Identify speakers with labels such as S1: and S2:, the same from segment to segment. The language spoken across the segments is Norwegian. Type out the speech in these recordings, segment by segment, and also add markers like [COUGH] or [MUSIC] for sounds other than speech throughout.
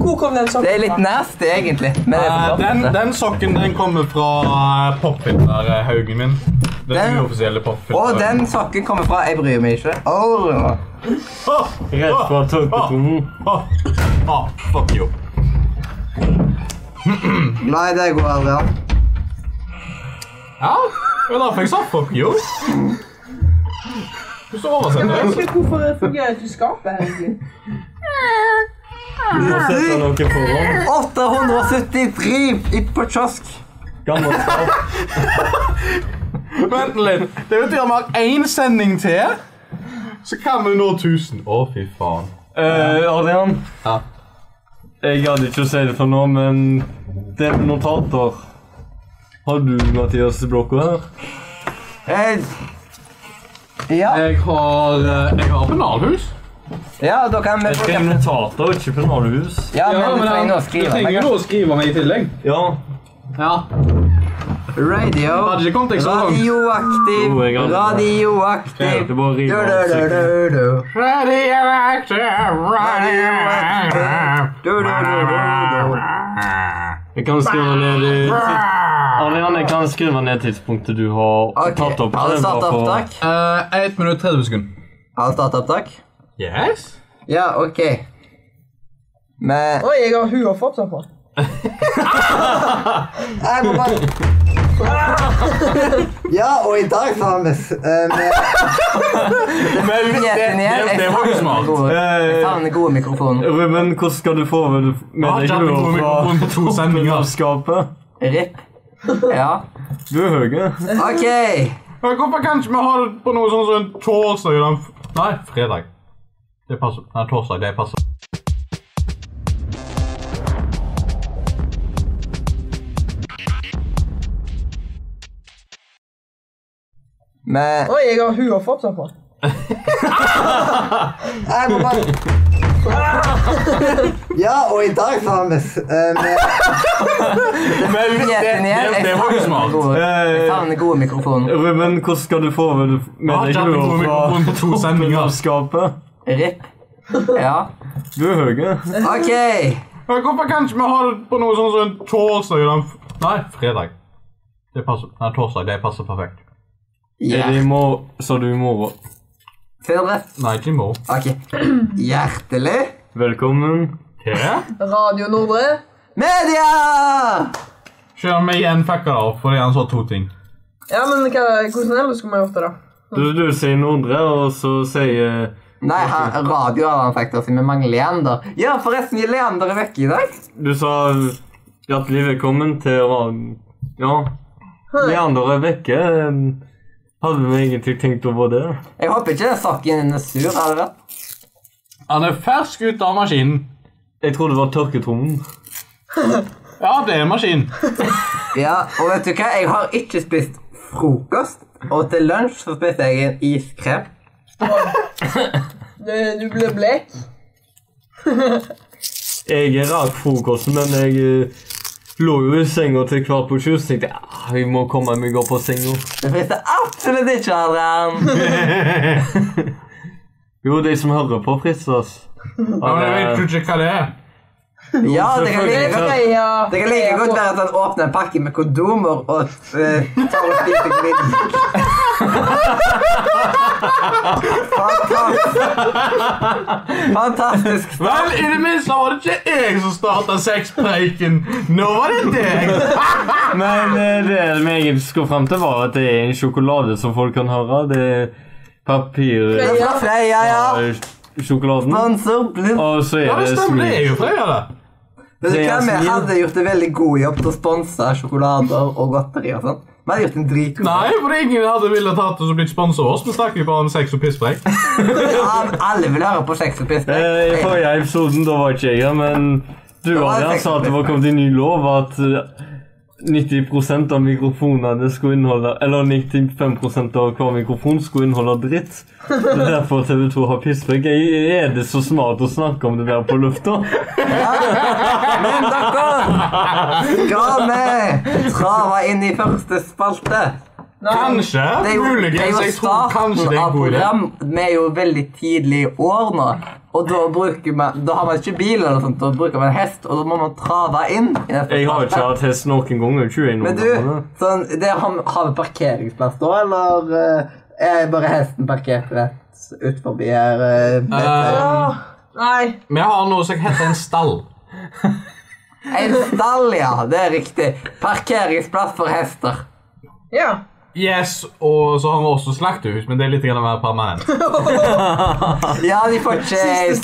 S1: Hvor kom den sokken
S2: Det er litt nasty, egentlig. Men det er
S3: Eh, Den,
S2: fantastisk.
S3: den sokken den kommer fra eh, popfilterhaugen min. Den,
S2: Den-
S3: uoffisielle
S2: Å,
S3: popfilteren.
S2: den sokken kommer fra Jeg bryr meg ikke. Åh.
S3: Åh,
S4: Redd
S3: åh,
S4: for tok på
S3: åh,
S4: to.
S3: åh, åh, Ah, Fuck you.
S2: Nei, det går aldri an.
S3: Ja, men da fikk jeg sagt fuck you. Du så oversender
S1: Jeg
S3: den.
S1: vet ikke hvorfor det fungerer ikke skapet, egentlig.
S4: Du må sette noe foran.
S2: 873 i- på kiosk.
S4: Gammelt stoff.
S3: [LAUGHS] Vent litt. Det betyr at vi har én sending til. Så kan vi nå 1000. Å, fy faen.
S4: Eh, Adrian.
S3: Ja.
S4: Jeg gadd ikke å si det for nå, men det er notater. Har du Mathias Blokko her?
S2: Eh, ja,
S3: Jeg har, eh, jeg har pennalhus.
S2: ja, da kan vi
S4: Jeg trenger notater, ikke pennalhus.
S2: Ja, men du trenger noe å
S3: du trenger jo
S2: skrive.
S3: noe å skrive med i tillegg.
S4: Ja.
S3: Ja. Hadde
S2: Radio.
S3: ikke kommet deg så langt.
S2: Radioaktiv.
S4: Jo, jeg har det.
S2: Radioaktiv.
S4: Det bare rimer av
S2: Du, du, du,
S4: seg.
S2: du. Du, du, du, du, du.
S4: Jeg kan skrive ned i Adrian, jeg kan skrive ned tidspunktet du har
S2: Ok,
S4: tatt opp.
S2: har
S4: Det
S2: du
S4: er bra
S2: startet
S4: for-
S2: opptak?
S3: Eh, Ett minutt 30 sekunder.
S2: Har du startet opptak?
S3: Yes.
S2: Ja, ok. Men
S1: Oi, jeg har hua fortsatt på.
S2: Jeg
S4: [LAUGHS]
S2: må bare Ja, og i dag så har vi s- eh, med
S4: Men [LAUGHS] det,
S2: Gjeten igjen.
S4: det, det
S2: Jeg
S4: var jo
S2: savner
S4: smart.
S2: gode- jeg
S4: Eh,
S2: savner gode mikrofoner.
S4: Ruben, hvordan skal du få med
S3: Har
S4: deg
S3: ikke hatt
S4: noe
S3: noen mikrofon på to
S4: fra
S3: sendinger.
S4: fellesskapet?
S2: RIP. Ja.
S4: Du er høye.
S2: Ok.
S3: Men Hvorfor kan ikke vi ha det på noe sånn som en torsdag? i den f- Nei, fredag. Det passer. Nei, torsdag. Det passer.
S2: Men
S1: Oi, jeg har hua fortsatt på.
S2: Jeg må bare Ja, og i dag så har vi s- eh, med
S4: [LAUGHS] Men
S2: Gjeten igjen.
S3: det- det
S2: Jeg
S3: var jo
S2: savner
S3: smart.
S2: gode- jeg
S4: eh,
S2: savner gode mikrofoner.
S4: Ruben, hvordan skal du få med
S3: Har
S4: deg
S3: ikke hatt
S4: noe
S3: noen mikrofon på to
S4: fra
S3: sendinger.
S4: fellesskapet?
S2: RIP. Ja.
S4: Du er høye.
S2: Ok.
S3: Men Hvorfor kan ikke vi ha det på noe sånn som en torsdag? i den f- Nei, fredag. Det passer. Nei, torsdag. Det passer perfekt.
S4: Er
S2: Hjer-
S4: det i morgen? Sa du i morgen?
S2: Fylde.
S3: Nei, ikke i morgen.
S2: Ok. Hjertelig
S4: Velkommen.
S3: Hva?
S1: Radio Nordre.
S2: media!
S3: Selv om jeg igjen fucka det opp fordi han sa to ting.
S1: Ja, men hva, hvordan ellers skulle vi gjort det, da?
S4: Du, du sier Nordre, og så sier
S2: Nei, han, radio har han sagt også, vi mangler Leander. Ja, forresten, Leander er vekke i dag.
S4: Du sa hjertelig velkommen til ra- Ja. Leander er vekke. Hadde vi egentlig tenkt over det?
S2: Jeg håper ikke sokken din er sur, har det vært?
S3: Han er fersk ut av maskinen.
S4: Jeg trodde det var tørketrommelen.
S3: Ja, det er en maskin.
S2: Ja, og vet du hva? Jeg har ikke spist frokost, og til lunsj så spiste jeg en iskrem.
S1: Du, du blir blek.
S4: Jeg rakk frokosten, men jeg eh, lå jo i senga til kvart på sju. Så tenkte jeg ah, jeg må komme meg opp av senga.
S2: Det spiste absolutt ikke, Adrian.
S4: Jo, de som hører på, fristes.
S3: Ja, men jeg vet jo ikke hva det er.
S2: Ja, det kan like godt, det kan like godt være
S1: være
S2: at han åpner en pakke med kondomer og eh, tar og spiser glidden. Fantastisk. Fantastisk.
S3: Vel, i det minste var det ikke jeg som starta sexpreiken. Nå var det deg.
S4: Men eh, det vi egentlig skulle fram til, var at det er en sjokolade som folk kan høre. Det er papir...
S1: Freia.
S2: Det er fra Freia, ja.
S4: eh, Sjokoladen.
S2: Sponsor, blubb.
S4: Og så
S3: Ja,
S4: er
S3: det
S4: det
S3: stemmer. Det er
S4: smil.
S3: jo Freia, det.
S2: Men
S4: Det
S2: det
S4: er
S2: kan
S4: smil.
S2: vi hadde gjort en veldig god jobb til å sponse sjokolader og godteri og sånn. Vi hadde gjort en dritgod
S3: Nei, for ingen hadde villet tatt oss og blitt sponsa av oss. Vi snakker jo bare om sex og pisspreik.
S2: jobb. Alle vil høre på sex og piss.
S4: Eh, I forrige episoden da var ikke jeg her, men du
S2: var
S4: Adrian,
S2: det
S4: sa at det var kommet en ny lov at eh, 90 av mikrofonene skulle inneholde Eller 95 av hver mikrofon skulle inneholde dritt. Det er derfor TV2 har pisspreik. Jeg- Er det så smart å snakke om det der på lufta?
S2: Men dere skal vi trave inn i første spalte.
S3: Kanskje.
S2: Det er jo, det er
S3: Muligens.
S2: jo
S3: Jeg tror kanskje
S2: starten
S3: det er
S2: av
S3: en god idé.
S2: program. Vi er jo veldig tidlig i år nå. Og da, bruker man, da har man ikke bil, eller noe sånt, da bruker man hest, og da må man trave inn. i den
S4: Jeg har ikke hatt hest noen ganger. Ikke jeg noen
S2: Men du,
S4: ganger.
S2: sånn, det har, har vi parkeringsplass da, eller eh, er bare hesten parkert rett ut forbi her? eh, dette?
S3: Eh,
S1: Nei.
S3: Vi har noe som heter en stall.
S2: en stall, ja. Det er riktig. Parkeringsplass for hester.
S1: Ja.
S3: Yes, og så har vi også slaktehus, men det er litt grann mer permanent.
S2: Ja, de får ikke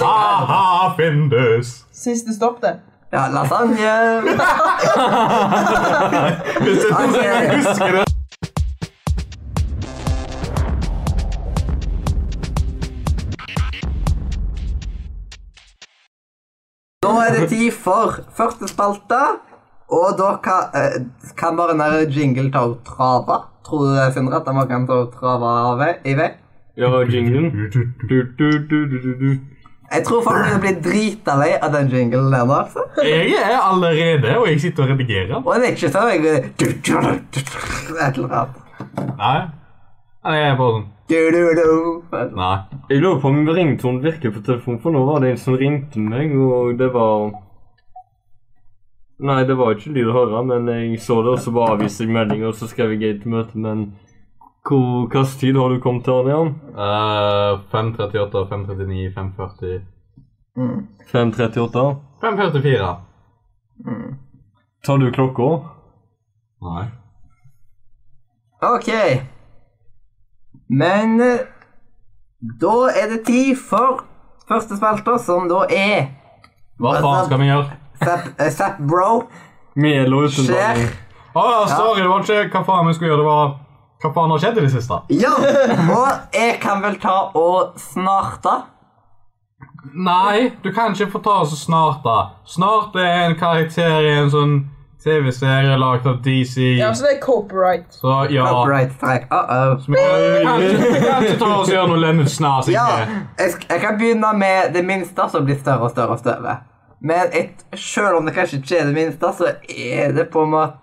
S3: Aha, Findus!
S1: Siste stopp, det.
S2: ja, lasagne.
S3: Hvis det er noen som
S2: Ok.
S3: husker det.
S2: Nå er det tid for første spalte, og da kan, eh, kan bare den der jingle ta og trave. Tror du det, Sindre, at man kan ta og trave av vei- i vei?
S4: Jeg har jinglen. Du, du, du, du, du, du.
S2: Jeg tror folk vil bli drita lei av den jinglen der nå, altså.
S3: Jeg er allerede, og jeg sitter og redigerer. den.
S2: Og det er ikke sånn jeg Et eller annet.
S3: Nei. Nei, jeg er bare sånn
S2: Du, du, du.
S3: Nei.
S4: Jeg lurer på om ringtonen virker på telefonen, for nå var det en som ringte meg, og det var Nei, det var ikke lyd å høre, men jeg så det, og så bare avviste jeg meldinga, og så skrev jeg gate til møte, men hvor, hvilken tid har du kommet til, Adrian?
S3: Eh, 538, 539, 540
S4: 5.38?
S3: 544.
S4: Tar du klokka?
S3: Nei.
S2: Ok. Men eh, da er det tid for første spalte, som da er
S3: Hva faen skal vi gjøre?
S2: Zap, eh, Zap Bro
S4: Med eller uten
S2: skjer.
S4: melding?
S3: Å, sorry, det var ikke hva faen vi skulle gjøre. Det var hva faen har skjedd i det siste?
S2: Ja, og jeg kan vel ta og snarte.
S3: Nei, du kan ikke få ta så snart, da. Snart er en karakter i en sånn TV-serie lagd av DC.
S1: Ja, så det er copyright.
S3: Så ja
S2: Copyright strike. Uh-oh.
S3: Vi kan ikke vi kan ikke ta oss og gjøre noe Leonard Snart.
S2: Ja,
S3: ikke?
S2: jeg, sk- jeg kan begynne med det minste, som blir større og større og større. Men et, selv om det kanskje ikke er det minste, så er det på en måte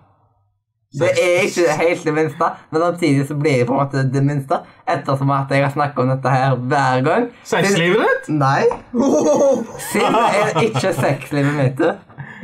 S2: Det er ikke helt det minste, men samtidig så blir det på en måte det minste. Ettersom at jeg har snakket om dette her hver gang.
S3: Sexlivet ditt?
S2: Nei. Siv er ikke sexlivet mitt. du.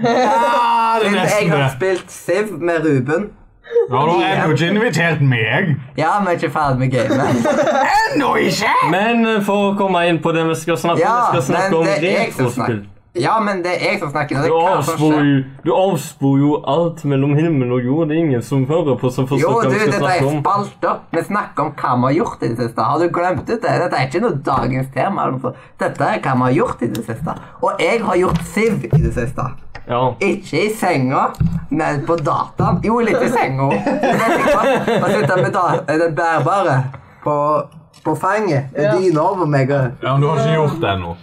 S3: Ja, Ah, det er
S2: Jeg
S3: nesten
S2: har
S3: det.
S2: spilt Siv med Ruben.
S3: Ja, du har ennå ikke invitert meg.
S2: Ja, vi er ikke ferdig med gamet.
S3: Ennå ikke!
S4: Men eh, for å komme inn på det vi skal snakke om,
S2: Ja,
S4: vi skal
S2: men
S4: snakke om
S2: det er jeg som snakker.
S4: retrospill.
S2: Ja, men det er jeg som snakker. Det
S4: Du
S2: er hva som
S4: avspor,
S2: skjer.
S4: jo, du avspor jo alt mellom himmel og jord. Det er ingen som hører på som
S2: Jo,
S4: forstår hva
S2: du,
S4: vi skal
S2: dette er
S4: snakke om.
S2: spalter. Vi snakker om hva vi har gjort i det siste. Har du glemt ut det? Dette er ikke noe dagens tema. eller noe sånt. Dette er hva vi har gjort i det siste. Og jeg har gjort Siv i det siste.
S4: Ja.
S2: Ikke i senga, men på dataen. Jo, litt i senga. Man sitter med da- den bærbare på, på fanget. Med
S1: Ja.
S2: dyna over meg. og-
S3: Ja, men du har ikke gjort det ennå.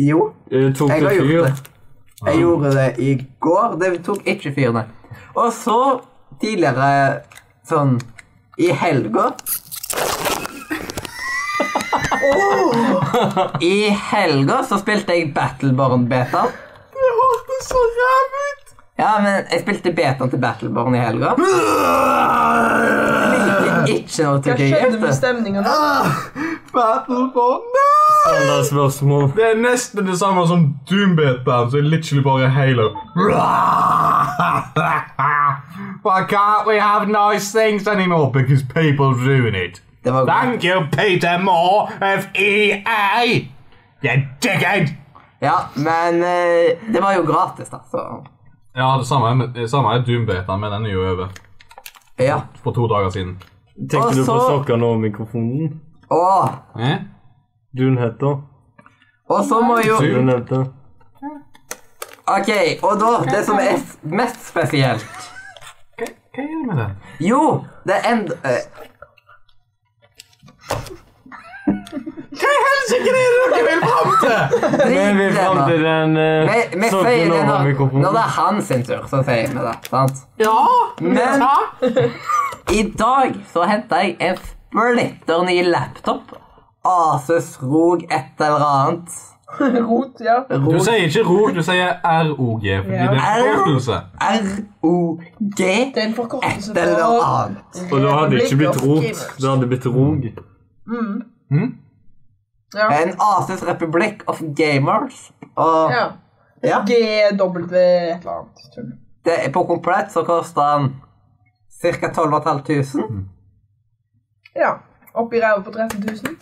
S2: Jo,
S4: Eh, Tok
S2: jeg
S4: det
S2: har
S4: fyr?
S2: gjort det. Jeg gjorde det i går. Det tok ikke fyr, nei. Og så tidligere sånn i helga I helga så spilte jeg Battleborn beta.
S3: Det hørtes så ræv ut.
S2: Ja, men jeg spilte betaen til Battleborn i helga. Liker ikke noe
S1: Hva
S2: til
S1: skjedde med
S2: gøy.
S1: stemningen da?
S2: Ah.
S3: Ah. Battleborn,
S4: Andre spørsmål.
S3: Det er nesten det samme som Doombit-band, så er literally bare Halo. [LAUGHS] Why can't we have nice things anymore? Because people ruin it.
S2: Det var
S3: Thank you, Peter Moore of EA! You dickhead!
S2: Ja, men eh, det var jo gratis, da, så
S3: Ja, det samme, det samme er Doombit-band, men den er jo over.
S2: Ja.
S3: For to dager siden.
S2: Og
S4: Tenkte du på
S2: så-
S4: sokkene og mikrofonen?
S2: Og,
S3: Eh?
S4: Dunhetta.
S2: og så må jo
S4: Du nevnte.
S2: Ok, og da det som er s- mest spesielt
S3: Hva gjør du med den?
S2: Jo, det er enda eh,
S3: Hva i helsike er det dere vil fram til?
S4: Vi
S2: [LAUGHS] drit i
S4: vil
S2: det
S4: fram
S2: nå.
S4: til den
S2: Vi-
S4: eh,
S2: Vi sier
S4: sokken
S2: det
S4: over
S2: når, når det
S4: mikrofonen.
S2: er hans sin tur, så sier vi det. sant?
S3: Ja,
S2: Men-
S3: ja.
S2: I dag så henta jeg en splitter ny laptop. Asus Rog et eller annet.
S1: Rot, ja.
S3: Du
S2: Rog
S3: sier ikke ROG, du sier ROG, fordi
S1: Ja.
S3: det er en forkortelse.
S2: R-O-G
S1: Det
S2: et
S1: er en forkortelse
S2: eller annet.
S4: Og da hadde det ikke blitt rot. Det hadde blitt rog.
S1: Ja.
S2: En asis republikk of gamers. Og
S1: ja.
S2: ja,
S1: GW et eller annet. tull.
S2: det er på komplett så koster han ca. 12 500.
S1: Ja. Oppi ræva på 13 000.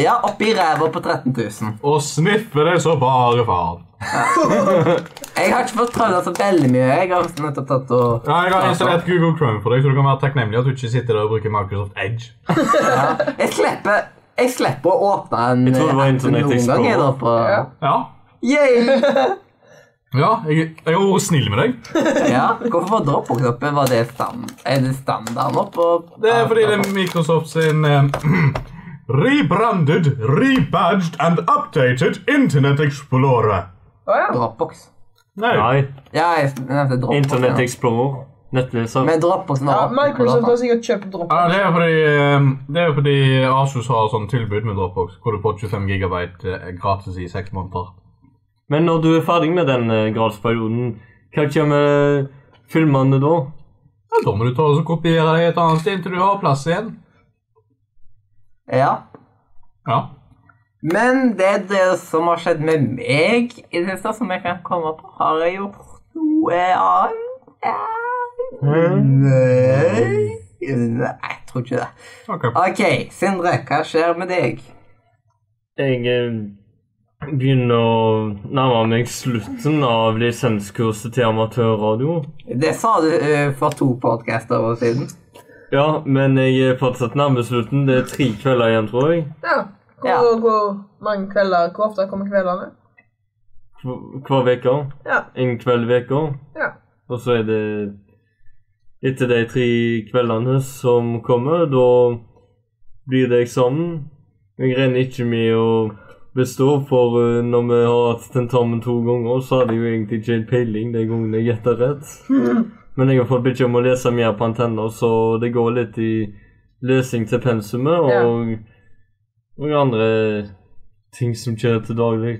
S2: Ja, oppi ræva på 13 000.
S3: Og sniffer det så bare faen.
S2: Jeg har ikke fått prøvd det så veldig mye. Jeg har nettopp tatt og
S3: Ja, jeg har installert Google Chrome for deg, så du kan være takknemlig at du ikke sitter der og bruker Microsoft Edge.
S2: Jeg slipper, jeg slipper å åpne en
S4: Jeg tror det var
S2: eh,
S4: Internet
S2: noen gang.
S4: Explorer.
S2: Jeg, da, på,
S1: Ja.
S3: Ja,
S2: Yay!
S3: ja jeg, jeg har vært snill med deg.
S2: ja, hvorfor var drop-knappen? Var det stand, er det standarden nå på
S3: Det er fordi det er Microsoft sin eh, [CLEARS THROAT] rebranded, rebadged and updated Internet Explorer.
S1: Å ja.
S2: Dropbox.
S3: Nei.
S4: Nei.
S2: Ja, jeg nevnte Dropbox.
S4: Internett
S2: ja.
S4: Explorer. Nettleser.
S2: Men Dropboxen
S1: ja.
S2: var oppe på
S1: Microsoft
S2: dataen.
S1: har sikkert kjøpt dropp.
S3: Ja, det er fordi, eh, det er fordi Asus har sånn tilbud med Dropbox, hvor du får 25 gigabyte eh, gratis i seks måneder.
S4: Men når du er ferdig med den eh, gradsperioden, hva kommer eh, filmene da?
S3: Ja, da må du ta og så kopiere deg et annet sted inntil du har plass igjen.
S2: Ja.
S3: Ja.
S2: Men det er det som har skjedd med meg i det siste, som jeg kan komme på. Har jeg gjort noe annet? Ja. Nei. Nei, jeg tror ikke det.
S3: Ok.
S2: OK, Sindre, hva skjer med deg?
S4: Jeg eh, begynner å nærme meg slutten av lisenskurset til amatørradio.
S2: Det sa du eh, for to podcaster år siden.
S4: Ja, men jeg er fortsatt nærme slutten. Det er tre kvelder igjen, tror jeg.
S1: Ja. Hvor,
S2: Ja.
S1: hvor mange kvelder, hvor ofte kommer kveldene?
S4: Hv- Hver uke.
S1: Ja.
S4: En kveld i uka.
S1: Ja.
S4: Og så er det Etter de tre kveldene som kommer, da blir det eksamen. Jeg regner ikke med å bestå, for eh, når vi har hatt tentamen to ganger, så hadde jeg jo egentlig ikke helt peiling de gangene jeg gjetta rett.
S1: [LAUGHS]
S4: Men jeg har fått beskjed om å lese mer på antenner, så det går litt i lesing til pensumet og noen andre ting som skjer til daglig.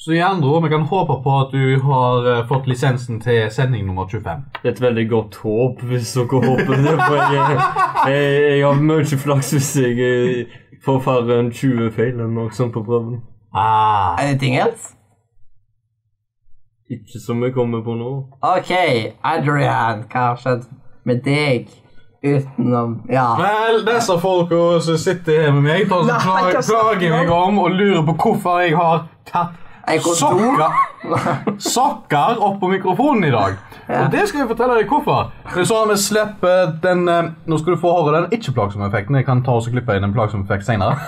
S3: Så i andre ord, vi kan håpe på at du har eh, fått lisensen til sending nummer 25.
S4: Det er et veldig godt håp, hvis dere håper det. For jeg, jeg, jeg har mye flaks hvis jeg eh, får færre enn 20 feil eller noe sånt på prøven.
S3: Ah.
S2: Er det ting else?
S4: Ikke som jeg kommer på nå.
S2: OK, Adrian, hva har skjedd med deg utenom Ja.
S3: Vel, disse folka som sitter her med meg, tar
S1: Nei,
S3: seg klag,
S1: hva snakker
S3: klager meg
S1: du
S3: om og lurer på hvorfor jeg har tatt
S2: Jeg går
S3: sokker, [LAUGHS] sokker opp på mikrofonen i dag. Og det skal jeg fortelle deg hvorfor. Det er sånn at vi slipper den eh, Nå skal du få høre den ikke-plagsomme effekten. Jeg kan ta og så klippe inn en plagsom effekt senere.
S2: [LAUGHS]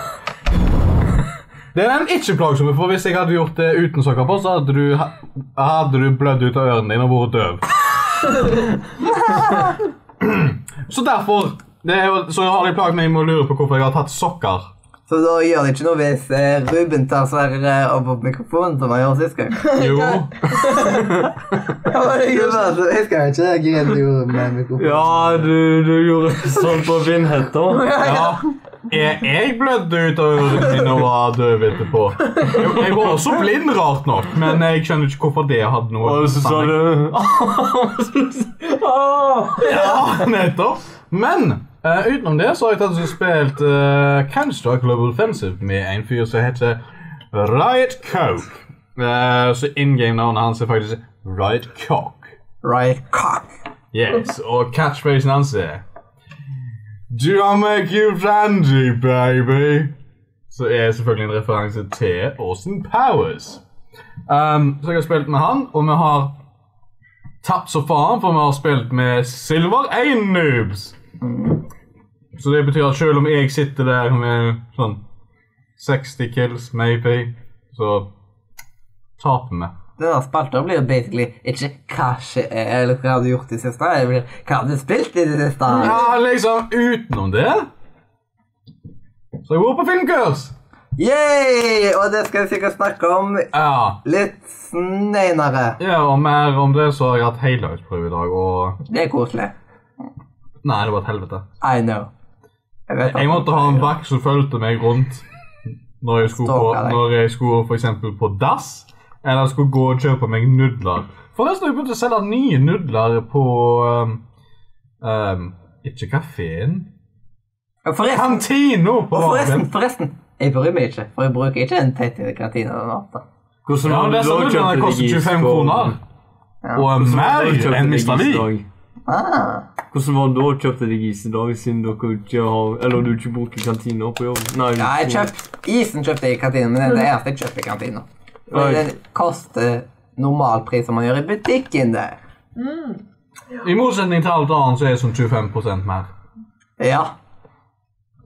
S3: Det er den ikke-plagsomme, for hvis jeg hadde gjort det uten sokker på, så hadde du, ha- hadde du blødd ut av ørene dine og vært
S2: [LAUGHS]
S3: døv. Så derfor det er jo, Så har de plaget meg med å lure på hvorfor jeg har tatt
S2: [LAUGHS]
S3: sokker.
S2: Så da gjør det ikke noe hvis eh, Ruben tar Sverre eh, opp på mikrofonen, som han gjorde sist gang?
S3: Jo.
S1: [LAUGHS] Ja, men det er jo sånn.
S2: [LAUGHS] Jeg husker ikke jeg greide gjorde med mikrofonen.
S4: Ja, du, du gjorde sånn på vindhetta.
S3: Ja. Jeg, jeg blødde ut av ørene mine og var døv etterpå. Jeg, jeg var også blind, rart nok, men jeg skjønner ikke hvorfor det hadde noe
S4: Og så sa
S3: sammenheng.
S4: du Ah!
S3: Ja, nettopp. Men eh, utenom det så har jeg tatt og spilt uh, Canster Global Offensive med en fyr som heter Riot Coke. Eh, så in game-navnet hans er faktisk Riot Coke.
S2: Right cock.
S3: Yes, og catchphrasen hans er Do I make you brandy, baby? Så er selvfølgelig en referanse til Austin Powers. Um, så jeg har spilt med han, og vi har tapt så faen, for vi har spilt med Silver 1 Noobs. Så det betyr at selv om jeg sitter der med sånn 60 kills, maybe, så taper vi.
S2: Denne spalta blir jo basically ikke hva skje- eh, eller hva har du gjort i det siste, det blir hva har du spilt i det siste.
S3: Ja, liksom utenom det Så jeg går på filmkurs.
S2: Yay! Og det skal vi sikkert snakke om
S3: Ja.
S2: litt senere.
S3: ja, og mer om det så har jeg hatt heldagsprøve i dag, og
S2: Det er koselig.
S3: Nei, det var et helvete.
S2: I know. Jeg vet
S3: Jeg
S2: at
S3: måtte ha en vakt som fulgte meg rundt når jeg skulle på, når jeg skulle for eksempel på dass, eller skulle gå og kjøpe meg nudler. Forresten, jeg begynte å selge nye nudler på um, um, Ikke kafeen
S2: Forresten,
S3: Kantina på
S2: og forresten,
S3: Varden.
S2: forresten. Jeg bryr meg ikke, for jeg bruker ikke en teit i kantina den ofte.
S4: Hvordan
S3: Ja,
S4: var
S3: det er sånn at den koster 25 kroner.
S2: Ja.
S3: Og en mer enn Mr.
S4: Mr.
S3: Lee.
S2: Ah.
S4: Hvordan var det da kjøpte deg is i dag, siden dere ikke har Eller du ikke bruker kantina på jobb? Nei,
S2: Ja, jeg kjøpt, isen kjøpte jeg i kantina, men det er det eneste jeg kjøper i kantina.
S4: Oi.
S2: Men Den koster normal pris som man gjør i butikken der.
S3: I motsetning til alt annet så er det sånn 25 mer.
S2: Ja.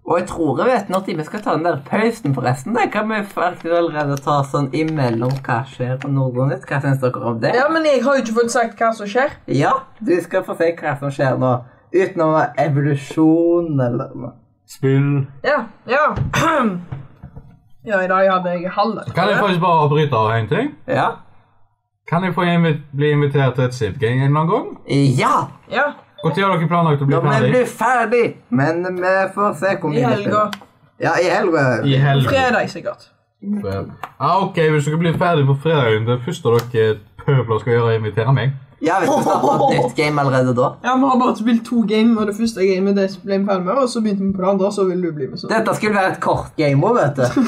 S2: Og jeg tror jeg vet når tid vi skal ta den der pausen, forresten. Den kan vi faktisk allerede ta sånn imellom hva skjer og noe nytt. Hva syns dere om det?
S1: Ja, men jeg har jo ikke fått sagt hva som skjer.
S2: Ja, du skal få se hva som skjer nå. Utenom evolusjon eller noe.
S4: Spill
S1: Ja, ja. [CLEARS THROAT] Ja, i dag hadde jeg halve.
S3: Kan jeg faktisk bare bryte av en ting?
S2: Ja.
S3: Kan jeg få invi bli invitert til et Zip-gang en eller annen gang?
S2: Ja!
S1: Ja,
S3: Når har dere planlagt å bli
S2: Nå må jeg bli
S3: ferdig?
S2: ferdig, men vi får se hvor
S1: i
S2: mye vi
S1: helga.
S2: spiller. Ja, i helga.
S3: I helgen.
S1: Fredag, sikkert.
S3: Ah, ok, hvis dere blir ferdig på fredagen, det første dere pøbler skal gjøre, er å invitere meg.
S2: Ja, hvis vi starter et
S1: [LAUGHS]
S2: nytt game allerede da.
S1: Ja, vi har bare spilt to game, og det første gamet det ble vi ferdig med, og så begynte vi på det andre, og så ville du bli med. Så.
S2: Dette skulle være et kort game òg,
S1: [LAUGHS]
S2: vet du.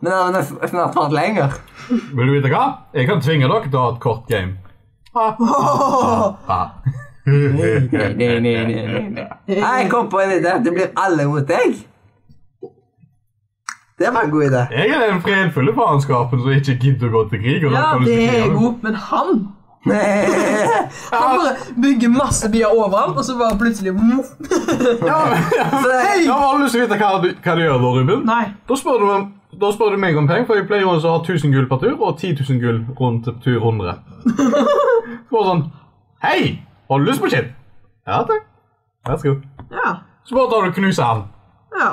S2: Men det har nes- snart vært lenger.
S3: Vil du vite hva? Jeg kan tvinge dere til å ha et kort game. Ah.
S2: Nei, nei, nei, nei, nei, nei. Jeg kom på en idé. Det blir alle mot deg. Det var en god idé.
S3: Jeg er den fredfulle faenskapen som ikke gidder å gå til krig. og da
S1: Ja,
S3: kan du
S1: det er
S3: sikkert gjøre det.
S1: god, men han... Han bare bygger masse bier overalt, og så bare plutselig... [LAUGHS] voff.
S2: Så det-
S3: Jeg har bare lyst til å vite hva du, hva du gjør da, Ruben.
S1: Nei.
S3: Da spør, du, om- da spør du meg om penger, for jeg pleier også å ha 1000 gull per tur og 10 000 gull rundt til tur
S1: [LAUGHS]
S3: 100. Så bare sånn Hei! Har du lyst på shit? Ja takk. Vær så god.
S1: Ja,
S3: Så bare tar du og knuser han.
S1: ja.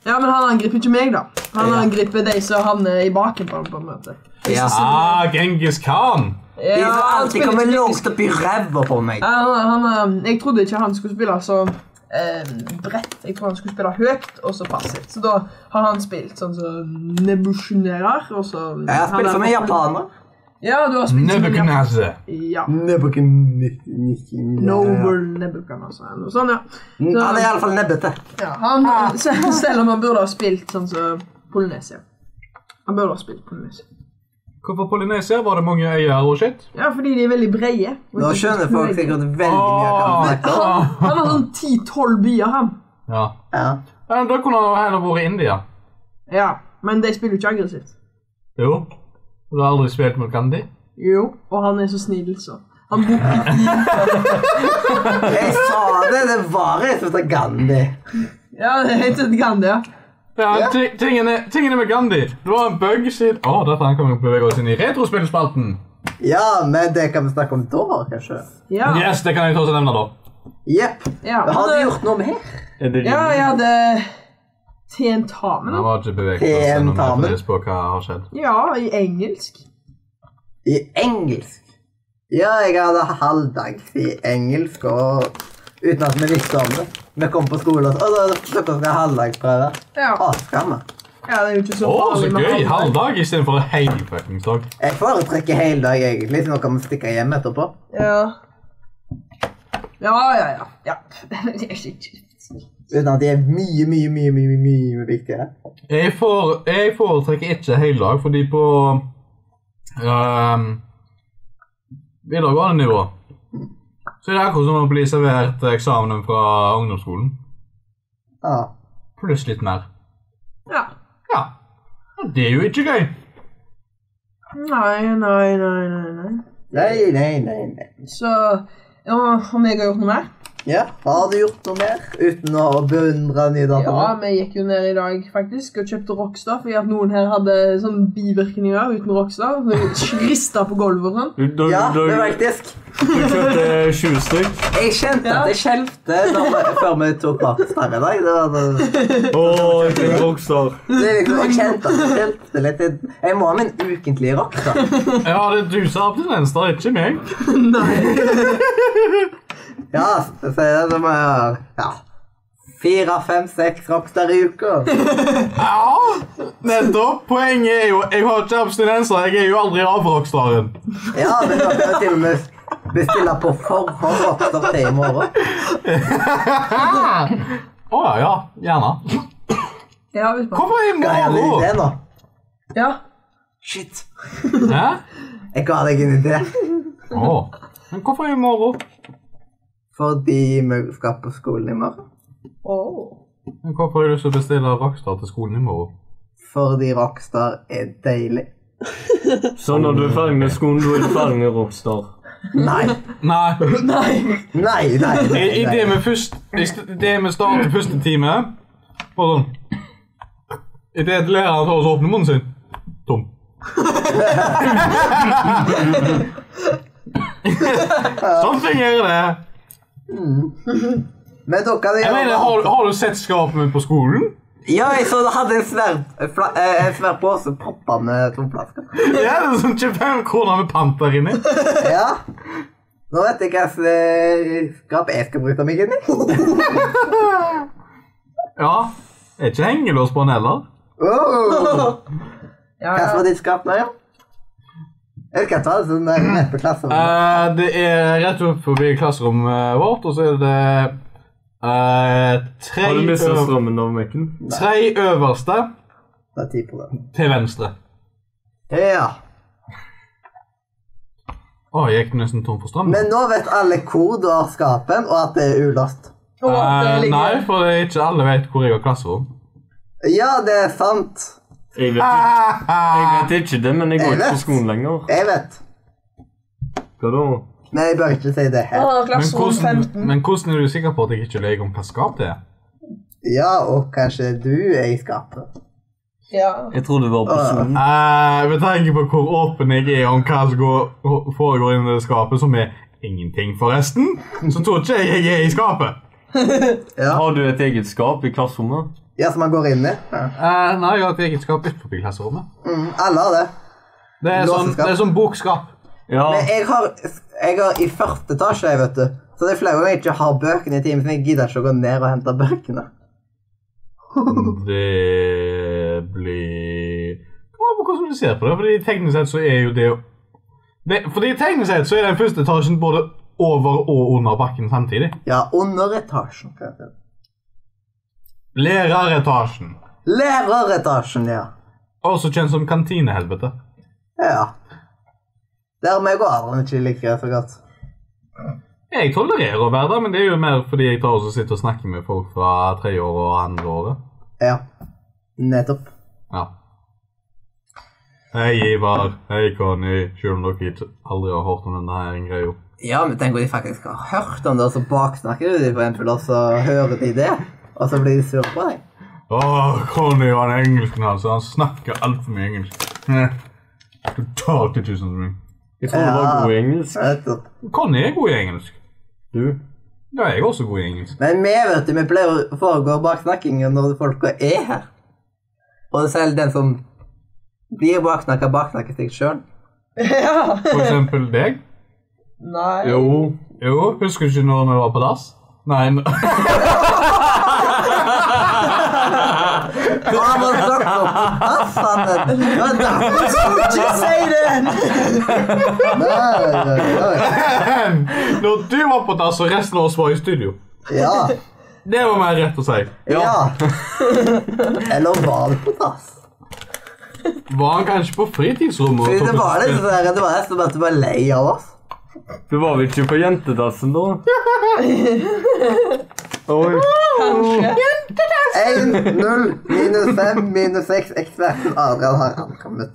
S1: Ja, men han angriper ikke meg da. Han angriper de som havner i baken på ham, på en måte.
S2: Ja.
S3: Ah, Genghis Khan.
S2: De
S1: Ja,
S2: som
S1: han
S2: alltid
S1: spiller
S2: kommer
S1: ikke-
S2: langt opp i ræva på meg.
S1: Ja, han, han, eh, jeg trodde ikke han skulle spille så eh, bredt. Jeg tror han skulle spille høyt og så passivt. Så da har han spilt sånn som nebusjonerer. og så...
S2: Jeg har
S1: han
S2: spilt
S1: er-
S2: som en japaner.
S1: Ja, du har spilt som en japaner.
S3: Nebuchadnezzar.
S1: Ja.
S2: Noble.
S1: Noble Nebuchadnezzar eller noe sånt, ja.
S2: Han er iallfall nebbete.
S1: ja han, sel- [LAUGHS] selv om han burde ha spilt sånn som Polynesia. Han burde ha spilt Polynesia.
S3: Hvorfor Polynesia? Var det mange øyer og shit?
S1: Ja, fordi de er veldig brede. og
S2: Nå
S1: ikke
S2: skjønner folk
S1: bøyer.
S2: sikkert veldig mye. hva han snakker om.
S1: Han, han har sånn 10-12 byer, han.
S3: Ah. Ja.
S2: Ja.
S3: Ja, men Da kunne han heller vært i India.
S1: Ja, Men de spiller jo ikke aggressivt.
S3: Jo. Du har aldri spilt mot Gandhi?
S1: Jo, og han er så snill, så. Han bor
S2: Jeg sa det! Det var jeg som sa Gandhi.
S1: [LAUGHS] Ja, det heter et Gandhi, ja.
S3: Ja, ti- tingene, tingene med Gandhi. Det var en bug siden Å, dette her kan vi bevege oss inn i retrospillspalten.
S2: Ja, men det kan vi snakke om da, kanskje.
S1: Ja,
S3: Yes, det kan jeg ta og nevne, da.
S2: Jepp.
S1: ja.
S2: Har
S1: Han,
S2: du
S1: eh,
S2: gjort noe med?
S4: Er det
S1: ja, jeg hadde tentamen.
S3: Det
S1: da.
S3: var ikke bevegelse
S2: En dame.
S3: nødvendigvis på hva har skjedd.
S1: Ja, i engelsk.
S2: I engelsk? Ja, jeg hadde halvdags i engelsk og uten at vi visste om det. Vi kom på skolen og sa at dere skal ha halvdagsprøve.
S1: Ja.
S2: Askammer.
S1: ja, det er jo ikke så
S3: Å, så
S1: farlig med
S3: gøy!
S1: halvdag.
S3: Halv dag istedenfor en hel fuckings dag.
S2: Jeg foretrekker hele dag, egentlig, så nå kan vi stikke hjem etterpå.
S1: Ja. Ja, ja, ja. ja. [LAUGHS] Det er ikke-
S2: Uten at de er mye, mye, mye, mye, mye, mye viktigere.
S3: Jeg, får, jeg foretrekker ikke hel dag, fordi på ehm, videregående nivå så er det akkurat som å bli servert eksamen fra ungdomsskolen.
S2: Ja.
S3: Pluss litt mer.
S1: Ja.
S3: Ja. ja det er jo ikke gøy.
S1: Nei, nei, nei, nei, nei.
S2: Nei, nei, nei, nei.
S1: Så ja, om jeg har gjort noe mer?
S2: Ja, har du gjort noe mer uten å beundre nye
S1: Ja,
S2: datoer?
S1: vi gikk jo ned i dag faktisk og kjøpte Rockstar fordi at noen her hadde sånn bivirkninger uten Rockstar. Rista på gulvet og sånn.
S4: Du, du,
S2: Ja,
S4: du,
S2: men faktisk.
S4: du kjøpte 20 stykk,
S2: Jeg kjente
S1: Ja.
S2: at jeg skjelvte når vi- før vi tok bakstang i dag. Det var noe...
S4: og jeg fikk Rockstar.
S2: Det er liksom, jeg kjente at jeg kjente litt Jeg- Jeg må ha min ukentlige rock, da.
S3: Ja, det er du som har abstinens, det er ikke meg.
S2: [LAUGHS] Ja, så så er det som jeg har ja, fire, fem, seks rockstar i uka.
S3: Ja, nettopp. Poenget er jo jeg har ikke abstinenser. Jeg er jo aldri avrockstaren.
S2: Ja, men da kan jeg til og med bestille på forhånd rockstar til i morgen.
S3: Å ja, ja. Gjerne.
S1: Ja, hvis man...
S3: Hvorfor i
S2: Ga jeg en idé
S3: morgen?
S2: nå?
S1: Ja.
S2: Shit.
S3: Hæ?
S2: Jeg ga deg en idé.
S3: Åh. Men hvorfor i morgen?
S2: Fordi vi skal på skolen i morgen.
S1: Åh.
S3: Men Hvorfor har jeg lyst til å bestille Rockstar til skolen i morgen?
S2: Fordi Rockstar er deilig.
S4: Så Sånn når du er ferdig med skolen, du er du ferdig med Rockstar.
S2: Nei.
S3: Nei.
S1: [LAUGHS] Nei.
S2: Nei, nei. nei,
S3: I, i det
S2: nei.
S3: med først i st- Det med starten første time Og sånn I det læreren tar oss åpne munnen sin Tom Sånn fungerer det
S2: Men dere kan
S3: Jeg
S2: gjøre
S3: mener,
S2: noe
S3: har,
S2: annet.
S3: har du sett skapet mitt på skolen?
S2: Ja, jeg så det hadde en svær, en fla- eh, en svær pose proppa med tomflasker.
S3: Ja, det er sånn 25 kroner med pant der inne
S2: Ja. Nå vet jeg hva slags skap jeg skal bruke meg inn i.
S3: Ja, er ikke hengelås på den heller
S2: Oh.
S1: Ja,
S2: Hva
S1: ja.
S2: var ditt skap nå, ja? Jeg vet ikke hva det er, sånn der rett på klasserommet.
S3: Eh, Det er rett opp forbi klasserommet vårt Og så er det eh, tre,
S4: Har du mistet
S3: øver,
S4: strømmen over mekken?
S3: tre øverste
S2: Det er ti på det.
S3: til venstre
S2: Ja.
S3: Å, jeg gikk nesten tom for strøm.
S2: Men nå vet alle hvor du har skapen, og at det er ulåst.
S1: Åh, det
S3: Eh,
S1: ligger-
S3: nei, for det er ikke alle vet hvor jeg har klasserom.
S2: Ja, det er sant.
S4: Jeg vet, ikke- jeg vet ikke det, men jeg går ikke på skolen lenger.
S2: Jeg vet.
S4: Hva da?
S2: Men jeg bør ikke si det
S1: Åh,
S2: her.
S3: Men
S1: klasserom
S3: hvordan,
S1: 15.
S3: men hvordan er du sikker på at jeg ikke løy om hva skap det er?
S2: Ja, og kanskje du er i skapet.
S1: Ja.
S4: Jeg tror du var på
S2: Ah.
S4: skolen.
S3: Eh, Med tanke på hvor åpen jeg er om hva som går, foregår inni det skapet, som er ingenting, forresten, så tror ikke jeg jeg er i skapet.
S2: Ja,
S4: Har du et eget skap i klasserommet?
S2: ja som man går inn i. Ja.
S3: Eh, nei, jeg har et eget skap utenfor klasserommet.
S2: Mm, alle har det.
S3: Det er sånn,
S2: Låseskap.
S3: det er sånn bokskap.
S4: Ja.
S2: Men jeg har, jeg har i første etasje, jeg vet du. Så det er flere ganger jeg ikke har bøkene i timen, for jeg gidder ikke å gå ned og hente bøkene.
S3: Det blir Kommer an på hvordan du ser på det, fordi teknisk sett så er jo det det, fordi teknisk sett så er den første etasjen både over og under bakken samtidig.
S2: Ja, under etasjen. kan jeg si.
S3: Læreretasjen.
S2: Læreretasjen, ja.
S3: Også kjent som kantinehelvete.
S2: Ja. Der vi går Adrian ikke liker så godt.
S3: Jeg tolererer å være der, men det er jo mer fordi jeg tar også sitter og snakker med folk fra tredjeåret og andreåret.
S2: Ja. Nettopp.
S3: Ja. Hei, Ivar. Hei, Conny. Selv om dere ikke aldri har hørt om denne her greia.
S2: Ja, men tenk om de faktisk har hørt om det, og så baksnakker du dem på en full, og så hører de det. Og så blir de sure på deg.
S3: Åh, Conny og den engelsken hans. Han snakker altfor mye engelsk. Hm. Totalt ikke sånn som meg.
S4: Jeg tror du var
S2: Ja.
S4: god i engelsk.
S2: Nettopp.
S3: Conny er god i engelsk.
S4: Du.
S3: Ja, jeg er også god i engelsk.
S2: Men vi vet du, vi pleier å foregå baksnakkingen når folka er her. Og selv den som blir baksnakka, baksnakker seg sjøl.
S1: Ja.
S3: For eksempel deg.
S1: Nei.
S4: Jo.
S3: Jo, husker du ikke når vi var på dass? Nei, n-
S2: Det var derfor jeg sa det.
S1: Ikke si det!
S2: Nei, nei, nei.
S3: [LAUGHS] når du var på dass og resten av oss var i studio.
S2: Ja.
S3: Det var mer rett å si.
S2: Ja. Eller var det på dass?
S3: Var han kanskje på fritidsrommet? og
S2: Fordi
S3: tok
S2: Det var
S3: et
S2: litt
S3: spill?
S2: sånn der, det var nesten bare at du var lei av oss.
S4: Du var vel ikke på jentedassen da? Oi.
S1: Kanskje.
S2: 1, 0, minus 5, minus 6, eksperten Adrian har ankommet.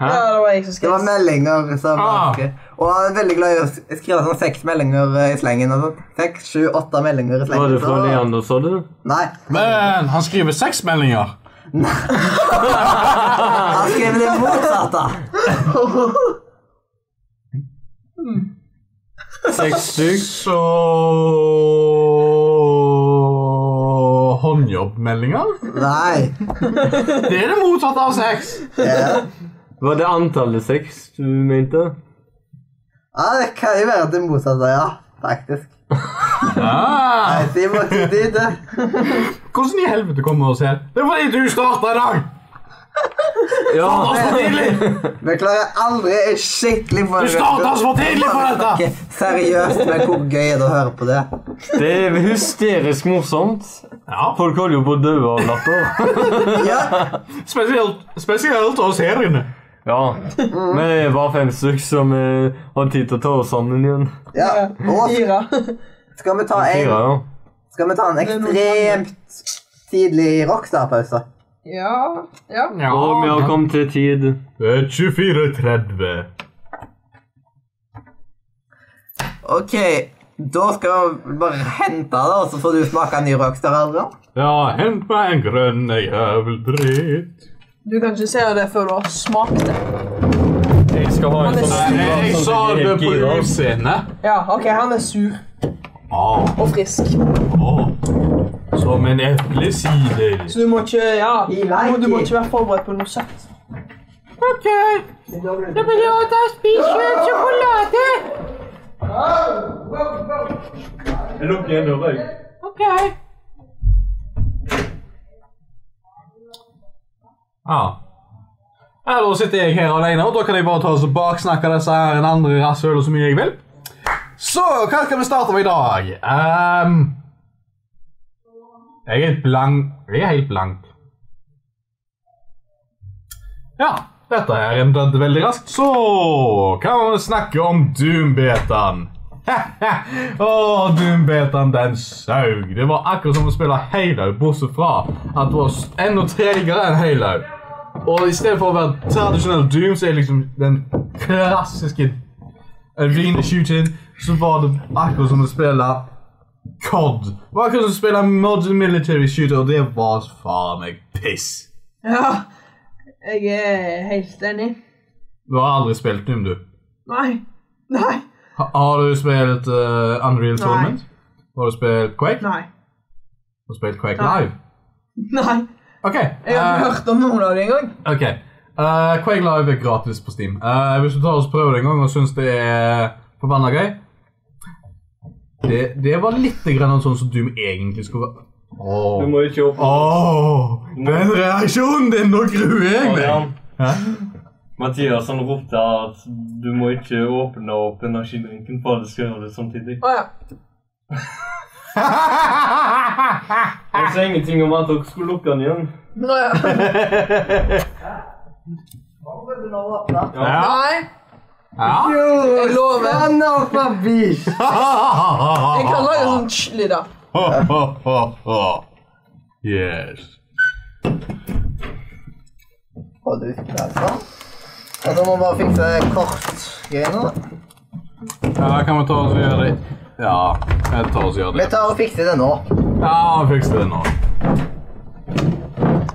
S1: Ja, det var jeg som
S2: Det var
S1: skrev.
S2: meldinger som
S3: Ah.
S2: var skrevet. Og han er veldig glad i å s- skrive sånn seks meldinger eh, i slengen. og sånn. Seks, sju, åtte meldinger i slengen.
S4: Var det fra
S2: så-
S4: Leander, sa du?
S2: Nei.
S3: Men han skriver seks meldinger.
S2: Han skrev det motsatte.
S4: Seks stykk?
S3: Så Håndjobbmeldinger?
S2: Nei.
S3: Det er det motsatte av seks.
S2: Ja.
S4: Var det antallet seks du mente?
S2: ja, det kan jo være det motsatte, ja. Faktisk.
S3: Ah,
S2: Nei, de må ikke si det.
S3: hvordan i helvete kommer vi oss her? Det er fordi du starta i dag!
S4: Ja.
S3: Starta så tidlig!
S2: Vi klarer aldri jeg er skikkelig for
S3: Du starta så tidlig på dette!
S2: Seriøst, men hvor gøy er det å høre på det?
S4: Det er hysterisk morsomt.
S3: Ja.
S4: Folk holder jo på å dø av latter.
S3: Spesielt, spesielt oss her inne.
S4: Ja. Vi er bare fem stykker som eh, har tid til å ta oss sammen igjen.
S2: Ja. Og
S1: Fire.
S2: skal vi ta
S4: Fire,
S2: en,
S4: ja.
S2: skal vi ta en
S1: er noe
S2: ekstremt tidlig rockstar-pause?
S1: Ja. ja.
S3: Ja.
S4: Og vi har kommet til tid.
S3: Det er 24.30.
S2: Ok, da skal vi bare hente det, og så får du smake en ny rockstar, Adrian.
S3: Ja, hent meg en grønn jævel dritt.
S1: Du kan ikke se det før du har smakt det.
S4: Jeg skal ha en
S1: sånn-
S3: Nei,
S4: sånn
S3: jeg sa det på
S4: altså.
S3: utseendet.
S1: Ja, OK, han er sur
S3: Ah,
S1: og frisk.
S3: ah. Som en eplesider.
S1: Så du må ikke Ja.
S2: I like
S1: Du må
S2: it.
S1: ikke være forberedt på noe søtt.
S3: Ok, da vil jeg ta spise sjokolade.
S4: Jeg lukker igjen døra, jeg.
S3: Ok. Ja. Ja, da sitter jeg her alene, og da kan jeg bare ta oss og baksnakke disse her en andre rasshøler så mye jeg vil. Så, hva skal vi starte med i dag? Ehm... jeg er helt blank. Jeg er helt blank. Ja, dette er en dødd veldig raskt, så kan vi snakke om Doom-betaen. [LAUGHS] Å, Doom-betaen, den saug. Det var akkurat som å spille Halo, bortsett fra at det var s- enda tregere enn Halo. Og i stedet for å være tradisjonell Doom, så er det liksom den klassiske arena-shooting, så var det akkurat som å spille COD. Det var akkurat som å spille Modern Military Shooter, og det var faen meg piss.
S1: Ja. Jeg er helt enig.
S3: Du har aldri spilt Doom, du.
S1: Nei. Nei.
S3: Ha- Har du spilt eh, Unreal
S1: Nei.
S3: Tournament? Har du spilt Quake?
S1: Nei.
S3: Har du spilt Quake
S1: Nei.
S3: Live?
S1: Nei.
S3: Ok.
S1: Jeg har
S3: eh,
S1: ikke hørt om noen av dem engang.
S3: ok. Eh, Quake Live er gratis på Steam. Eh, hvis du tar og prøver det en gang og syns det er forbanna gøy det, det var litt grann sånn som Doom egentlig skulle være.
S4: Du
S3: Åh,
S4: må ikke opp.
S3: Åh, den reaksjonen din! Nå gruer jeg meg!
S4: Adrian.
S3: Hæ?
S4: Mathias han ropte at du må ikke åpne opp energidrinken, for det skal gjøre det samtidig.
S1: Å ja.
S4: Jeg sa ingenting om at dere skulle lukke den igjen.
S1: Å, ja.
S4: Ja. [LAUGHS]
S1: Nei.
S3: Ja.
S1: Jeg lover.
S2: Stand up, my bitch!
S1: Jeg kan lage sånn ch-lyd. da.
S3: Yes.
S2: Hold ut, altså. Og nå må vi bare fikse kortgreiene. da.
S3: Ja, kan vi ta oss og gjøre det? Ja, jeg tar oss og gjør
S2: Vi
S3: det.
S2: tar og fikser det nå.
S3: Ja, fiks det nå.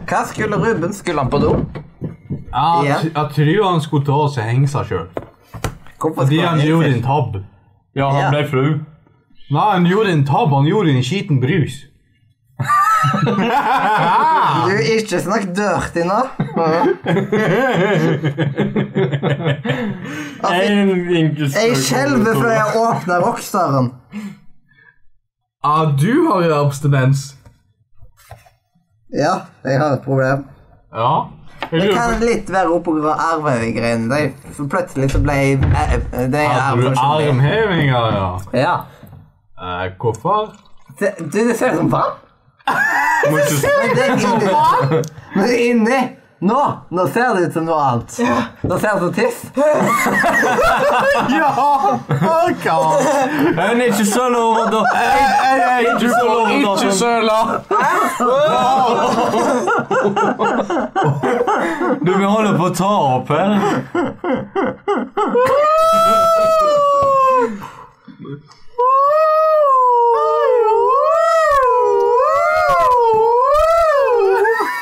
S2: Hva skulle Ruben? Skulle han på do?
S3: Ja,
S2: Ja.
S3: t- jeg tror han skulle ta oss og henge seg selv.
S2: Hvorfor
S3: Fordi
S2: skulle
S3: han gjorde en tab.
S4: ja,
S2: Ja.
S4: han ble flau.
S3: Nei, han gjorde en tab. Han gjorde en skiten brus.
S2: Du, ikke snakk dirty nå.
S4: En enkelt
S2: Jeg skjelver før jeg åpner rockstaren.
S3: Ja, du har jo abstinens.
S2: Ja, jeg har et problem.
S3: Ja. Jeg
S2: Det
S3: lurer
S2: kan
S3: på...
S2: litt være oppå arvegreiene. De- For plutselig så ble jeg eh, Det er
S3: Har du
S2: arv. som skjer.
S3: armhevinger, ja?
S2: Ja.
S3: Eh, hvorfor?
S2: Det, du, det ser ut som vann.
S4: Må ikke
S2: Men det er inni. Men det er inni. Nå, nå ser det ut som noe annet. Nå ser det ut som tiss.
S3: Ja! Ikke
S4: Men Eh, ikke så lov å
S3: Eh,
S4: da- Ikke så lov å da- Sånn.
S3: søla!
S4: Du, vi holder på å ta opp her.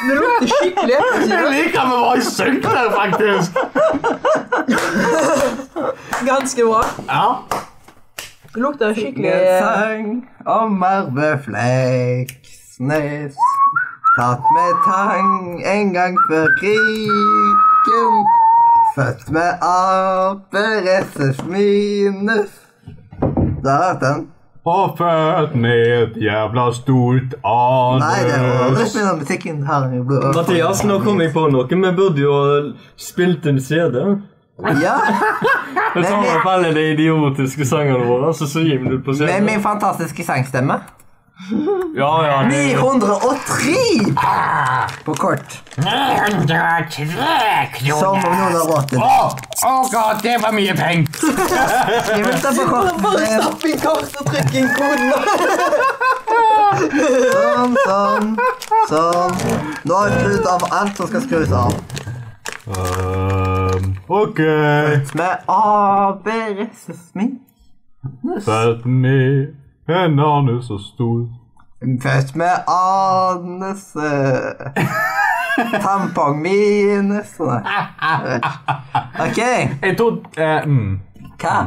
S1: Det lukter [LAUGHS] skikkelig
S3: Jeg
S1: eplesider.
S3: liker vi var i synk der, faktisk.
S1: Ganske bra.
S3: Ja.
S1: Det lukter skikkelig
S2: Jeg sang om arveflekk, snes, tatt med tang en gang før krigen. Født med aperesses minus. Da hørte den.
S3: Og født med et jævla stort
S2: Nei, det var
S3: anus.
S2: litt mer musikken her i blodet.
S4: Mathias, nå kom jeg på noe. Vi burde jo ha spilt en CD. [LAUGHS]
S2: Ja,
S4: Da tar vi opp alle de idiotiske sangene våre, så så gir vi det på CD.
S2: med min fantastiske sangstemme.
S4: Ja, ja. Det,
S2: 903
S3: Ah!
S2: på kort. Som om noen har råd til det.
S3: det var mye penger!
S2: [LAUGHS] Vi vil ta på kort.
S1: Bare stapp inn kart og trykk inn koden!
S2: Sånn, sånn, sånn. Nå har vi skrudd av alt som skal skrus av.
S3: Um, ok.
S2: Med ABRS min.
S3: Felt med en ane så stor.
S2: Født med anus
S3: [LAUGHS]
S2: Tampong minus Nei. OK.
S3: Jeg tror eh, mm,
S2: Hva?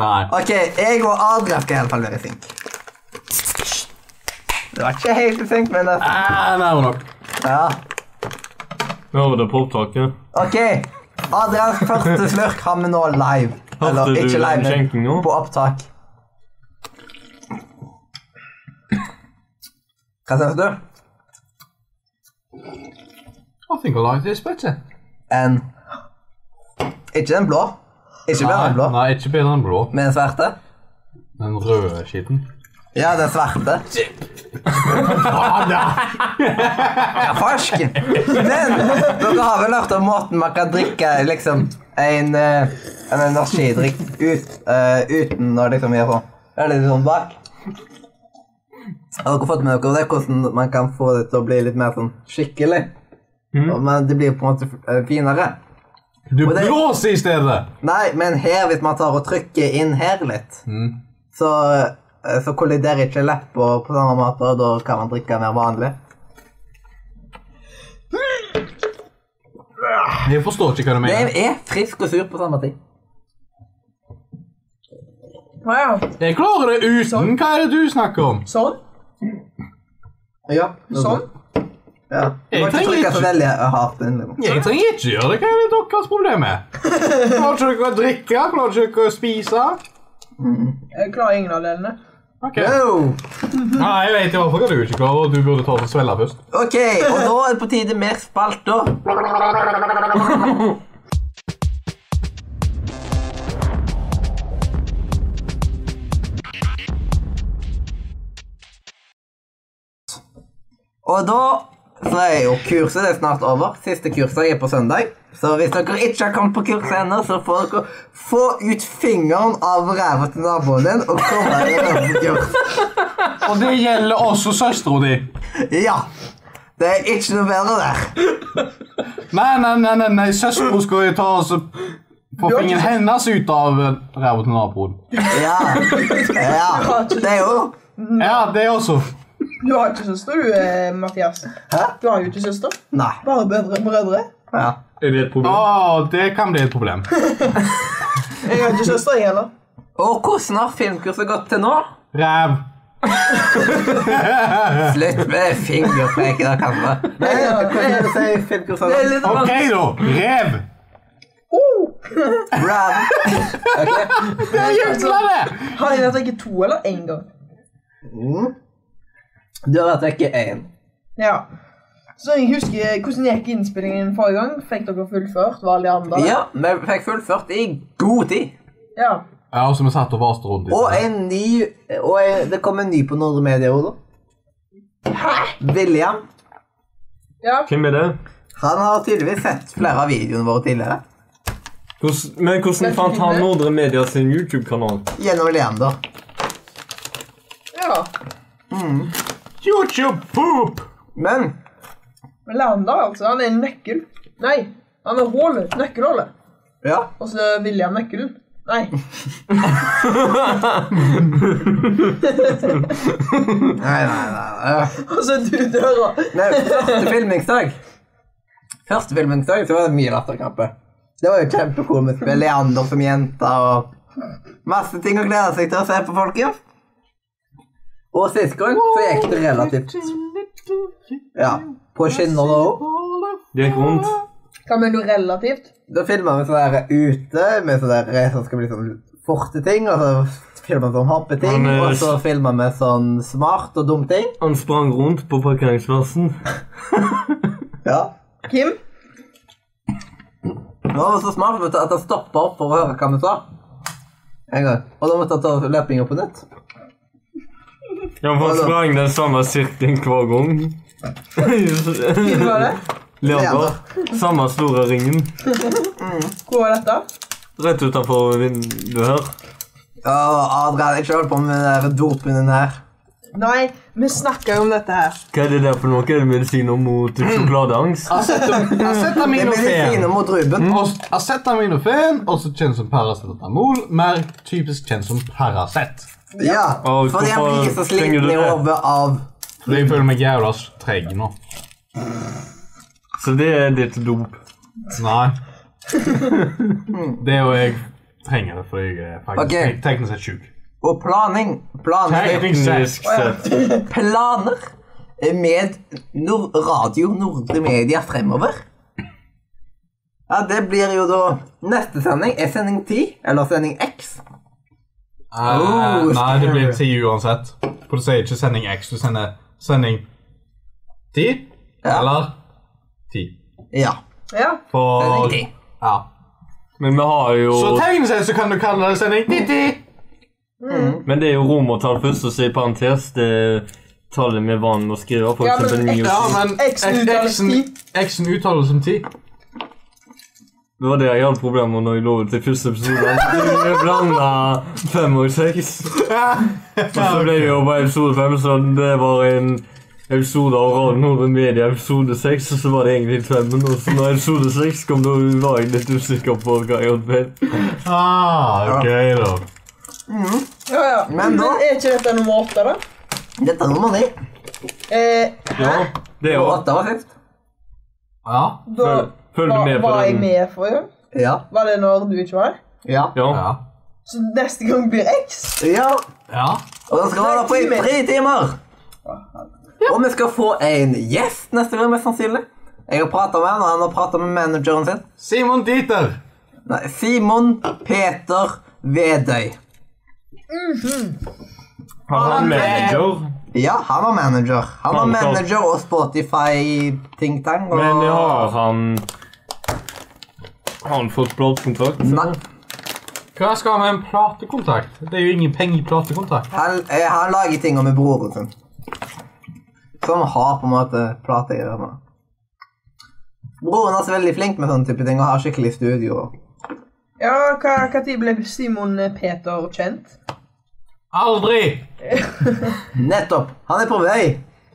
S3: Nei.
S2: OK, jeg og Adrian skal iallfall være i synk. Det var ikke helt i synk, men nesten.
S3: Ah, nærmere nok.
S2: Ja.
S4: Hører det på opptaket?
S2: OK. Adrians første slurk har vi nå live. Eller
S4: Hørte du
S2: ikke live, men
S4: skjenking nå?
S2: på opptak. Hva syns du?
S3: I think I like this better.
S2: En Ikke den blå. Ikke bare den blå,
S3: Nei, ikke bedre enn blå.
S2: men den svarte.
S3: Den røde skitten.
S2: Ja, den svarte.
S3: Ah,
S2: Ja, farsken. Men dere har vel hørt om måten man kan drikke liksom en, eh, en energidrikk ut, eh, uten å liksom gjøre sånn. Er det litt sånn bak? Har dere fått med dere det, hvordan man kan få det til å bli litt mer sånn skikkelig? Og- Men det blir på en måte eh, finere.
S3: Du
S2: Og det-
S3: blåser i stedet!
S2: Nei, men her, hvis man tar og trykker inn her litt, så, eh, så kolliderer ikke leppa på samme måte, og da kan man drikke mer vanlig.
S3: Jeg forstår ikke hva du mener.
S2: Den er frisk og sur på samme tid.
S1: Å ja.
S3: Jeg klarer det uten. Hva er det du snakker om?
S1: Sånn?
S2: Ja,
S1: Sånn?
S2: Ja. Du må
S3: Jeg
S2: ikke
S3: trenger
S2: trykke
S3: ikke-
S2: så veldig hardt inn. Liksom.
S3: Jeg trenger ikke gjøre det. Hva er det deres problem er? Klarer ikke dere å drikke? Klarer ikke dere å spise?
S1: Jeg klarer ingen av delene.
S3: Ok.
S2: Wow.
S3: Nei, jeg vet i hvert fall hva du ikke klarer, og du burde ta og svelge først.
S2: Ok, og da er det på tide mer spalter. Og da så er jo kurset det er snart over. Siste kurset er på søndag. Så hvis dere ikke har kommet på kurset ennå, så får dere få ut fingeren av ræva til naboen din og komme dere på kurs.
S3: Og det gjelder også søstera di.
S2: Ja! Det er ikke noe bedre der.
S3: Nei, nei, nei, nei, nei. søstera skal jo ta og så
S1: har
S3: få
S1: ikke
S3: fingeren
S1: søster-
S3: hennes ut av eh, ræva til naboen.
S2: Ja. ja. Det er jo
S3: Ja, det også.
S1: Du har ikke søster, du, eh, Mathias.
S2: Hæ?
S1: Du har jo ikke søster.
S2: Nei.
S1: Bare brødre. brødre.
S2: Ja.
S4: Er det et
S3: Å,
S4: problem?
S3: det kan bli et problem.
S1: Jeg har ikke søster, jeg heller.
S2: Og hvordan har filmkurset gått til nå?
S3: Ræv.
S2: Slutt med fingerpek der, kanskje. Nei, hvordan er det å si filmkurset?
S1: Det er litt Oh!
S3: OK,
S1: vanskelig.
S3: da. Rev.
S2: Ram.
S3: Jævla det!
S1: Har jeg vært ikke to eller én gang?
S2: Mm. Du har vært vekk i én.
S1: Ja. Så jeg husker hvordan gikk innspillingen forrige gang. Fikk dere fullført? Var alle de andre?
S2: Ja, vi fikk fullført i god tid.
S1: ja.
S3: Ja, og så vi satt og vaste rundt i
S2: Og en ny Og en, det kom en ny på Nordre Media òg, da. William.
S1: ja.
S4: Hvem er det?
S2: Han har tydeligvis sett flere av videoene våre tidligere.
S4: Hvordan, men hvordan fant han Nordre Media sin YouTube-kanal?
S2: Gjennom Leander.
S1: ja.
S3: YouTube poop!
S2: Men
S1: Men Leander, altså. Han er en nøkkel. Nei, han er hålet. Nøkkelhålet.
S2: ja.
S1: Og så er William nøkkelen. Nei. [LAUGHS]
S2: Nei, nei, nei. nei.
S1: Og så er du i døra.
S2: Nei, første filmingsdag Første filmingsdag så var det mye latterkrampe. Det var jo kjempekomisk med Leander som jente og masse ting å glede seg til å se på, folkens. Og sist gang så gikk det relativt Ja. På skinner da òg.
S4: Det gikk rundt.
S1: Hva mener du relativt?
S2: Da filma vi sånn der ute med sånn der som skal bli sånn forte ting, og så filma vi sånn hoppeting,
S4: Men, eh,
S2: og så filma vi sånn smart og dum ting.
S4: Han sprang rundt på parkeringsplassen.
S2: Ja.
S1: Kim?
S2: Han var så smart vet du, at han stoppa opp for å høre hva vi sa. En gang. Og da måtte han ta løpinga på nytt.
S4: Ja, for han sprang den samme sirkelen hver gang.
S1: Hvor var det?
S4: Leander. Samme store ringen.
S1: Hvor var dette?
S4: Rett utenfor vinduet her.
S2: Åh, Adrian, ikke hold på med den der dopen her.
S1: Nei, vi snakker jo om dette her.
S4: Hva er det der for noe? Er det medisiner mot sjokoladeangst?
S2: Det er medisiner mot ruben.
S3: Og Acetaminofén, også kjent som paracetamol, mer typisk kjent som Paracet.
S2: Ja,
S4: Og
S2: fordi han
S4: hvorfor
S2: blir så
S4: trenger
S2: sliten
S4: du
S2: i
S4: det?
S2: hodet av
S3: Fordi jeg føler meg jævla treg nå.
S4: Så det er ditt dop.
S2: [LAUGHS]
S3: Nei. Det er jo jeg trenger det fordi jeg er faktisk
S2: Ok.
S3: tek- teknisk sett sjuk.
S2: Og planing. Planer.
S3: Teknisk
S4: Teknisk sett.
S2: Planer med nor Radio Nordre Media fremover. Ja, det blir jo da Neste sending er sending 10, eller sending X.
S3: Eh,
S2: Oh,
S3: nei, det blir
S2: scary.
S3: 10 uansett. For du sier ikke sending X, du sender sending 10,
S2: Ja.
S3: eller 10.
S2: Ja.
S1: Ja.
S3: For
S2: Sending 10.
S3: ja.
S4: Men vi har jo
S3: Så teknisk sett så kan du kalle det sending 90.
S4: Men det er jo romertall først, og så i parentes det er tallet vi er vant med å skrive. For
S1: Ja, men
S4: eksempel ni og
S3: Ja,
S4: ti.
S3: men
S1: X-en uttales
S3: X-en- X-en uttales som 10.
S4: Det var det jeg hadde problemer med når jeg lå ut i første episode. Jeg blanda fem og seks.
S3: [LAUGHS]
S4: Og så ble det jo bare episode fem, så det var en episode av Radio Nordre Media episode seks, og så var det egentlig femmen. Og så når episode seks kom, da var jeg litt usikker på hva jeg hadde feil.
S3: Ah, ok, da.
S1: ja, ja.
S2: Men da-
S1: er ikke dette nummer åtte, da?
S2: Dette er nummer 9.
S1: Eh,
S4: Ja, det er jo
S2: Og 8 var sist.
S3: Ja.
S1: da
S4: Følg- følg
S1: var,
S4: med på
S1: var jeg
S4: den.
S1: med forrige gang.
S2: Ja.
S1: Var det når du ikke var her?
S2: Ja.
S4: Ja.
S3: Ja.
S1: Så neste gang blir X?
S2: ja.
S3: ja.
S2: Og da skal vi holde på i tre timer. Og vi skal få en gjest neste gang, mest sannsynlig. Jeg har prata med han, og han har prata med manageren sin.
S3: Simon Dieter.
S2: Nei, Simon Peter Vedøy.
S4: Har han manager?
S2: Ja, han var manager. Han var
S4: Han var-
S2: manager og Spotify-ting-tang. Og...
S4: Men har han Har han fått platekontrakt?
S2: Nei,
S3: Hva skal han med en platekontakt? Det er jo ingen penger i platekontakt.
S2: han, eh, han lager ting med broren sin. sånn. Som har på en måte plate i ørene. Broren hans er veldig flink med sånne type ting og har skikkelig studio.
S1: Ja, hva, hva tid ble Simon Peter kjent?
S3: Aldri!
S2: Nettopp! Han er på vei!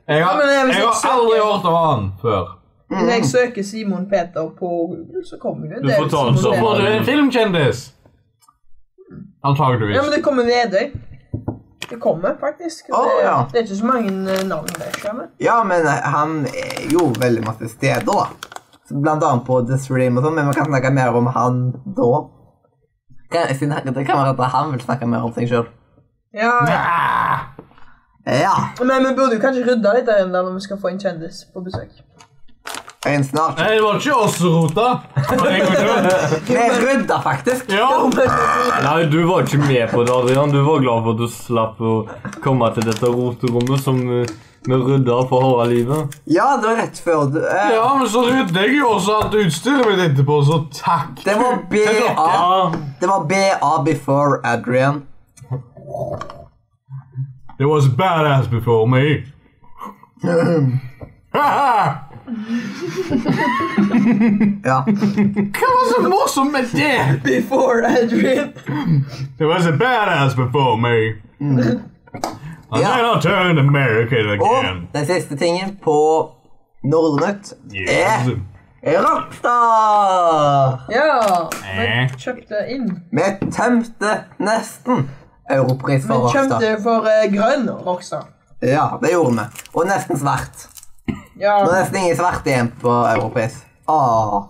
S3: Jeg
S1: Ja,
S3: har,
S1: men det er hvis
S3: jeg
S1: jeg
S3: har
S1: søker-
S3: aldri hørt om han før.
S1: Hvis jeg søker Simon Peter på Google, så kommer jo en
S4: Du
S1: del
S4: får ta
S1: Simon
S4: den som-
S1: Peter.
S3: Var du en filmkjendis?
S1: Ja, men
S3: Antageligvis.
S1: det kommer Vedøy. Det kommer faktisk.
S2: Å,
S1: det,
S2: ja.
S1: det er ikke så mange eh, navn der. skjønner du.
S2: Ja, men eh, han er jo veldig masse steder, da. Så Blant annet på The Stream og sånn, men vi kan snakke mer om han da. Kan- siden han- Det kan være at han vil snakke mer om seg sjøl.
S1: Ja, ja.
S2: Ja!
S1: Men vi burde jo kanskje rydde litt der inne da, når vi skal få en kjendis på besøk.
S2: En snart
S3: Nei, det var ikke oss som rota. Jeg går ikke.
S1: [LAUGHS]
S2: Vi rydda faktisk.
S3: Ja.
S4: Nei, du var ikke med på det, Adrian. Du var glad for at du slapp å komme til dette roterommet som eh, vi rydda for harde livet.
S2: Ja, det var rett før du eh,
S3: ja, men så rydder jeg jo også alt utstyret mitt etterpå, så takk.
S2: Det var BA.
S4: Ja,
S2: Det var BA before Adrian.
S3: It was badass before
S1: [LAUGHS]
S3: me. Haha.
S2: Ja.
S3: Hva var så morsomt med
S1: [LAUGHS]
S3: det?
S1: Before Adrian.
S3: It was a badass before me. And
S2: Ja.
S3: then I turned American
S2: Og
S3: again.
S2: den siste tingen på Nordnytt
S3: Yes.
S2: er Rockstar!
S1: Ja.
S3: Eh.
S1: Vi kjøpte inn.
S2: Vi tømte nesten Europris
S1: Vi
S2: for Rockstar.
S1: kjøpte for eh, grønn Rockstar.
S2: Ja, det gjorde vi. Og nesten svart.
S1: Ja,
S2: Det er nesten ingen svart igjen på Europris. Åh.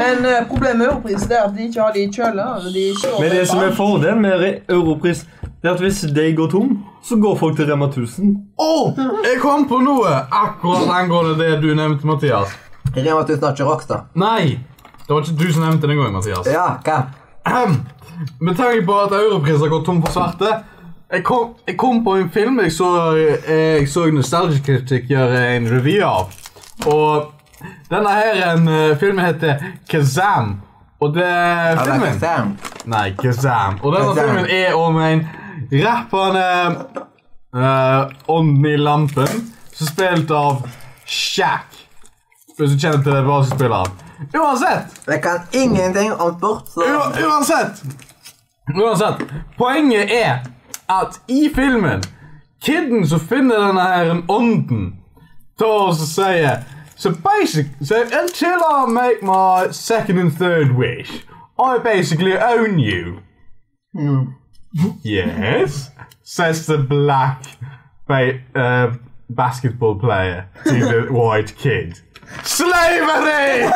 S1: Men eh, problemet med Europris det er at de ikke har de i kjøler. De kjøler
S4: Men det som er
S1: bare.
S4: fordelen med re- Europris, det er at hvis de går tom, så går folk til Rema 1000.
S3: Åh, jeg kom på noe akkurat angående det du nevnte, Mathias.
S2: Rema 1000 har ikke Rockstar.
S3: Nei, det var ikke du som nevnte det en gang, Mathias.
S2: Ja, hva?
S3: Ahem. Med tanke på at Europris har gått tom for svarte jeg kom, jeg kom på en film jeg så, eh, jeg så Nostalgic Critic gjøre en revy av. Og denne her en, eh, filmen heter Kazam. Og det
S2: Ja, det er
S3: filmen
S2: Kazam.
S3: Nei, Kazam. Og denne
S2: Kazam.
S3: filmen er om en Rapperne eh, Ånden i lampen, som er spilt av Shaq. Hvis du kjenner til det basketspilleren. Uansett!
S2: Jeg kan ingenting om sport, så
S3: U uansett Uansett Poenget er at i filmen Kidden som finner denne her ånden Tar oss og sier So basic So until I make my second and third wish I basically own you Yes Says the black ba uh, Basketball player To the [LAUGHS] white kid Slavery!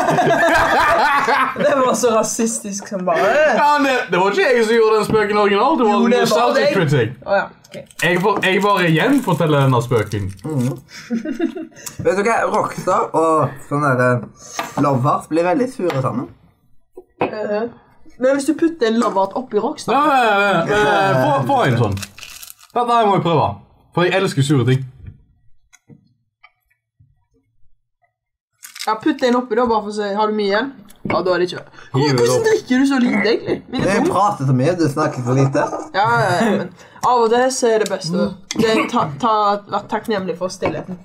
S1: Det var så rasistisk som bare
S3: Ja, det, det var ikke jeg som gjorde den spøken original. Det var
S1: Jo, det var
S3: Nostalgic
S1: deg.
S3: Critic.
S1: Å ja. ok.
S3: Jeg, for, jeg bare gjenforteller denne spøken.
S2: Vet du hva? Rockstar og sånne der lovers blir veldig sure sammen.
S1: Eh, Men hvis du putter en lovert oppi Rockstar
S3: Ja, Ah, ja, ja, ja, Eh, ja, Få, få en sånn. Dette her må jeg prøve. For jeg elsker sure ting.
S1: Ja, Putt en oppi, da, bare for å se. Har du mye igjen? Ja, da er det ikke det. Hvor-
S3: Hiver det
S1: Hvordan
S3: opp.
S1: drikker du så lite, egentlig? Min er
S2: Jeg
S1: tom.
S2: prater så mye, du snakker så lite.
S1: Ja, ja, ja, men av og til så er det best å det er ta, ta, være takknemlig for stillheten.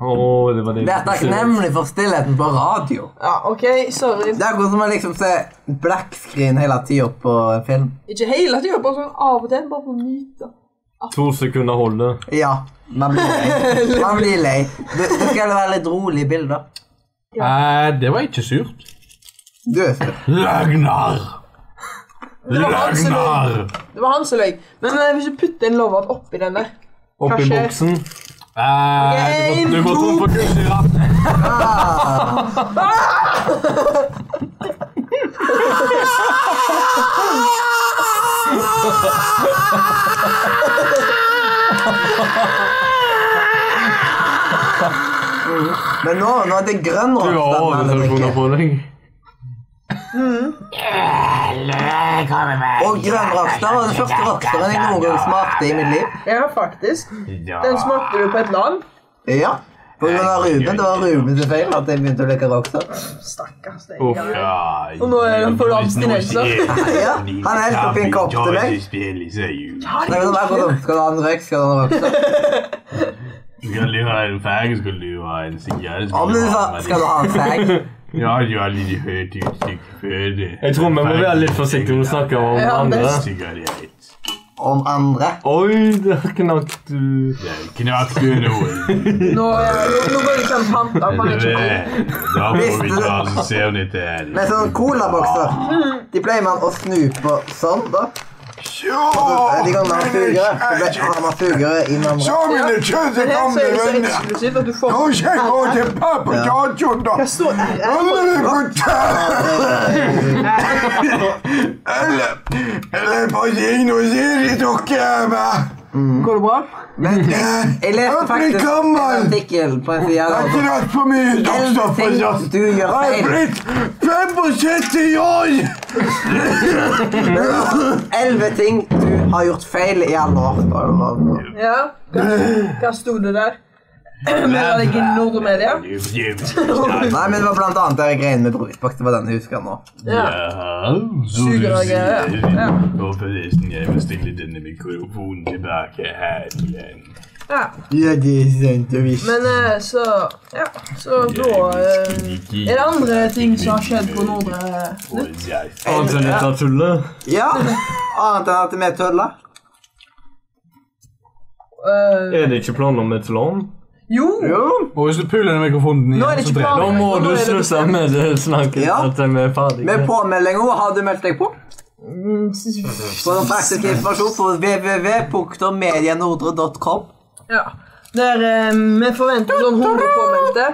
S4: Åh, det var det.
S2: Det er takknemlig for stillheten på radio.
S1: Ja, OK, sorry.
S2: Det er akkurat som å liksom se black screen hele tida på en film.
S1: Ikke hele tida, bare sånn av og til. Bare for å nyte.
S4: To sekunder holder.
S2: Ja, man blir lei. Man blir lei. Du, du skal være litt rolig i bilder.
S3: Eh, det var ikke surt.
S2: Du er sur.
S3: Løgner!
S1: Det var han som løy.
S3: Løgner!
S1: Det var han som løy. Men eh, hvis du putter en lovert oppi den der
S4: Opp i
S1: Kanskje-
S4: boksen.
S3: Eh, du går- du går tom for kullsyre.
S2: Men nå, nå er det grønn
S4: Du har
S2: rockstar.
S4: hodetelefoner på deg.
S2: Og grønn rockstar var den første rockstaren jeg noen gang smakte i mitt liv.
S1: Ja, faktisk. Den smakte du på et land.
S2: Ja, på grunn av Ruben. Det var Ruben sin feil at jeg begynte å leke rockstar.
S1: Stakkars deg.
S4: Uff.
S1: Ja.
S3: Ja,
S1: Og nå er det for abstinenser.
S2: Ja, han er helt oppi en kopp til meg.
S1: Har
S2: Det er sånn akkurat som, Skal du ha en røyk, skal du ha en rockstar.
S3: Skal du ha en fag, skal du ha en sigarett
S2: Om du sa, skal du ha en sag?
S3: Ja, du har litt høyt uttrykk før det.
S4: Jeg tror vi må være litt forsiktige når vi snakker om
S1: Ja, det-
S4: andre.
S3: Sigarett.
S2: Om andre.
S4: Oi, der knakk du.
S3: Det knakk du
S2: [LAUGHS]
S3: noen.
S1: Nå, eh, ja, nå, nå går det ikke an panta. Man er ikke god.
S3: Da må vi ta oss og se om dette er
S2: Med sånne sånn colabokser. De pleier man å snu på sånn, da. De gangene man suger, så ble- har man sugere innom
S5: Så mine kjøtte
S1: Det her så
S5: gamle
S1: er det så
S5: venner,
S1: eksklusivt at du får
S5: nå skal jeg gå til pappa Johnson, da.
S1: Hva står
S5: Nå
S1: RR?
S5: må vi få ta Eller Eller på kino, sier de dere er med.
S1: Går det bra?
S2: Men jeg leste faktisk en artikkel på en side
S5: Jeg
S2: der
S5: har dratt for mye stoffstoff for
S2: Ting
S5: saft.
S2: du gjør
S5: Jeg er
S2: feil.
S5: blitt 75 år!
S2: Elleve ting du har gjort feil i alle år. står det nå.
S1: Ja. Hva, hva sto det der? Melder deg i Nordmedia?
S2: Nei, men det var blant annet der greien med brusboks. Det var den jeg husker nå.
S1: Ja. Suger og greier, ja.
S3: Og forresten, jeg må stille denne mikrofonen tilbake her igjen.
S1: ja.
S2: Ja, det er sant og visst.
S1: Men eh, så Ja, så da eh, Er det andre ting som har skjedd på Nordre?
S3: Og jeg
S4: Annet enn dette tullet.
S2: Ja, annet enn at vi tulla.
S1: Eh,
S4: Er det ikke planer om et land?
S1: jo!
S2: Jo.
S3: Og hvis du puler den mikrofonen
S1: Nå er det ikke planer.
S4: Da må
S1: Nå
S4: du
S1: er det
S4: slutte
S1: bestemt.
S4: med det snakket
S2: Ja.
S4: at vi er ferdige.
S2: Med påmeldinga har du meldt deg på.
S1: Mm, s- s-
S2: For faktisk informasjon på www.medianordre.com.
S1: Ja. Der, eh, vi forventer sånn 100 påmeldte.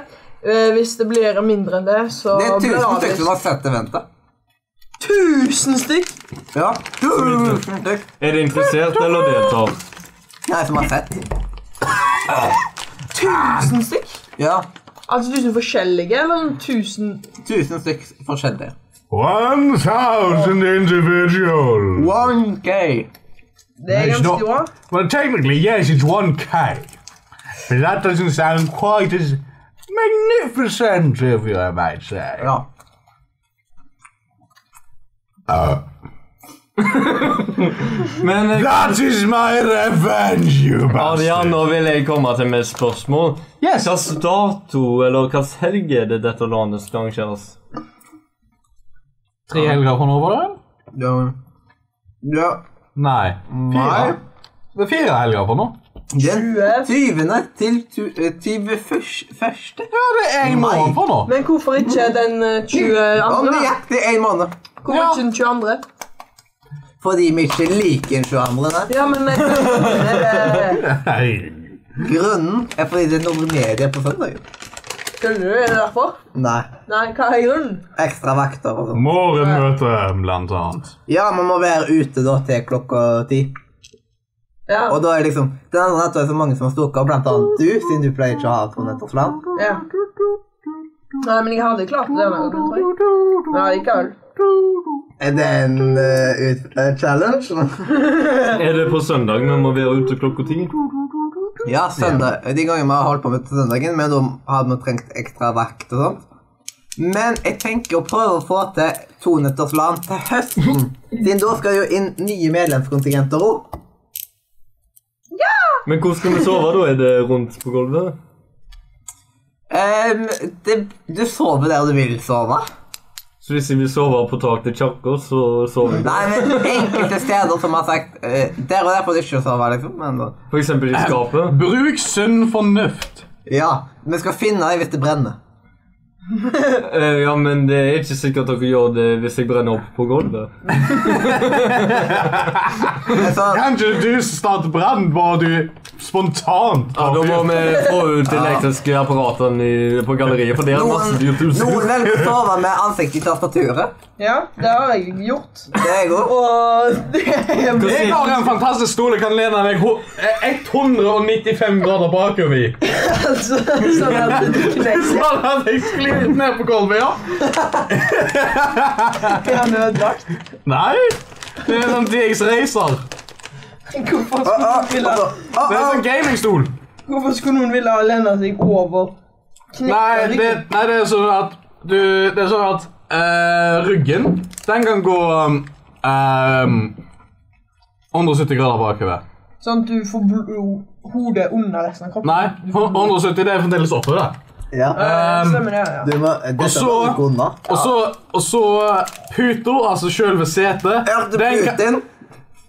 S1: Eh, hvis det blir mindre enn det, så
S2: Det
S1: blir det
S2: er 1000 stykker
S1: avvist.
S2: som har sett eventet.
S1: 1000 stykk!
S2: Ja. Tusen stykk.
S4: Er det interessert eller deltar?
S2: Nei, som har sett.
S1: 1000 stykk?
S2: Ja.
S1: Altså 1000 forskjellige, eller 1000
S2: Tusen stykk forskjellige.
S3: 1000
S5: Oh.
S3: individuals.
S2: 1K.
S1: Det er
S3: Nei, ikke
S1: ganske
S3: nå.
S1: bra.
S3: Well, technically, yes, it's 1k. But that doesn't sound quite as magnificent, if
S5: Oh.
S3: you might say.
S2: Ja.
S4: Men eh,
S5: That is my revenge,
S3: Oh,
S5: you
S4: Adrian,
S5: bastard.
S4: nå vil jeg komme til mitt spørsmål. Yes. Hvilken dato eller hvilken helg er det dette landet skal arrangeres?
S3: Tre helger på nå, var det?
S5: Ja. ja.
S3: Nei.
S5: Nei.
S3: Det er fire helger på nå.
S2: Den
S1: 20.
S2: 20. til tu- eh, 21.
S3: Ja, det er en
S2: Nei.
S3: måned på nå.
S1: Men hvorfor ikke den eh, 22.?
S2: Om
S1: da?
S2: nøyaktig en måned.
S1: Hvorfor ikke den 22.?
S2: Fordi vi ikke liker den 22. der.
S1: Ja, men jeg, eh,
S3: Nei.
S2: Grunnen er fordi det er noe media på søndag.
S1: Skjønner du? Er det derfor?
S2: Nei.
S1: Nei, hva er grunnen?
S2: Ekstra vakter og sånn.
S3: Morgenmøte, blant annet.
S2: Ja, man må være ute da til klokka ti.
S1: Ja.
S2: Og da er liksom Den andre natta er så mange som har stukket av, blant annet du, siden du pleier ikke å ha to netters land.
S1: ja. Nei, men jeg hadde klart det. denne gangen, tror jeg. Men allikevel.
S2: Er det en eh, ut, eh, challenge?
S4: Er det på søndag vi må være ute klokka ti?
S2: [LAUGHS] ja, søndag. De gangene vi har holdt på med søndagen, men da hadde vi trengt ekstra vakt og sånt. Men jeg tenker å prøve å få til to netters land til høsten. Siden da skal jo inn nye medlemskontingenter òg.
S4: Men hvor skal vi sove da? Er det rundt på gulvet?
S2: du sover der du vil sove.
S4: Så hvis vi sover på taket til kirka, så sover vi
S2: Nei, men enkelte steder som har sagt eh, Der og der får du ikke sove, liksom. Men da.
S4: for eksempel i skapet?
S3: Bruk sunn fornuft.
S2: Ja, vi skal finne deg hvis det brenner.
S4: Eh, ja, men det er ikke sikkert dere gjør det hvis jeg brenner opp på gulvet.
S2: Eh, Så,
S3: Kan ikke du starte brann bare du spontant?
S4: Ja, da må vi få ut de elektriske apparatene i- på galleriet, for det er
S2: noen,
S4: masse dyrt
S2: noen
S4: utstyr.
S2: velger å sove med ansiktet i tastaturet.
S1: Ja, det har jeg gjort.
S2: Det er jeg òg.
S1: Og [LAUGHS] det er
S3: Jeg har en fantastisk stol jeg kan lene meg ho- eh, 195 grader bakover i.
S1: [LAUGHS] altså sånn at du [LAUGHS] knekker
S3: Sånn at jeg sklir ned på gulvet, ja.
S1: en ødelagt.
S3: Nei. Det er sånn DX Racer.
S1: Hvorfor skulle,
S3: Ah,
S1: noen ville,
S3: Det er sånn gamingstol.
S1: hvorfor skulle noen ville lene seg over
S3: Nei, det, nei, det er sånn at du, Det er sånn at eh, ryggen Den kan gå um, um, 170 grader bakover.
S1: Sånn at du får bl- hodet under resten av kroppen?
S3: Nei, 170 det er fremdeles oppe. det.
S2: Ja.
S3: ehm,
S1: Stemmer det, ja.
S2: Du må dette
S3: og så-
S2: må du gå unna.
S3: Og så, og så puta, altså sjølve setet
S2: Ja, du
S3: den kan- ah!
S2: Putin.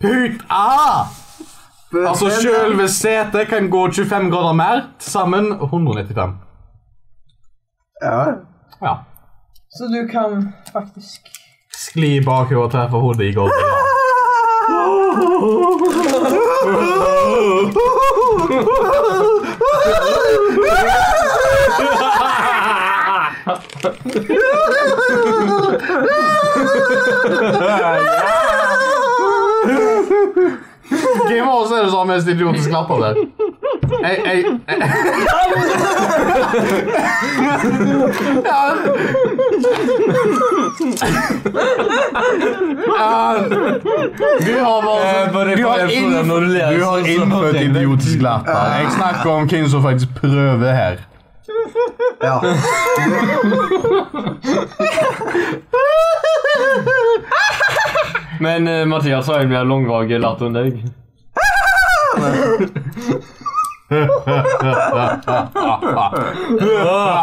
S3: Puta!
S2: Putin.
S3: Altså sjølve setet kan gå 25 grader mer. Til sammen 195.
S2: Ja.
S3: Ja.
S1: Så du kan faktisk
S3: Skli bakover og treffe hodet i gulvet. ja. Game of Thrones er det sånn mest idiotisk latter der. Jeg, jeg, jeg. Ja. Du har
S4: Eh, bare
S3: bare Du har,
S4: for-
S3: inn,
S4: for- når du leser,
S3: du har
S4: så-
S3: innfødt idiotisk latter. Jeg snakker om hvem som faktisk prøver her.
S2: ja.
S4: Men eh, Mathias har en mer langvarig latter enn deg.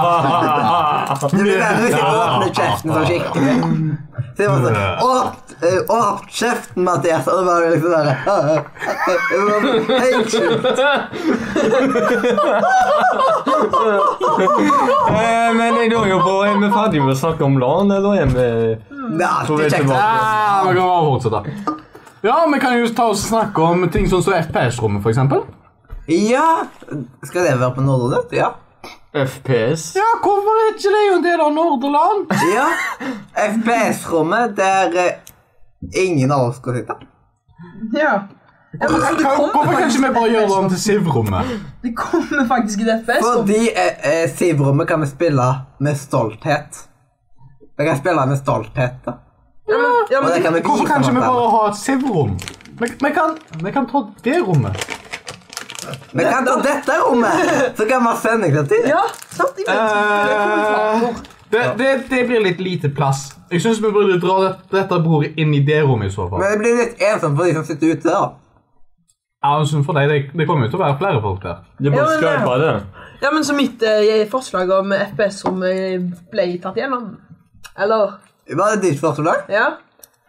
S2: Det blir verre hvis jeg åpner kjeften så skikkelig. Så jeg var sånn Åp, eh, åp kjeften, Mathias! Og det var jo liksom bare [LAUGHS] Det var helt sjukt.
S4: Eh, men jeg lurer jo på, er vi ferdige med å snakke om LAN, eller er vi
S2: Det er
S4: På vei
S2: alltid kjekt.
S4: tilbake.
S3: Ja, Ah, vi kan bare fortsette. Ja, vi kan jo ta og snakke om ting sånn som FPS-rommet, for eksempel.
S2: Ja. Skal det være på Nordre Nøtt? Ja.
S4: FPS?
S3: Ja, hvorfor ikke? Det er jo en del av Norderland.
S2: ja. FPS-rommet der eh, ingen av oss skal sitte.
S1: Ja. ja men, det, kommer
S3: Hvorfor kan ikke
S1: faktisk,
S3: vi bare gjøre sånn? det om til Siv-rommet?
S1: det kommer faktisk et FPS. og-
S2: Fordi eh, eh, Siv-rommet kan vi spille med stolthet. Vi kan spille med stolthet, da.
S1: Ja, men, ja,
S2: Og det
S1: men,
S2: kan vi
S3: Hvorfor
S2: vise
S3: kan ikke vi
S2: hverandre.
S3: bare ha et Siv-rom? Vi, vi, kan- vi kan ta det rommet.
S2: Vi kan ta dette rommet, så kan vi ha sending til tiden.
S3: Eh.
S1: ja sant? Jeg vet. Det kommer fra-
S3: Det, det, det blir litt lite plass. Jeg syns vi burde dra det, dette bordet inn i det rommet i så fall.
S2: Men det blir litt ensomt for de som sitter ute, da.
S3: Ja, altså, for deg, det, det kommer jo til å være flere folk der.
S4: Det er
S1: Ja,
S4: bare
S1: men det-
S4: Skype, bare det.
S1: Ja, men så mitt eh, forslag om FPS som eh, ble tatt gjennom Eller?
S2: Var det ditt forslag?
S1: Ja?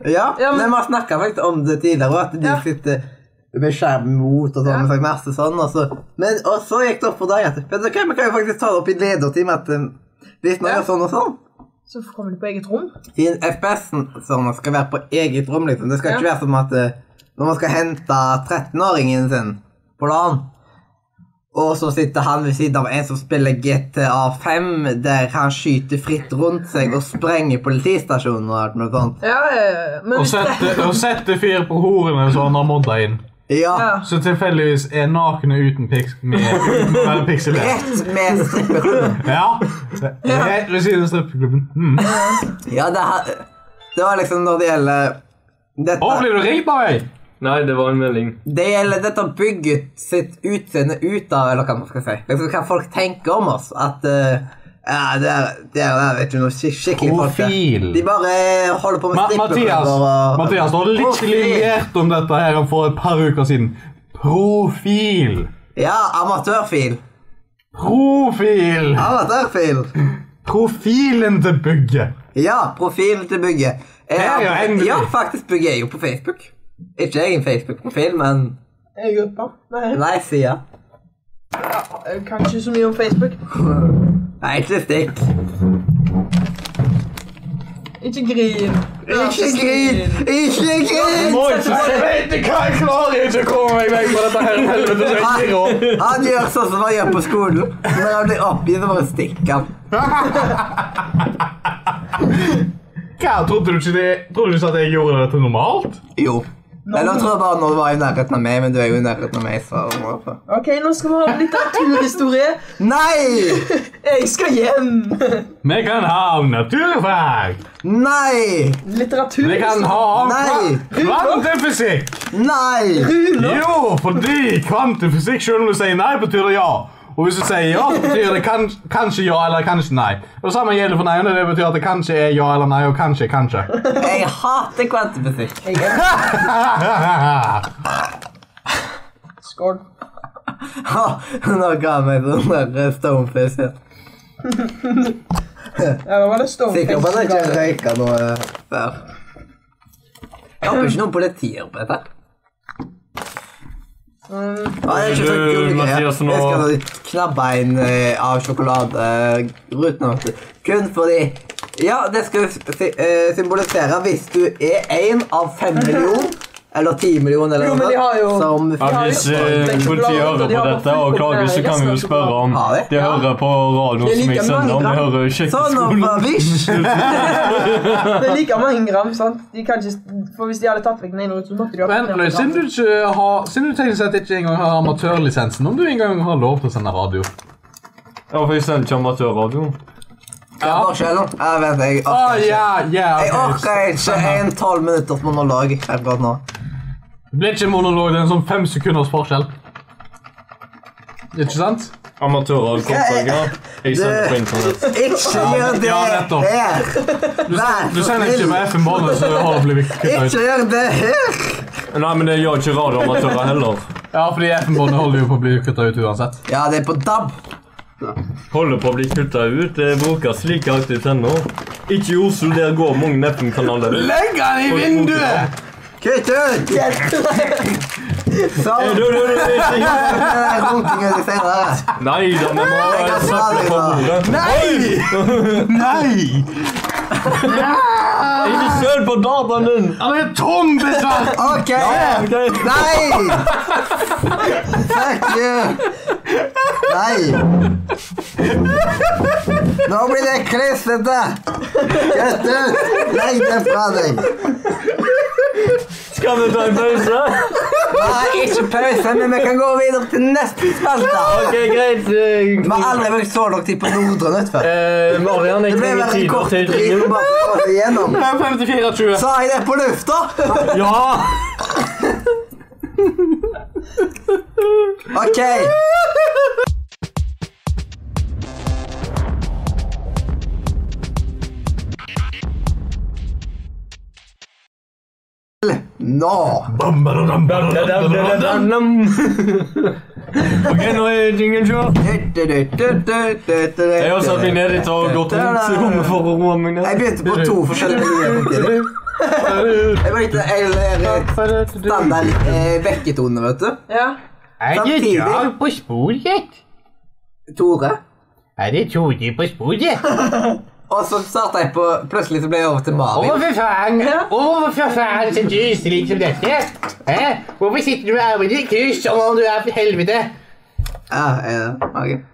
S2: Ja,
S1: Ja, men-
S2: men vi har snakka faktisk om det tidligere, og at de
S1: Ja.
S2: sitter med skjermen mot og sånn,
S1: Ja.
S2: og masse sånn, og så Men og så gikk det opp for deg at Vet du hva, vi kan jo faktisk ta det opp i lederteam at um, hvis man
S1: Ja.
S2: gjør sånn og sånn
S1: Så kommer du på eget rom?
S2: Siden FPS-en sånn, skal være på eget rom, liksom. Det skal ikke
S1: Ja.
S2: være som at eh, når man skal hente 13-åringen sin på LAN, og så sitter han ved siden av en som spiller GTA5, der han skyter fritt rundt seg og sprenger politistasjonen og alt noe sånt.
S1: Ja, eh, men
S3: Og
S1: hvis
S3: sette,
S1: det
S3: og sette fyr på horene som han har modda inn.
S2: ja.
S1: ja.
S3: Så tilfeldigvis er nakne uten piks... Med, uten å være pikselert.
S2: Rett med strippeklubben.
S3: Ja. Rett ved siden av strippeklubben. Mm.
S2: Ja, det, her, det var liksom når det gjelder dette,
S3: Å, blir du ringt av meg?
S4: Nei, det var en melding.
S2: det gjelder dette bygget sitt utseende ut av, eller hva man skal si. Liksom hva folk tenker om oss. At eh, ja, det er, det er, det er ikke noe skik skikkelig folk der.
S3: Profil.
S2: De bare eh, holder på med
S3: Ma Mathias,
S2: strippeklubber og
S3: Mathias, du har litt
S2: Profil.
S3: briljert om dette her for et par uker siden. Profil.
S2: Ja, amatørfil.
S3: Profil.
S2: Amatørfil.
S3: Profilen til bygget.
S2: Ja, profilen til bygget. Eh,
S3: Det er jo endelig.
S2: ja, faktisk bygget er jo på Facebook. Ikke egen Facebook-profil, men
S1: er gruppa? Nei.
S2: nei, sida.
S1: Eh, Kanskje så mye om Facebook.
S2: Nei, ikke stikk.
S1: Ikke grin.
S2: Ikke grin! Ikke grin!
S3: Jeg vet ikke hva jeg klarer ikke å komme meg vekk fra dette her helvete. så jeg gir opp.
S2: Han gjør sånn som han gjør på skolen. Når han blir oppgitt, så bare stikker han.
S3: Hva, trodde du ikke det? Trodde du ikke at jeg gjorde dette normalt?
S2: Jo. Eller jeg tror jeg bare når du var i nærheten av meg, men du er jo i nærheten av meg. Så
S1: Ok, nå skal vi ha en litteraturhistorie.
S2: Nei!
S1: Jeg skal hjem!
S3: Vi kan ha om naturfag.
S2: Nei!
S3: Vi kan
S1: Litteraturhistorie.
S3: ha om
S2: Nei.
S3: kva- kvantefysikk.
S2: Nei!
S1: Runer.
S3: Jo, fordi kvantefysikk, selv om du sier nei, betyr det ja. Og hvis du sier ja, betyr det kan, kanskje ja eller kanskje nei. Og samme gjelder for nei-ene. Det betyr at det kanskje er ja eller nei, og kanskje, kanskje.
S2: Jeg hater kvantefysikk.
S1: Skål.
S2: Ha, Nå ga jeg meg sånn der stonefish.
S1: Ja, da var det
S2: Sikker på at jeg ikke
S1: Stoneface.
S2: røyka noe før. Jeg håper ikke noen politier på dette.
S1: Eh,
S2: Nei, det er ikke så
S4: Du,
S2: kul greie.
S4: Mathias, nå-
S2: Jeg skal knabbe en eh, av sjokoladeruten hans. Kun fordi Ja, det skal si, eh, symbolisere hvis du er én av fem millioner, eller ti millioner, eller
S1: Jo, men
S2: noe
S1: de har jo-
S2: som
S4: Ja,
S1: Ja,
S4: hvis
S1: det er
S4: eh,
S1: sant.
S4: politiet hører på
S1: De har
S4: dette
S1: fått
S4: og klager, så
S1: opp, eh,
S4: kan vi jo
S1: resten av
S4: spørre om
S2: Har de?
S4: De hører på radioen
S1: Det er
S4: som jeg
S1: like
S4: sender, om de
S1: mange, da.
S4: hører jo ikke
S2: Sånn, og
S4: skolen.
S2: bare visj!
S1: Det er like mange gram, sant? De kan ikke, for hvis de hadde tatt vekk den ene ruten, så måtte de ha
S3: Men
S1: den andre.
S3: siden du ikke har Siden du teknisk sett ikke engang har amatørlisensen, om du engang har lov til å sende radio
S4: Ja, for jeg sender ikke amatørradio.
S2: Hva er forskjellen? Jeg vet, jeg
S3: Å,
S2: orker ikke.
S3: ja, ja,
S2: Jeg
S3: ok.
S2: orker ikke en tolv minutters monolog akkurat nå.
S3: Det blir ikke en monolog, det er en sånn fem sekunders forskjell. Ikke sant?
S4: Amatørradio kortsanger. Jeg sender på internett.
S2: Ikke gjør det
S3: Ja, nettopp.
S2: her! Vær
S3: Du
S2: så
S3: sender ikke
S2: snill!
S3: på FM-båndet, så det har blitt kuttet ut.
S2: Ikke gjør det her!
S4: Nei, men det gjør ikke radioamatører heller.
S3: Ja, fordi FM-båndet holder jo på å bli kuttet ut uansett.
S2: Ja, det er på DAB.
S4: Holder på å bli kutta ut. Det brukes like aktivt ennå. Ikke i Oslo, der går mange Neppen-kanaler.
S3: Legg den i vinduet!
S2: Kutt ut!
S4: Du,
S2: Sånn.
S4: du, du, du, ikke-
S2: Det er runking ut i senere.
S4: Nei da, vi må
S2: Jeg kan ta
S4: sette
S2: det
S4: på
S2: da.
S4: bordet.
S3: Nei! Nei!
S4: Ikke søl på dataen din!
S3: Han er tom, dessverre!
S2: OK!
S4: Ok.
S2: Nei! Fuck you! Nei! Nå blir det klissete! Kutt ut! Legg det fra deg.
S4: Skal vi ta en pause?
S2: Nei, ikke pause, men vi kan gå videre til neste spalte.
S4: Ok, greit. eh,
S2: Vi har aldri brukt så lang tid på Nordre Nødt før.
S4: Eh, Marian, jeg
S2: Det ble
S4: trenger
S2: bare en
S4: tid
S2: kort
S4: til
S2: tid
S4: ringen.
S2: bare for å komme igjennom.
S3: Det er 54-20.
S2: Sa jeg det på lufta?
S4: Ja!
S2: Ok. Nå!
S3: Bam, badadam, badadam, badadam.
S4: Ok, nå er jingen kjør.
S2: Jeg
S4: Jeg har satt meg ned litt og gått rundt i rommet for å roe meg
S2: Jeg
S4: ned.
S2: begynte på to forskjellige miljøer samtidig. Jeg var ikke eller standard eh, vekketone, vet du.
S1: Ja.
S2: Samtidig.
S6: på sporet.
S2: Tore.
S6: Er det Tore på sporet?
S2: Og så starta jeg på Plutselig så ble jeg over til
S6: Og
S2: Marvin.
S6: Hvorfor faen Hvorfor faen ser du slik som dette? Hæ? Hvorfor sitter du her med ditt kryss som om du er for helvete?
S2: Ja, eh, ok.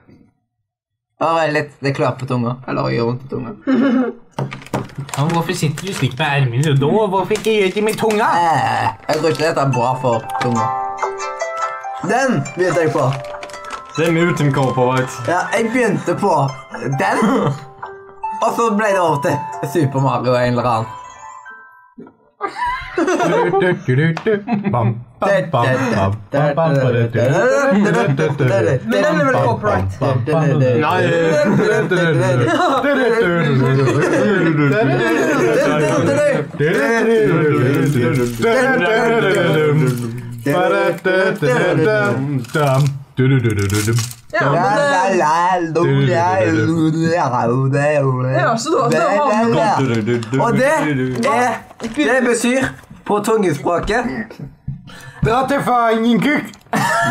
S2: Bare litt Det klør på tunga. Eller gjør vondt i tunga.
S6: Ja, men hvorfor sitter du slik med ermene da? Hvorfor ikke gjør det med tunga?
S2: Eh, jeg tror ikke dette er bra for tunga. Den begynte jeg på.
S4: Det er Mutant Corporate.
S2: Ja, jeg begynte på den. Og så ble det over til Super Mario en eller annen.
S1: Men den er vel copyright?
S4: Nei, eh,
S1: Ja, men eh, ja, så da, så da har vi
S4: du, du, du, du,
S2: Og det
S4: du, du.
S2: er Det betyr på tungespråket
S3: Dra til fangen, kukk!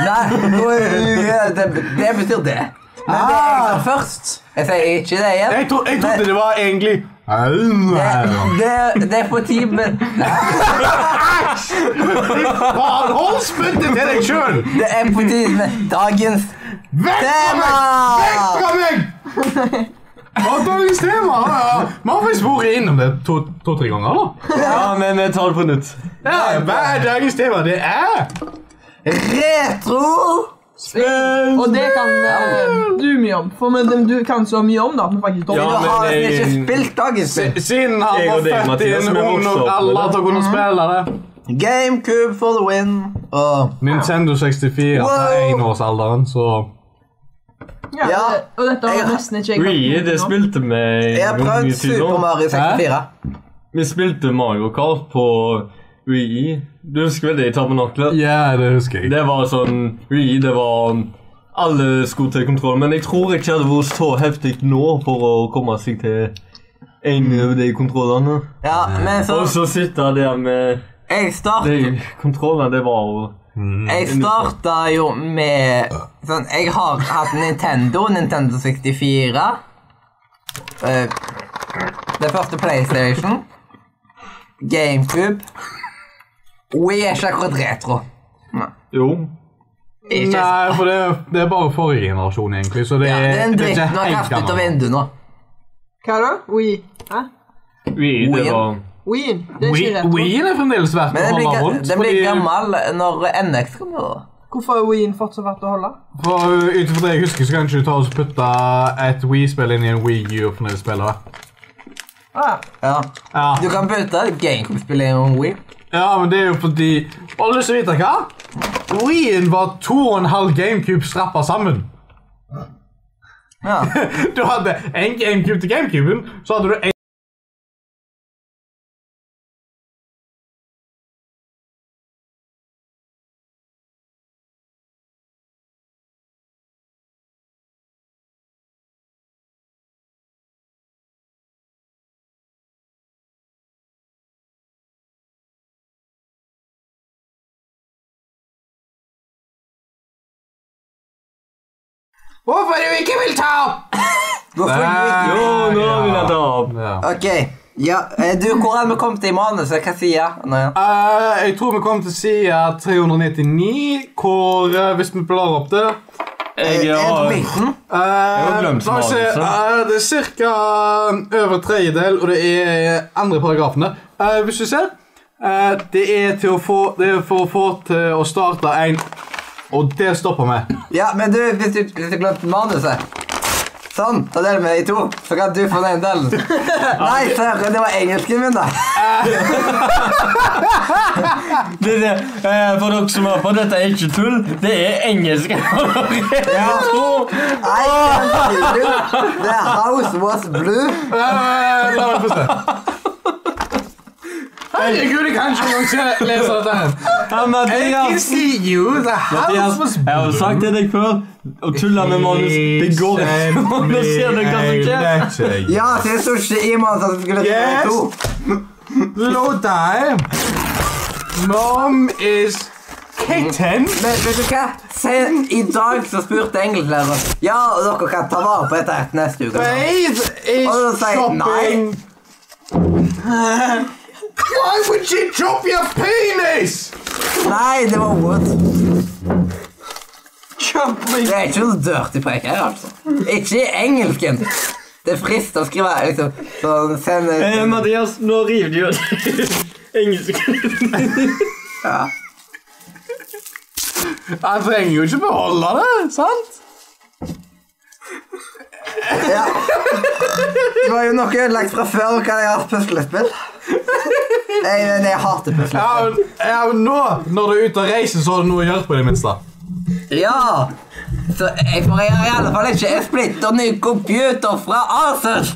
S2: Nei, det, det betyr det. Men det er jeg sa først. Jeg sier ikke det igjen.
S3: Jeg, tro, jeg trodde det var egentlig Faen,
S2: Det, det er på timen
S3: hold spyttet til deg sjøl!
S2: Det er på tide med dagens
S3: Vekk fra
S2: tema!
S3: meg! Vekk fra meg! Og dagens tema ja, ja. Vi har faktisk vært innom det to-tre ganger. da.
S4: Ja, men jeg tar det på nytt.
S3: Ja, Hva er dagens tema? Det er
S2: Retro!
S1: Og det kan eh, du mye om. For men, dem du kan så mye om, da. Men faktisk dårlig.
S4: Ja,
S2: Du
S4: men
S2: har nesten
S4: jeg-
S2: ikke spilt dagens spill.
S3: Siden han
S4: Jeg og
S3: var
S4: deg,
S3: født i
S4: Mathias,
S3: en
S4: vi er
S3: ung
S4: vokst
S3: nok
S4: opp med
S3: alder
S4: det.
S3: til å kunne spille det.
S2: Gamecube for the win. Og
S3: Nintendo 64
S2: Wow.
S3: var enårsalderen, så
S1: Ja,
S2: Ja.
S1: det- Og dette
S2: Jeg-
S1: har nesten ikke jeg
S4: Wii, det spilte vi i
S2: jeg har prøvd
S4: mye tid nå.
S2: Super Mario 64.
S4: Vi spilte Mario Kart på Wii. Du husker vel det i Tabernaklet?
S3: Ja, det husker jeg.
S4: Det var sånn Wii, det var um, Alle skulle til kontroll, men jeg tror ikke det hadde vært så heftig nå for å komme seg til en
S3: Mm.
S4: av de kontrollene.
S2: Ja, men så
S4: Og så sitte der med
S2: Jeg startet
S4: de kontrollene, det var jo
S2: Jeg starta jo med sånn, Jeg har hatt Nintendo, Nintendo 64. eh, det første PlayStation. GameCube. Wii er ikke akkurat retro.
S4: Jo.
S2: Ikke,
S3: Nei, for det, det er bare forrige generasjon, egentlig. Så det,
S2: ja,
S3: er-
S2: den
S3: det er
S2: dritten
S3: ikke
S2: har
S3: helt
S2: kastet ut av
S3: gammel.
S2: vinduet nå.
S1: Hva da? Wii? Hæ?
S4: Wii, det var
S1: Wien? Det er ikke
S3: Wii-
S1: retro.
S3: Wien er fremdeles verdt
S2: Men
S3: å
S2: den blir,
S3: holde
S2: ga-
S3: rundt.
S2: den blir
S3: fordi-
S2: gammel når NX kommer. da.
S1: Hvorfor er Wien fortsatt verdt å holde?
S3: For uh, Ut ifra det jeg husker, så kan ikke du ta og putte et Wii-spill inn i en Wii U og fornøyd spille det.
S1: Ah,
S2: Ja.
S3: Ja.
S2: Du kan putte GameCube-spillet i en Wii.
S3: ja, men det er jo fordi Har du lyst til å vite hva? Wien var to og en halv GameCube strappa sammen.
S2: Ja.
S3: [LAUGHS] Du hadde en GameCube til GameCuben, så hadde du en
S2: Hvorfor du ikke vil ta opp? Hvorfor du ikke
S4: Jo, nå vil jeg ta opp.
S3: ja.
S2: Ok, ja, eh, du, hvor har vi kommet til i manuset? Hva sier jeg? Nei.
S3: Eh, Jeg tror vi kom til side 399, hvor eh, Hvis vi blar opp det
S2: Er
S4: Jeg
S2: det på
S4: har
S2: midten?
S4: har
S3: Uh,
S4: glemt manuset.
S3: Eh, det er ca. over tredjedel, og det er andre paragrafene. Eh, hvis du ser eh, Det er til å få Det er for å få til å starte en Og det stopper vi.
S2: Ja, men du, hvis du, hvis du glemte manuset Sånn, da deler vi det i to, så kan du få den
S4: [LAUGHS]
S2: delen. Nei, søren, det var engelsken min, da.
S4: det, det, eh, For dere som hører på, dette er ikke tull. Det er engelsk. [LAUGHS] ja.
S2: I can see you. The house was blue.
S3: Eh, la meg få se. Herregud, jeg kan ikke engang se- lese dette her.
S4: Ja, Mathias!
S3: see you, the
S4: Mathias, jeg har jo sagt til deg før. Å tulle med manus, det går
S2: eh.
S4: ikke. Nå ser du hva som skjer.
S3: skjer.
S2: Ja, det sto ikke i manus at det skulle være
S3: Yes.
S2: to.
S3: Hello there. Mom is kitten.
S2: Men vet du hva? Sen I dag så spurte engelsklærer Ja, dere kan ta vare på dette her neste uke.
S3: Faith is
S2: Og så sier jeg nei.
S3: chopping. Why would she chop your penis?
S2: Nei, det var ordet. Det er ikke noe dirty preik her, altså. Ikke i engelsken. Det er frist å skrive liksom sånn send
S4: Eh, Mathias, nå river du jo engelsken.
S2: ja.
S3: Jeg trenger jo ikke beholde det, sant?
S2: ja. Det var jo noe ødelagt fra før. Kan jeg ha hatt puslespill? Nei, men jeg hater
S3: Ja,
S2: puslespill.
S3: men- ja, men nå, når du er ute og reiser, så har du noe å gjøre på det minste.
S2: Ja! Så jeg får i alle fall ikke en splitter ny computer fra Acer.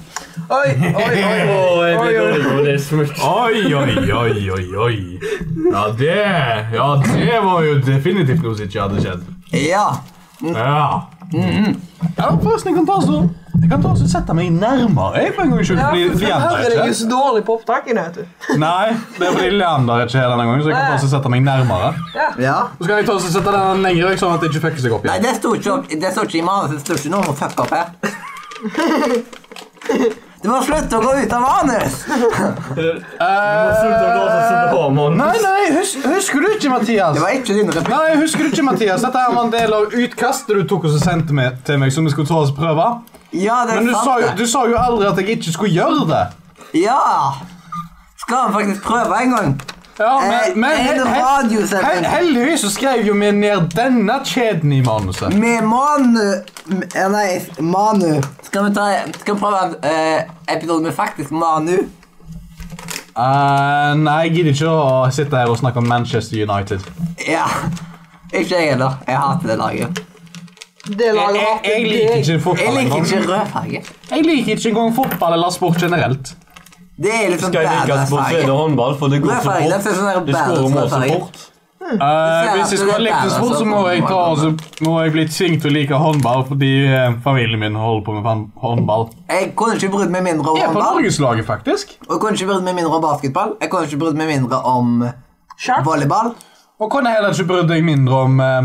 S1: Oi, oi, oi.
S4: Åh, jeg blir dårlig på det smukt.
S3: Oi, oi, oi, oi, oi. Ja, det, ja, det var jo definitivt noe som ikke hadde skjedd.
S2: Ja.
S3: Ja. Ja, forresten, jeg kan ta så Jeg kan ta så sette meg nærmere jeg, for en gangs skyld.
S1: Ja,
S3: fordi
S1: for
S3: Leander
S1: her er det
S3: er
S1: jo så dårlig på opptakene, vet du.
S3: ikke Nei, det er fordi Leander er ikke her denne gangen, så jeg kan ta så sette meg nærmere.
S2: ja.
S3: Så kan jeg ta så sette den lenger vekk, sånn at det ikke fucker seg opp
S2: Nei,
S3: igjen.
S2: det sto
S3: [LAUGHS]
S2: ikke, opp- det sto ikke i manuset. Det sto ikke noe om å fucke opp her. Du må slutte å gå ut av manus!
S3: Eh, Nei, nei, hus- husker du ikke, Mathias?
S2: Det var ikke din replikk.
S3: Nei, husker du ikke, Mathias? Dette her var en del av utkastet du tok og så sendte med til meg, som vi skulle ta oss prøve.
S2: Ja, det er
S3: Men du sa, jo,
S2: sant.
S3: du
S2: det.
S3: sa jo aldri at jeg ikke skulle gjøre det.
S2: Ja! Skal han faktisk prøve en gang?
S3: Ja,
S2: Eh,
S3: men, men
S2: er det
S3: he- he-
S2: radiosending?
S3: he- heldigvis så skrev jo vi ned denne kjeden i manuset.
S2: Med Manu m- eh, Nei, Manu. Skal vi, ta, skal vi prøve en eh, episode med faktisk Manu?
S3: Eh, nei, jeg gidder ikke å sitte her og snakke om Manchester United.
S2: Ja. Ikke jeg heller. Jeg hater det laget.
S1: Det
S3: Jeg,
S1: lager
S3: jeg,
S1: at
S3: jeg
S1: det-
S3: liker ikke
S2: Jeg
S3: fotball
S2: liker ikke
S3: engang.
S2: rød farge.
S3: Jeg liker ikke engang fotball eller sport generelt.
S2: Det er liksom
S4: Skal jeg like
S2: badass
S4: at sport, så er
S2: farge.
S4: det håndball, for det går
S2: Rød
S4: så
S2: farge, den
S4: fort.
S2: ser sånn der
S4: De skårer mål
S2: badass
S4: så
S2: farge.
S4: fort.
S2: ser
S3: Eh, hvis jeg
S2: at
S3: skulle ha
S2: det er altså.
S3: likt en
S2: badass
S3: sport, så
S2: og
S3: må jeg, ta,
S2: håndball.
S3: og så må jeg bli tvunget til å like håndball fordi eh, familien min holder på med fan- håndball.
S2: Jeg kunne ikke brydd meg mindre om
S3: Jeg er på
S2: håndball.
S3: norgeslaget, faktisk.
S2: Og jeg kunne ikke brydd meg mindre om basketball. Jeg kunne ikke brydd meg mindre om
S1: Sharp.
S2: volleyball.
S3: Og kunne heller ikke brydd deg mindre om eh,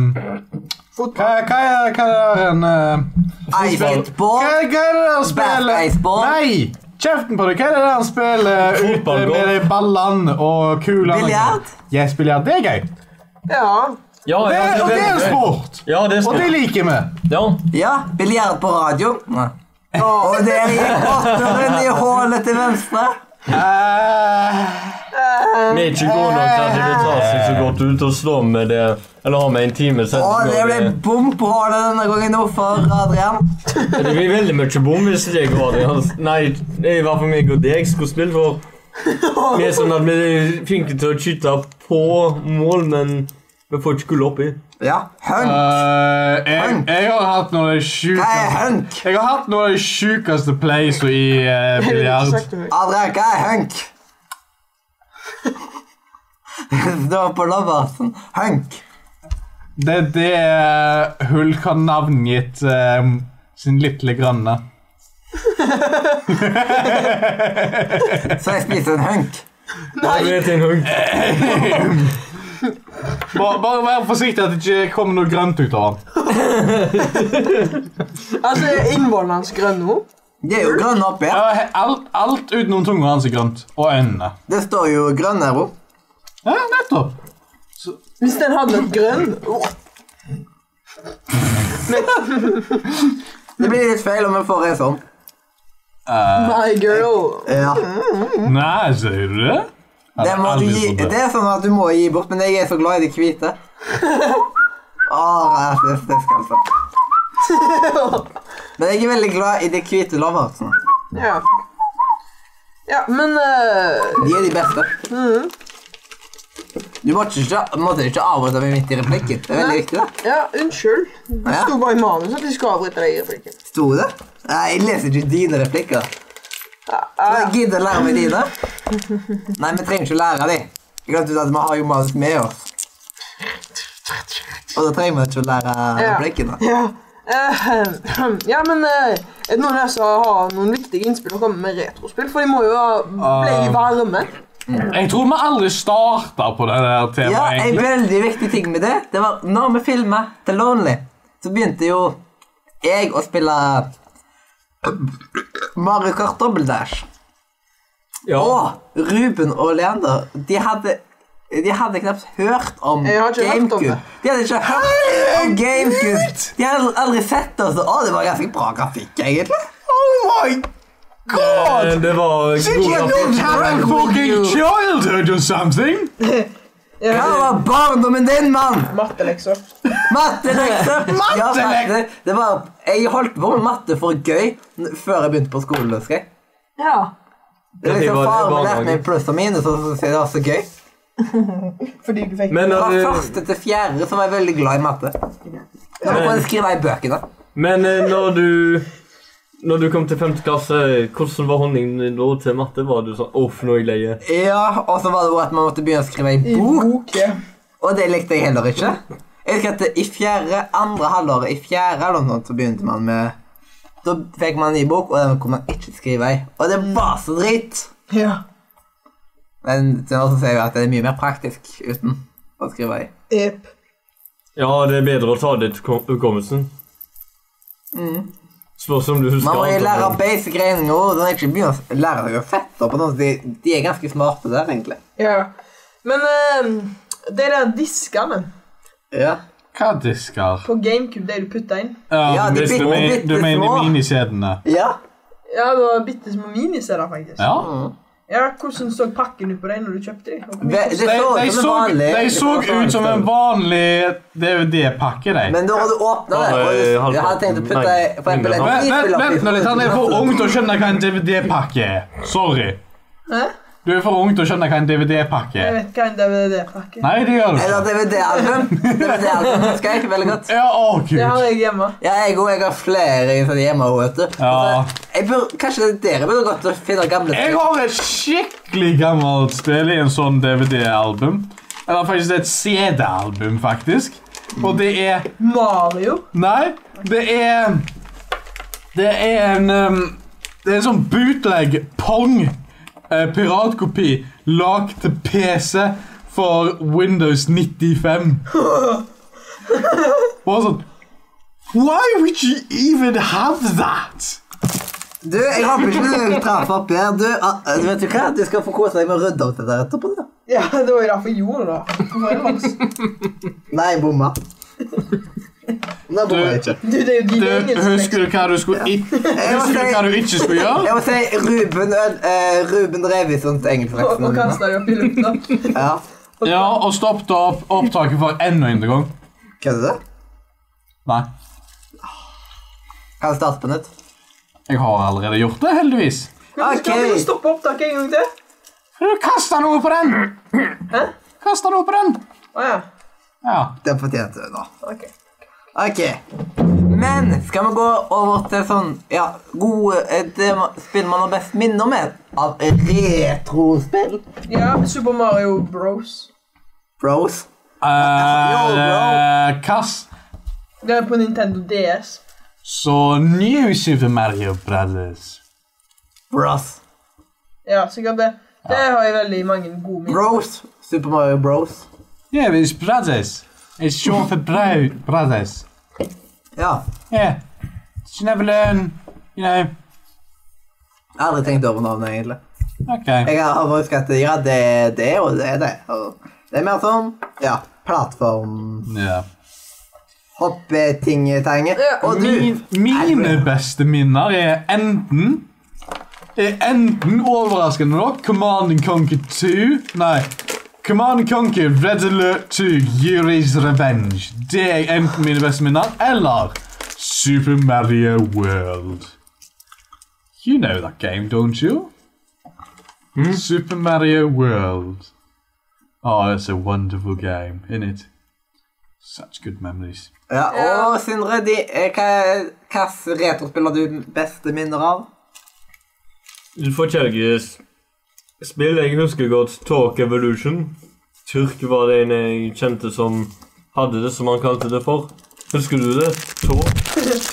S3: hva, hva, er, hva er det der en eh, hva,
S2: Iceball.
S3: hva er det der spillet
S2: Baskeisball.
S3: Nei! Kjeften på deg! Hva er det der han spiller ute
S4: Fotball,
S3: med de ballene og kulene?
S2: Biljard?
S3: Yes, biljard. Det er gøy.
S1: Ja.
S4: Ja,
S3: Det
S4: ja,
S3: er, og det er en sport!
S4: Ja, det er
S3: Og det
S4: sport.
S3: liker vi.
S4: Ja.
S2: Ja, biljard på radio. Nei. Og der gikk åtteren i hullet til venstre.
S3: Eh,
S4: Vi er ikke gode nok til at det tar seg så godt ut og slår med det. Eller har vi en time
S2: Og det ble
S4: sending?
S2: bom på hullet denne gangen nå for Adrian.
S4: Det blir veldig mye bom hvis jeg og Adrian Nei, det er i hvert fall meg og deg skulle spille for. Vi er sånn at vi er flinke til å skyte på mål, men vi får ikke gull oppi.
S2: Ja, Hunt.
S3: eh, jeg, jeg har hatt noe av
S2: Hva er
S3: det sjukeste
S2: hunk?
S3: Jeg har hatt noe av det sjukeste plays i eh,
S1: Jeg ville ikke
S3: biljard.
S1: sagt det høyt.
S2: Adrian, hva er hunk? [LAUGHS] Det var på Loversen. Hunk.
S3: Det er det Hulk har navngitt eh, sin lille granne.
S2: Så jeg spiser en hunk.
S4: Jeg vet en hunk.
S3: Bare, bare vær forsiktig at det ikke kommer noe grønt ut av den.
S1: Altså, er innvollene hans grønne nå?
S2: Det er jo grønn oppi.
S3: Ja, he- Alt, alt utenom tunga hans er grønt. Og øynene.
S2: Det står jo grønn her opp.
S3: Ja, nettopp.
S1: Hvis den hadde et grønn Åh,
S2: Det blir litt feil om vi får en sånn.
S1: My girl.
S2: Ja.
S3: Eh, Nei, sier du det? Jeg
S2: Det,
S3: hadde
S2: må du
S3: aldri
S2: gi,
S3: trodd
S2: det er sånn at du må gi bort, men jeg er så glad i de hvite. [LAUGHS] Å, det, det skal jeg ta. Men jeg er veldig glad i de hvite loversene.
S1: Ja. Ja, men eh,
S2: De er de beste. Du måtte ikke, måtte ikke avbryte meg midt i replikken. Det er veldig viktig, det.
S1: Ja, unnskyld. Det
S2: Ja.
S1: sto bare i manus at de skulle avbryte deg i replikken.
S2: Sto det? Nei, jeg leser ikke dine replikker. Jeg gidder å lære meg dine. Nei, vi trenger ikke lære de. Vi glemte ut at vi har jo masse med oss. Og da trenger vi ikke å lære
S1: Ja.
S2: replikkene.
S1: Ja. Eh, ja, men eh, er det noen her som har noen viktige innspill å komme med retrospill? For de må jo ha- bli varme.
S3: Jeg tror vi aldri starta på det der temaet.
S2: Ja, en
S3: egentlig.
S2: veldig viktig ting med det, det var når vi filma The Lonely, så begynte jo jeg å spille Mario Kart Double Dash.
S4: Ja.
S2: Og Ruben og Leander, de hadde de hadde knapt hørt om
S1: Jeg har ikke hørt om
S2: GameCube.
S1: det.
S2: de hadde ikke hørt om GameCube. De hadde aldri sett oss. Å, det var ganske bra grafikk, egentlig.
S5: Oh my god!
S4: Eh, Det var
S5: Did you not have a
S3: Fucking childhood or something!
S2: Hva var barndommen din, mann?
S1: Mattelekser.
S2: Mattelekser!
S5: Mattelek-
S2: Ja, matte. Det var, jeg holdt på med matte for gøy n- før jeg begynte på skolen. husker jeg.
S1: Ja.
S2: Det er
S4: Ja, jeg
S2: liksom
S4: var- jeg
S2: Faren
S4: var
S2: min lærte
S4: mange.
S2: meg pluss og minus, og så sier jeg det var så gøy.
S1: Fordi du fikk
S4: Men,
S2: Fra
S4: eh,
S2: første til fjerde så var jeg veldig glad i matte. Nå må jeg skrive i bøkene.
S4: men eh, når du Når du kom til 5. klasse, hvordan var holdningen din da til matte? Var du sånn Uff, nå er jeg leie.
S2: Ja, Og så var det jo at man måtte begynne å skrive i
S1: i
S2: bok,
S1: bok. ja.
S2: og det likte jeg heller ikke. Jeg husker at i fjerde, andre halvåret i fjerde eller noe sånt, så begynte man med Da fikk man en ny bok, og den kunne man ikke skrive i. Og det var så dritt!
S1: Ja.
S2: Men til nå så ser jeg jo at det er mye mer praktisk uten å skrive i.
S1: Ep.
S4: Ja, det er bedre å ta det til kom- hukommelsen. Spørs om du husker
S2: Mm. Man må jo
S4: alt
S2: lære
S4: om det.
S2: basic regning og ord. Den er ikke begynner å lære seg å fette på noe. De, de er ganske smarte der, egentlig.
S1: Ja. Men eh, de der diskene
S2: Ja.
S3: Hva disker?
S1: på GameCube, de du putta inn
S2: Ja, de
S3: hvis du
S2: bitte-
S3: men- du
S2: bitte
S3: mener
S2: små.
S3: minikjedene?
S2: ja.
S1: Ja, det var bitte små miniserier, faktisk.
S3: Ja.
S1: Ja, Hvordan så pakken ut på deg når du kjøpte dem?
S2: Det, det
S3: De,
S2: så
S3: de,
S2: ut som en
S3: så,
S2: vanlig
S3: de så ut
S2: Sånn.
S3: som en vanlig DVD-pakke, de.
S2: Men da har du åpna det, og du,
S4: Bare, eh,
S2: jeg hadde tenkt å putte
S4: halvparten.
S2: for eksempel en
S4: Nei.
S3: Vent, vent,
S2: frispill oppi-
S3: vent nå litt, han er for ung til å skjønne hva en DVD-pakke er. Sorry.
S1: Hæ?
S3: Du er for ung til å skjønne hva en DVD-pakke
S1: Jeg
S3: er.
S1: vet hva en DVD-pakke er.
S3: Nei, det gjør du
S2: Eller
S3: ikke. [LAUGHS]
S2: DVD-album. DVD-album husker jeg veldig godt.
S3: Ja, å
S1: Det har
S3: gud.
S1: jeg hjemme.
S2: Ja, jeg òg. Jeg har flere sånne hjemme òg, vet du.
S3: Ja.
S2: Så Jeg bur, kanskje dere burde gått og finne gamle
S3: Jeg har et skikkelig gammelt spill i en sånn DVD-album. Eller faktisk et CD-album, faktisk. Og det er
S1: Mario.
S3: Nei, det er Det er en um, Det er en sånn bootleg Pong eh, piratkopi lagd til PC for Windows 95. Bare sånn Why would you even have that?
S2: Du, jeg håper ikke du traff opp her. Du, ah, vet du hva? Du skal få kose deg med å rydde opp det der etterpå. da.
S1: Ja, det var jo derfor jeg gjorde det. Hvorfor er det vanskelig?
S2: Nei, jeg bomma. Nå bomma jeg ikke.
S1: Du, det er jo
S3: Du,
S1: din egen
S3: husker du hva du skulle i- Husker du hva du ikke skulle gjøre?
S2: Jeg må si Ruben, ød- eh, Ruben Revisons
S1: Og, og
S2: engelskreksen.
S1: kastet det opp i
S3: [LAUGHS]
S1: lufta.
S2: Ja,
S3: Ja, og stoppet opp opptaket for enda en gang.
S2: kødder du?
S3: Nei,
S2: Kan jeg starte på nytt?
S3: jeg har allerede gjort det, heldigvis.
S1: Hvorfor
S2: Ok.
S1: Skal vi stoppe opptaket en gang til?
S3: Du kasta noe på den!
S1: Hæ?
S3: Kasta noe på den!
S1: Å ja.
S3: Ja.
S2: Den fortjente du nå.
S1: Ok.
S2: Ok. Men skal vi gå over til sånn ja, gode eh, det ma- spill man har best minner med? Av retrospill?
S1: Ja, Super Mario Bros.
S2: Bros.
S3: Eh, Kass.
S1: Det er på Nintendo DS.
S3: Så New Super Mario Brothers.
S2: Bros.
S1: Ja, sikkert det. Det har jeg veldig mange gode minner.
S2: Bros. Super Mario Bros.
S3: Yeah, it's brothers. It's short for bro brothers.
S2: Ja.
S3: Yeah. You never learn, you know.
S2: Jeg har aldri tenkt over navnet, egentlig.
S3: Okay.
S2: Jeg har bare husket at ja, det er det, og det er det. Og det er mer sånn ja, plattform,
S3: Yeah.
S2: hoppetingetenge. Og du,
S3: Min, mine beste minner er enten er enten overraskende nok Command and Conquer 2 Nei. Command and Conquer Red Alert 2 Yuri's Revenge. Det er enten mine beste minner eller Super Mario World. You know that game, don't you?
S2: Hmm?
S3: Super Mario World. Oh, it's a wonderful game, isn't it? Such good memories.
S2: ja, og Sindre, de, eh, hva hvilke retrospill har du beste minner av?
S4: Du får kjelgis. Spill jeg husker godt Talk Evolution. Tyrk var det en jeg kjente som hadde det, som han kalte det for. Husker du det? Talk?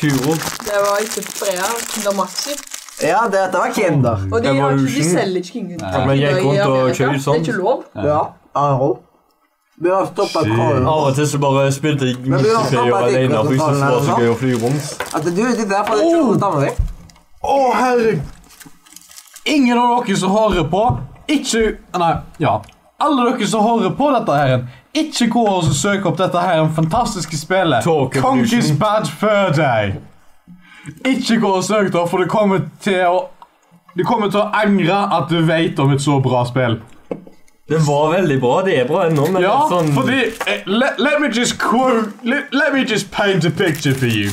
S4: Kuro?
S1: Det var ikke Freya, Damaxi.
S2: Ja, dette var Kinder.
S1: Og de, har ikke, de
S4: Evolution.
S1: selger ikke King
S4: Ja, men jeg kom til å kjøre
S1: Det er
S4: sånn.
S1: ikke lov.
S2: Ja, Aro. Vi har stoppet
S3: Shit.
S2: Karen.
S4: Av og til så bare spilte jeg
S2: Men vi har
S4: Mystify
S2: snakket litt
S4: alene, for jeg syntes det var så
S2: om
S4: gøy å fly rundt.
S2: At du er der for det er ikke noe stammer deg.
S3: Å, herre... Ingen av dere som hører på, ikke... Nei, ja. Alle dere som hører på dette her, ikke gå og søk opp dette her fantastiske spillet.
S4: Talk Evolution.
S3: Kongens Bad Fur Day. Ikke gå og søk det, for du kommer til å... Du kommer til å angre at du vet om et så bra spill.
S4: Det var veldig bra. Det er bra ennå, men det
S3: Ja,
S4: er sånn
S3: fordi eh, let, let me just quote, let, let me just paint a picture for you.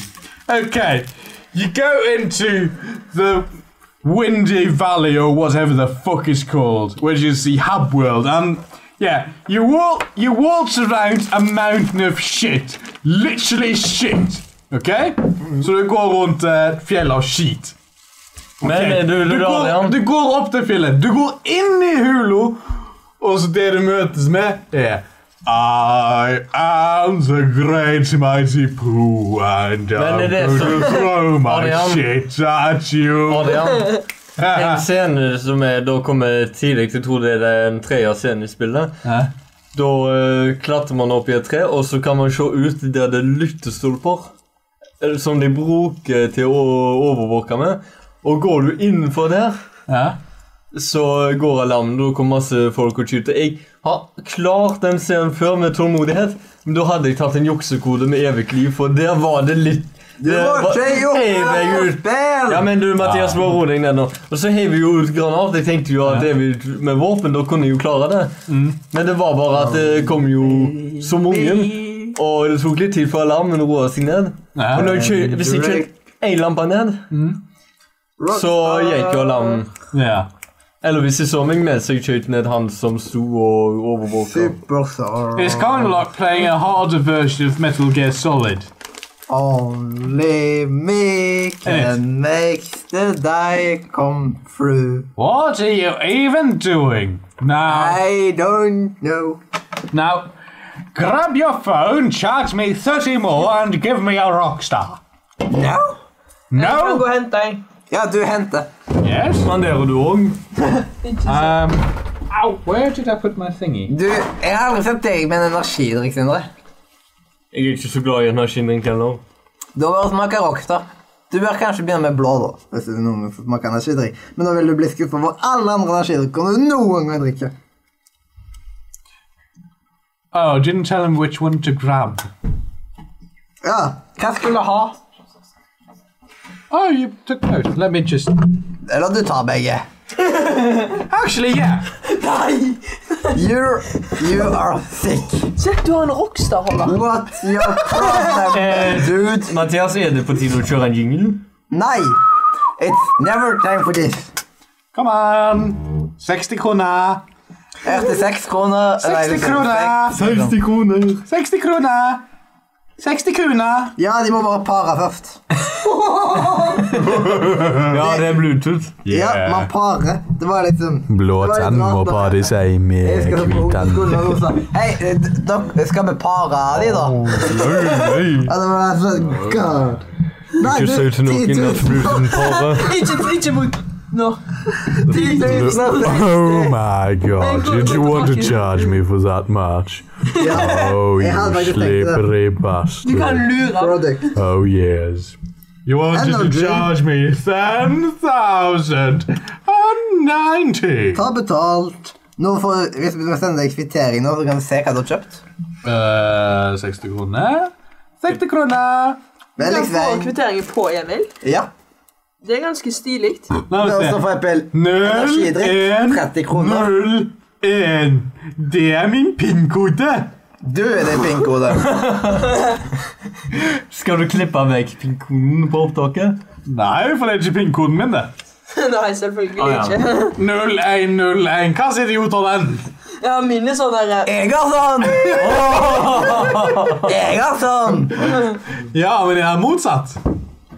S3: Okay, you go into the Windy Valley or whatever the fuck it's called, which is the hub world, and yeah, you wal you waltz around a mountain of shit, literally shit. Okay, så du går rundt eh, fjellet av skit.
S4: Men
S3: Ok,
S4: er du, du,
S3: du, går,
S4: Adrian?
S3: du går opp til fjellet. Du går inn i hula, og så det du møtes med, er I am the great mighty poo, and
S4: Men er
S3: I'm
S4: det
S3: going to throw my
S4: Adrian?
S3: shit at [LAUGHS] you.
S4: Adrian?
S3: er
S4: En scene som er, da kommer tidlig, jeg tror det er den tredje scenen i spillet.
S3: Hæ?
S4: Da eh, klatrer man opp i et tre, og så kan man se ut der det er lyttestolper. eh, Som de bruker til å overvåke med. Og går du innenfor der,
S3: Ja.
S4: så går alarmen. Da kommer masse folk og skyter. Jeg har klart den scenen før med tålmodighet, men da hadde jeg tatt en juksekode med evig liv, for der var det litt
S2: Du
S4: det
S2: må
S4: var-
S2: ikke
S4: Heiv jeg
S2: gjøre
S4: ut
S2: spill!
S4: ja, men du, Mathias, bare ro deg ned nå. Og så heiv vi jo ut granat. Jeg tenkte jo at det vi, med våpen, da kunne jeg jo klare det. Men det var bare at det kom jo så mange. Og det tok litt tid før alarmen roa seg ned. Og når jeg kjø- hvis jeg kjørte én lampe ned, så
S2: ah.
S4: gikk jo alarmen.
S3: ja.
S4: Eller hvis jeg så meg med, så jeg skjøt ned han som sto og overvåka.
S2: Superstar
S3: It's kind of like playing a harder version of Metal Gear Solid.
S2: Only me can make the day come through.
S3: What are you even doing? Now,
S2: I don't know.
S3: now, grab your phone, charge me 30 more, and give me a rockstar.
S2: No?
S1: Jeg kan
S3: No?
S1: gå og hente en.
S2: Ja, du henter.
S3: Yes?
S4: Spanderer du òg?
S3: [LAUGHS] Um, ow, where did I put my thingy?
S2: Du, jeg har aldri sett deg med en energidrikk, Sindre.
S4: Jeg er ikke så glad i energidrink heller.
S2: Da bør du smake Rockstar. Du bør kanskje begynne med blå, da. Hvis du noen gang får smake energidrikk. Men da vil du bli skuffet over alle andre energidrikker du noen gang drikker.
S3: Oh, I didn't tell him which one to grab.
S2: Ja. Hva skulle du ha?
S3: Oh, you took both. Let me just.
S2: Eller du tar begge.
S3: Actually, yeah.
S2: You, you are sick.
S1: Se, du har en rockstar, Håvard.
S2: What's your problem, [LAUGHS]
S4: Eh,
S2: dude?
S4: Mathias, er det på tide å kjøre en jingle?
S2: Nei. It's never time for this.
S3: Come on. 60 kroner.
S2: 86 kroner. nei,
S3: 60
S2: liksom,
S3: kroner.
S2: seks-
S4: 60 kroner.
S3: 60 kroner. 60 kroner.
S2: Ja, de må bare pare først.
S4: Ja, det er Bluetooth.
S2: Ja, man parer. Det var liksom
S3: Blå
S2: det var litt
S3: tann må
S2: rart, da.
S3: pare seg
S2: Jeg
S3: med
S2: skal på
S3: hvit tann.
S2: ungdomsskolen og rosa. Hei, eh, d- dere skal vi pare de, da?
S4: Oh.
S2: Ja, det var sånn God. Nei,
S4: Ikke si til noen at Bluetooth parer.
S1: Ikke, ikke bruk Nå.
S2: 10 000.
S3: Oh my god, did you want to charge me for that much?
S2: [LAUGHS] Ja,
S3: Oh,
S2: Jeg hadde
S3: you
S2: faktisk tenkt det.
S3: slippery
S1: Du kan
S3: bastard.
S1: lure ham.
S2: product.
S3: Oh, yes. You wanted
S2: Hello,
S3: to
S2: Jim.
S3: charge me 10,090.
S2: Ta betalt. Nå får, hvis vi sender deg kvittering nå, så kan vi se hva du har kjøpt.
S3: Eh, 60 kroner. 60 kroner!
S1: Du
S2: Men
S1: kan få
S2: liksom,
S1: kvitteringer på Emil.
S2: ja.
S1: Det er ganske stilig.
S3: La
S2: Og så
S3: oss se.
S2: får jeg pil. altså Energidrikk,
S3: 0,
S2: 30
S3: 1,
S2: kroner.
S3: 0, 1. Det er min pin-kode.
S2: Du er det pinkodet.
S4: Skal du klippe vekk pinkonen på opptaket?
S3: Nei, for det er ikke pin-koden min, det.
S1: Nei, selvfølgelig
S4: Ah, ja.
S3: [LAUGHS]
S1: ikke.
S3: 0101. Hva sier idiot av den?
S1: Ja, min er sånn der
S2: Jeg har
S1: [LAUGHS]
S2: sånn! Åh! Jeg har sånn!
S3: Ja, men det er motsatt.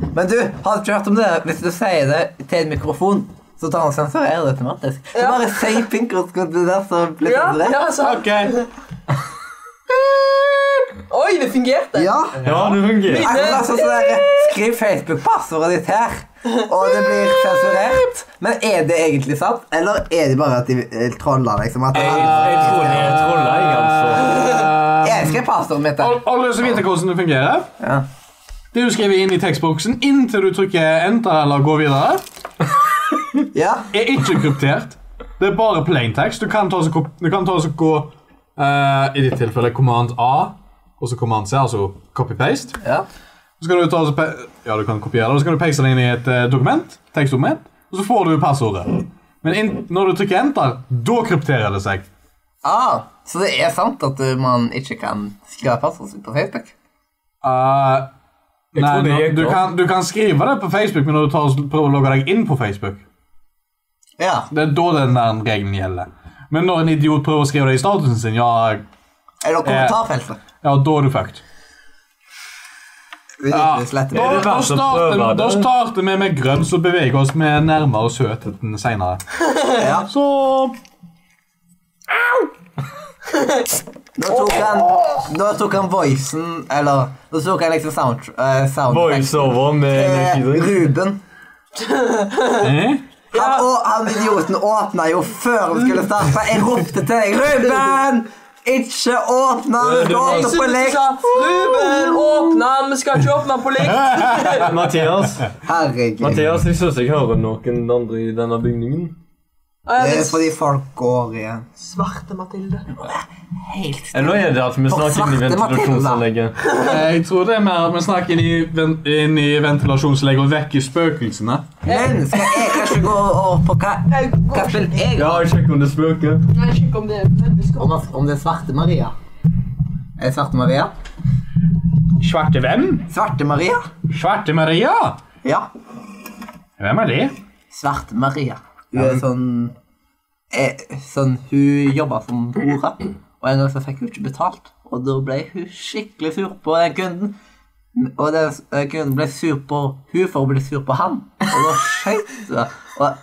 S2: Men du, har du ikke hørt om det? Hvis du sier det til en mikrofon, Så tar han sensurerer det automatisk. Så
S1: Ja.
S2: bare si pinkerskuddet der, så blir det
S1: Ja,
S2: sensurert.
S1: ja, sant. Oi, det fungerte!
S2: Ja.
S4: Ja, det fungerer.
S2: Akkurat sånn som der, Skriv Facebook-passordet ditt her, og det blir sensurert. Men er det egentlig sant, eller er det bare at de eh, troller, liksom? At
S4: Jeg, jeg tror det er trolling, altså.
S3: Eh,
S1: Eh,
S2: jeg
S1: um,
S2: elsker passordet mitt.
S3: Al- Alle som vet hvordan det fungerer.
S2: Ja.
S3: Det du skriver inn i tekstboksen inntil du trykker enter eller gå videre,
S2: Ja.
S3: er ikke kryptert. Det er bare plain text. Du kan ta og så kop- du kan ta og så gå eh, I ditt tilfelle command A og så command C, altså copy-paste.
S2: ja.
S3: Så skal du ta og så pe- ja, du kan kopiere det, og så kan du paste det inn i et eh, dokument, tekstdokument, og så får du passordet. Men inn, når du trykker enter, da krypterer det seg.
S2: Ah, så det er sant at eh, man ikke kan skrive passordet sitt på Facebook?
S3: Eh, nei,
S4: tror det
S3: nå-
S4: gikk
S3: du,
S4: bra.
S3: kan, du kan skrive det på Facebook, men når du tar og s- prøver å logge deg inn på Facebook
S2: Ja.
S3: Det er da den der regelen gjelder. Men når en idiot prøver å skrive det i statusen sin, ja,
S4: Eh,
S2: Eller kommentarfeltet.
S3: ja da er du fucked.
S2: Vi
S3: Ja.
S2: liker det slett
S3: Da,
S2: ikke.
S4: det
S3: da,
S4: verdt å
S3: starter,
S4: prøve det?
S3: da starter vi med grønn, så beveger vi oss med nærmere søtheten seinere.
S2: [LAUGHS] Ja.
S3: Så
S2: Da tok han, da tok han voicen, eller Da tok han liksom sound... eh, sound
S4: Voiceover med
S2: Eh,
S4: energidrikk.
S2: Ruben.
S3: eh?
S2: Han, og, han idioten åpna jo før vi skulle starte. Jeg ropte til deg. Ruben! Ikke åpna!
S4: Eh,
S1: Jeg
S2: Åpne på
S1: synes du
S2: lek!
S1: sa Ruben, åpne den! Vi skal ikke åpne den på lek!
S4: Mathias,
S2: Herregud.
S4: Mathias, jeg synes jeg hører noen andre i denne bygningen.
S1: Ah,
S2: Det
S1: ja,
S2: er fordi folk går igjen.
S1: Svarte Mathilde.
S2: Helt
S4: Eller er det at vi snakker inn
S2: svarte
S4: i
S2: Matilda.
S4: ventilasjonsanlegget?
S3: Jeg tror det er mer at vi snakker inn i, ven inn i ventilasjonslegg og vekker spøkelsene.
S2: Men skal jeg kanskje gå over på hva,
S1: Jeg går
S2: hva
S1: ikke
S2: spiller jeg?
S4: Ja, sjekk om det spøker.
S1: jeg vet ikke om det er nødvendigvis godt.
S2: Om, om det er Svarte Maria. Er det Svarte Maria?
S3: Svarte hvem?
S2: Svarte Maria?
S3: Svarte Maria?
S2: Ja.
S3: Hvem er det?
S2: Svarte Maria. Hun er sånn eh, Sånn, Hun jobba som hore, og en gang så fikk hun ikke betalt. Og da ble hun skikkelig sur på den kunden. Og den s- eh, kunden ble sur på hun for å bli sur på han. Og da skjøt hun. det. Og,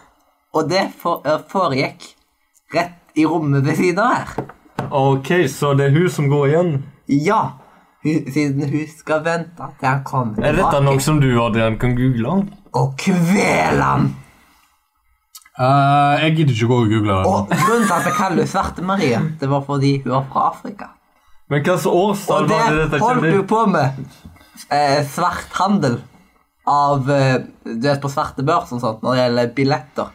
S2: og det for, eh, foregikk rett i rommet ved siden av her.
S4: Ok, så det er hun som går igjen.
S2: Ja. Hun, siden hun skal vente til han kommer
S4: Er dette noe som du, Adrian, kan google?
S2: og kvele han.
S3: Eh, jeg gidder ikke gå og google det.
S2: Og grunnen til at jeg kaller henne Svarte Maria, det var fordi hun var fra Afrika.
S4: Men hva slags
S2: Og
S4: årstall var det
S2: det
S4: dette
S2: holdt
S4: skjedde?
S2: hun på med. Eh, svart handel av eh, Du vet på svarte børs og sånt når det gjelder billetter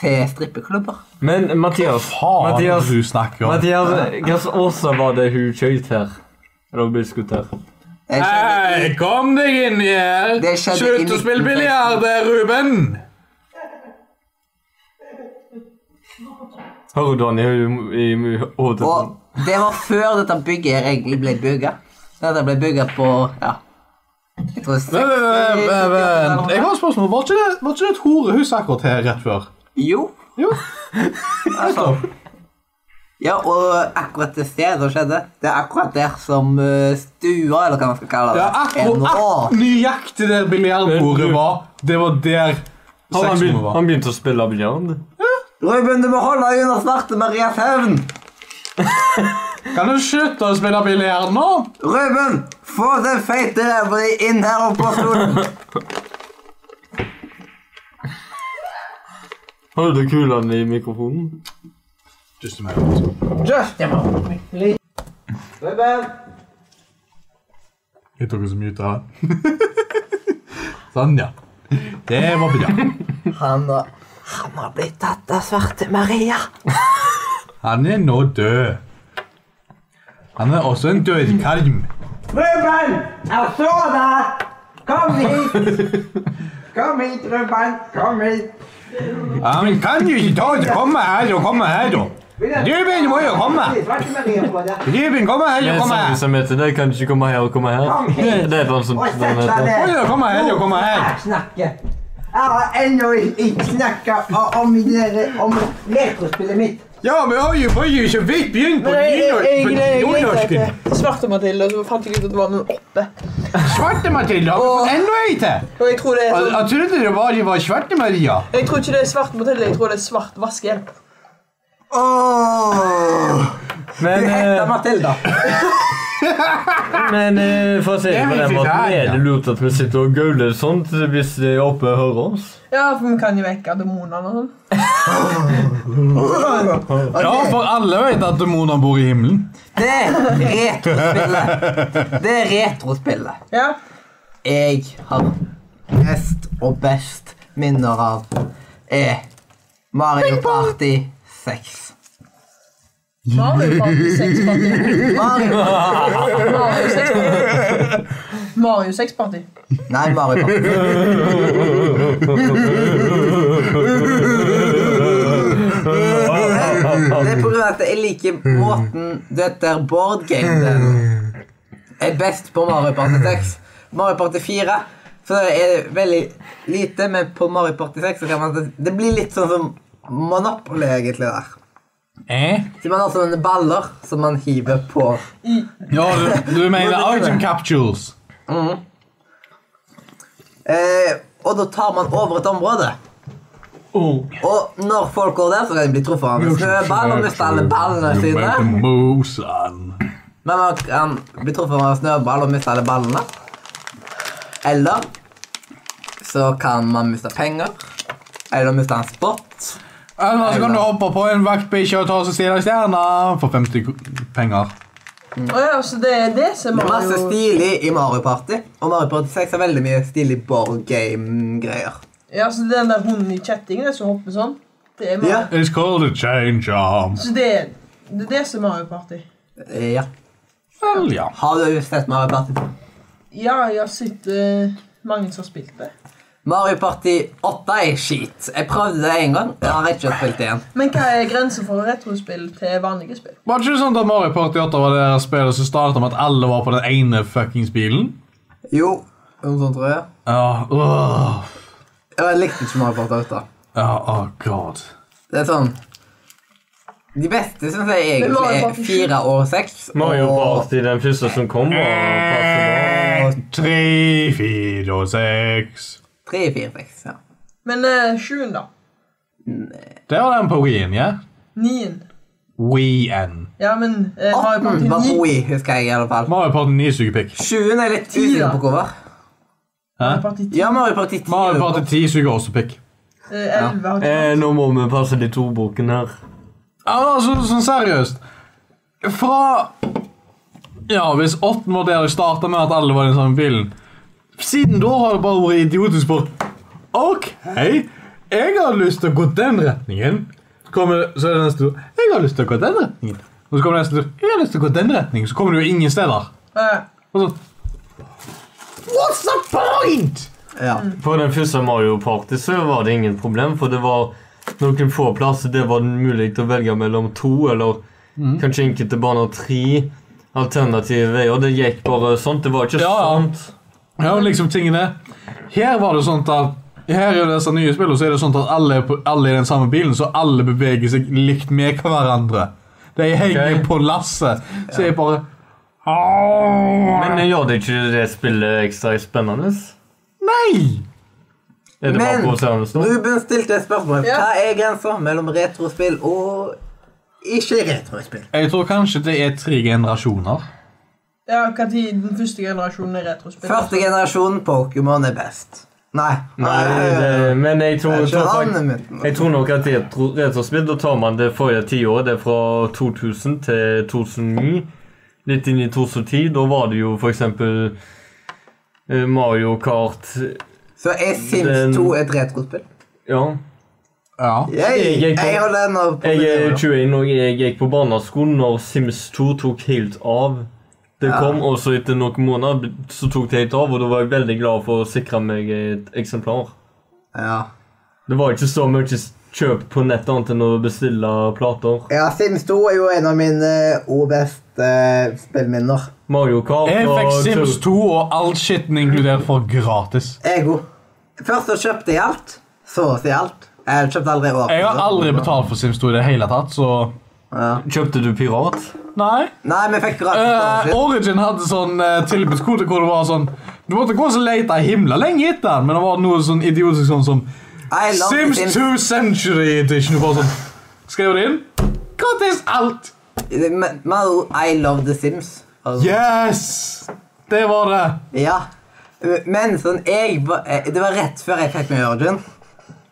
S2: til strippeklubber.
S4: Men Mathias,
S3: Faen,
S4: Mathias,
S3: du snakker om.
S4: Mathias, hva slags årstall var det hun skjøt her? Eller ble skutt her?
S2: Jeg skjønner
S3: Hei, Eh, kom deg inn her!
S2: Det skjedde i
S3: Slutt å spille
S2: 1916.
S3: biljard, der, Ruben!
S4: Hører du han i, høy- i, i hodet?
S2: ikke. Og det var før dette bygget her egentlig ble bygga. Dette ble bygga på ja, jeg tror
S3: Vent, vent, vent, vent.
S2: 60
S3: Jeg har et spørsmål. Var ikke det, var ikke det et horehus akkurat her rett før?
S2: Jo.
S3: Jo.
S2: Altså. Ja, og akkurat det stedet som skjedde, det er akkurat der som eh, stua, eller hva man skal kalle det,
S3: Ja, akkurat Nøyaktig der biljardbordet var. Det var der
S4: han, han,
S3: sexrommet
S4: begynte,
S3: var.
S4: han begynte å spille biljard.
S2: Ruben, du må holde deg unna svarte Maria Søvn!
S3: Kan du slutte å spille biljard nå?
S2: Ruben, få den feite ræva di inn her oppe på stolen!
S4: Holder du kulene i mikrofonen?
S3: Just a moment.
S1: Just a moment.
S2: Ruben!
S3: Jeg tok så mye ut [LAUGHS] av det. Sånn, ja. Det var bra.
S2: Han har, han har blitt tatt av svarte Maria.
S3: [LAUGHS] Han er nå død. Han er også en dørkarm.
S5: Ruben! Jeg så deg! Kom hit! Kom hit, Ruben. Kom hit.
S3: Ja, men kan du ikke ta og komme her og komme her, da? Ruben må jo komme!
S5: Svarte Maria på deg.
S3: Ruben, kom her
S4: Det
S3: og
S4: er
S3: komme
S4: sangen
S3: her!
S4: som heter 'Det kan ikke komme her og komme her'.
S5: Kom
S4: Det
S5: hit.
S4: er et eller annet som
S5: Og
S4: den
S5: sett deg
S4: heter.
S3: Kom
S5: ned.
S3: her, kom her og komme her!
S5: Snakke. Jeg har ennå ikke snakka om, om, om lekospillet mitt.
S3: Ja, vi har jo, vi har jo så vidt begynt på nynorsk- på nynorsken.
S1: Svarte Mathilde, og så fant jeg ut at det var noen oppe.
S5: Svarte Matilda!
S1: Åh.
S5: Enda ei til!
S1: Og jeg tror det er
S5: Jeg
S1: sånn,
S5: jeg trodde det var, det var Svarte Maria.
S1: jeg tror ikke det er svart Mathilde, jeg tror det er svart vaskehjelp.
S4: Men,
S2: Hetta
S4: eh,
S2: Matilda.
S4: men eh, for å si det
S5: Jeg
S4: på
S5: vil
S4: den
S5: ikke
S4: måten,
S5: være,
S4: er det lurt at vi sitter og gauler sånt hvis de oppe hører oss?
S1: Ja, for vi kan jo vekke demonene og sånn.
S3: Ja, for alle vet at demonene bor i himmelen.
S2: Det er retrospillet. Det er retrospillet.
S1: Ja.
S2: Jeg har mest og best minner av er Mario Party 6.
S1: Mario Party 6 Party.
S2: Mario
S1: Mario 6 Party. Mario 6 Party.
S2: Nei, Mario Party. Det er på grunn av at jeg liker måten det der board game den er best på Mario Party 6. Mario Party 4 så er det veldig lite, men på Mario Party 6 så kan man Det blir litt sånn som Monopoly, egentlig, der.
S3: Eh?
S2: Så man har sånne baller som man hiver på.
S3: Ja, du, du mener item capsules.
S2: Eh, og da tar man over et område.
S5: Oh.
S2: Og når folk går der, så kan de bli truffet av en snøball og miste alle ballene sine.
S3: Mosan.
S2: Men man kan bli truffet av en snøball og miste alle ballene. Eller så kan man miste penger. Eller miste en spot.
S3: Eller så kan Eh, du hoppe på en vaktbikkje og ta oss og stjele stjerna for 50 kr- penger.
S1: Å ja, så det er det som er
S2: Masse
S1: Mario
S2: stilig i Mario Party. Og Mario Party 6 har veldig mye stilig board game-greier.
S1: Ja, så den der hunden i kjettingen er som hopper sånn. Det er Mario.
S2: Ja.
S3: It's called a change arm.
S1: Så det, er- det er det som er Mario Party.
S2: Eh, Ja.
S3: Vel, ja.
S2: Har du sett Mario Party?
S1: Ja, jeg har sett eh, mange som har spilt det.
S2: Mario Party 8 er skit. Jeg prøvde det én gang. Jeg har ikke spilt det igjen.
S1: Men hva er grensen for retrospill til vanlige spill?
S3: Var det ikke sånn at Mario Party 8 var det spillet som starta med at alle var på den ene fuckings bilen?
S2: Jo, noe sånt tror jeg.
S3: Ja, åh.
S2: Jeg likte ikke Mario Party 8.
S3: Ja, oh god.
S2: Det er sånn De beste syns jeg
S1: Men
S2: egentlig
S1: Mario
S2: er
S1: Party
S2: fire og seks.
S4: Mario
S2: og-
S4: Party, den første som kom, var passe bra.
S3: Tre, fire og seks.
S2: Tre, fire, seks. Ja.
S1: Men eh, sjuen, da.
S3: Det var den på Wien, ja?
S1: Nien.
S3: Wien.
S1: Ja, men eh, Mario
S2: Åtten
S1: Party
S2: var
S1: 9.
S2: Bowie, husker jeg i alle fall.
S3: Mario Party 9 suger pikk.
S2: Sjuen er litt
S1: Ti, da.
S2: usikker på hvor var.
S1: Mario Party 10.
S2: Ja, Mario Party 10.
S3: Mario Party 10 suger også pikk.
S1: Eh, 11 har ikke
S4: Eh, nå må vi passe de to ordbruken her.
S3: Ja, men altså, sånn seriøst. Fra Ja, hvis åtten var der det starta med at alle var i den samme bilen Siden da har det bare vært idiotisk for OK, jeg har lyst til å gå den retningen. Kommer, så er det neste ord. Jeg har lyst til å gå den retningen. Og så kommer det neste ord. Jeg har lyst til å gå den retningen. Så kommer du jo ingen steder.
S1: Eh,
S3: Og så What's the point?!
S2: Ja.
S4: På den første Mario Party så var det ingen problem, for det var noen få plasser det var mulig å velge mellom to, eller
S3: Mm.
S4: kanskje enkelte baner tre alternative veier. Det gikk bare sånt. Det var ikke
S3: Ja, ja.
S4: sant.
S3: Ja, og liksom tingene Her var det sånn at Her er disse nye spillene, så er det sånn at alle er, på, alle er i den samme bilen, så alle beveger seg likt med hverandre. De henger
S4: Ok.
S3: på lasset. Så jeg bare
S4: Men det gjør det ikke det spillet ekstra spennende?
S3: Nei!
S4: Er det
S2: Men-
S4: bare provoserende nå?
S2: Ruben stilte et spørsmål.
S1: Ja.
S2: Hva er grensa mellom retrospill og ikke retrospill?
S3: Jeg tror kanskje det er tre generasjoner.
S1: ja, hva tid den første generasjonen er retrospill?
S2: Første generasjon Pokémon er best. Nei.
S4: Nei, det, men jeg tror,
S2: Det er
S4: jeg,
S2: ikke
S4: tror fakt-
S2: navnet mitt, men-
S4: jeg tror nok at retro, retrospill, da tar man det forrige tiåret. Det er fra 2000 til 2009. Litt inn i 2010. Da var det jo for eksempel eh, Mario Kart
S2: Så er
S4: Den-
S2: Sims 2 et retrospill?
S4: Ja.
S3: Ja.
S2: Jeg,
S4: Jeg- jeg-
S2: jeg holder den opp.
S4: Jeg er 21, og jeg gikk på barneskolen når Sims 2 tok helt av. Det kom, og så etter noen måneder så tok det helt av, og da var jeg veldig glad for å sikre meg et eksemplar.
S2: Ja.
S4: Det var ikke så mye kjøp på nettet annet enn å bestille plater.
S2: Ja, Sims 2 er jo en av mine og beste eh, spillminner.
S4: Mario Kart
S3: Jeg fikk
S4: og
S3: Sims 2 og all skitten inkludert for gratis.
S2: Ego. Først så kjøpte jeg alt, så å si alt. Jeg har kjøpt aldri i år.
S3: Jeg har aldri betalt for Sims 2 i det hele tatt, så
S4: Kjøpte du pirat?
S3: Nei.
S2: Nei, vi fikk
S3: Eh,
S2: gratis.
S3: Origin hadde sånn eh, tilbudskode hvor det var sånn Du måtte gå og så lete himla lenge etter den, men det var noe sånn idiotisk sånn som
S2: I love
S3: Sims
S2: Sims
S3: 2 Century Edition. Du bare sånn Skrev det inn. Gratis alt!
S2: Med med andre ord, I love The Sims. Altså,
S3: Yes! Det var det.
S2: Ja. Men sånn, jeg var- eh, Det var rett før jeg fikk meg Origin.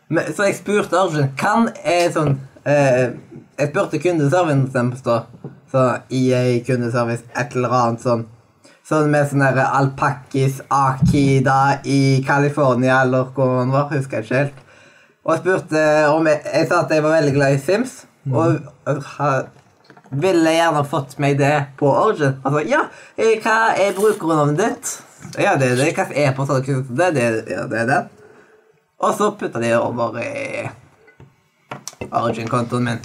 S2: Men, så jeg spurte Origin Kan jeg sånn eh, Jeg spurte kundeservicen deres, da. Så EA kundeservice, et eller annet sånn. Sånn med sånn derre alpakkis akida i California, eller hvor han var. Husker jeg ikke helt. Og jeg spurte om jeg, jeg sa at jeg var veldig glad i Sims. Og, og ha- ville gjerne fått meg det på Origin. Altså, ja, eh, hva er brukernavnet ditt? Ja, det er det. Hva er e-post har du kunnet det? Det er ja, det. Er det. Og så putta de over i Origin-kontoen min.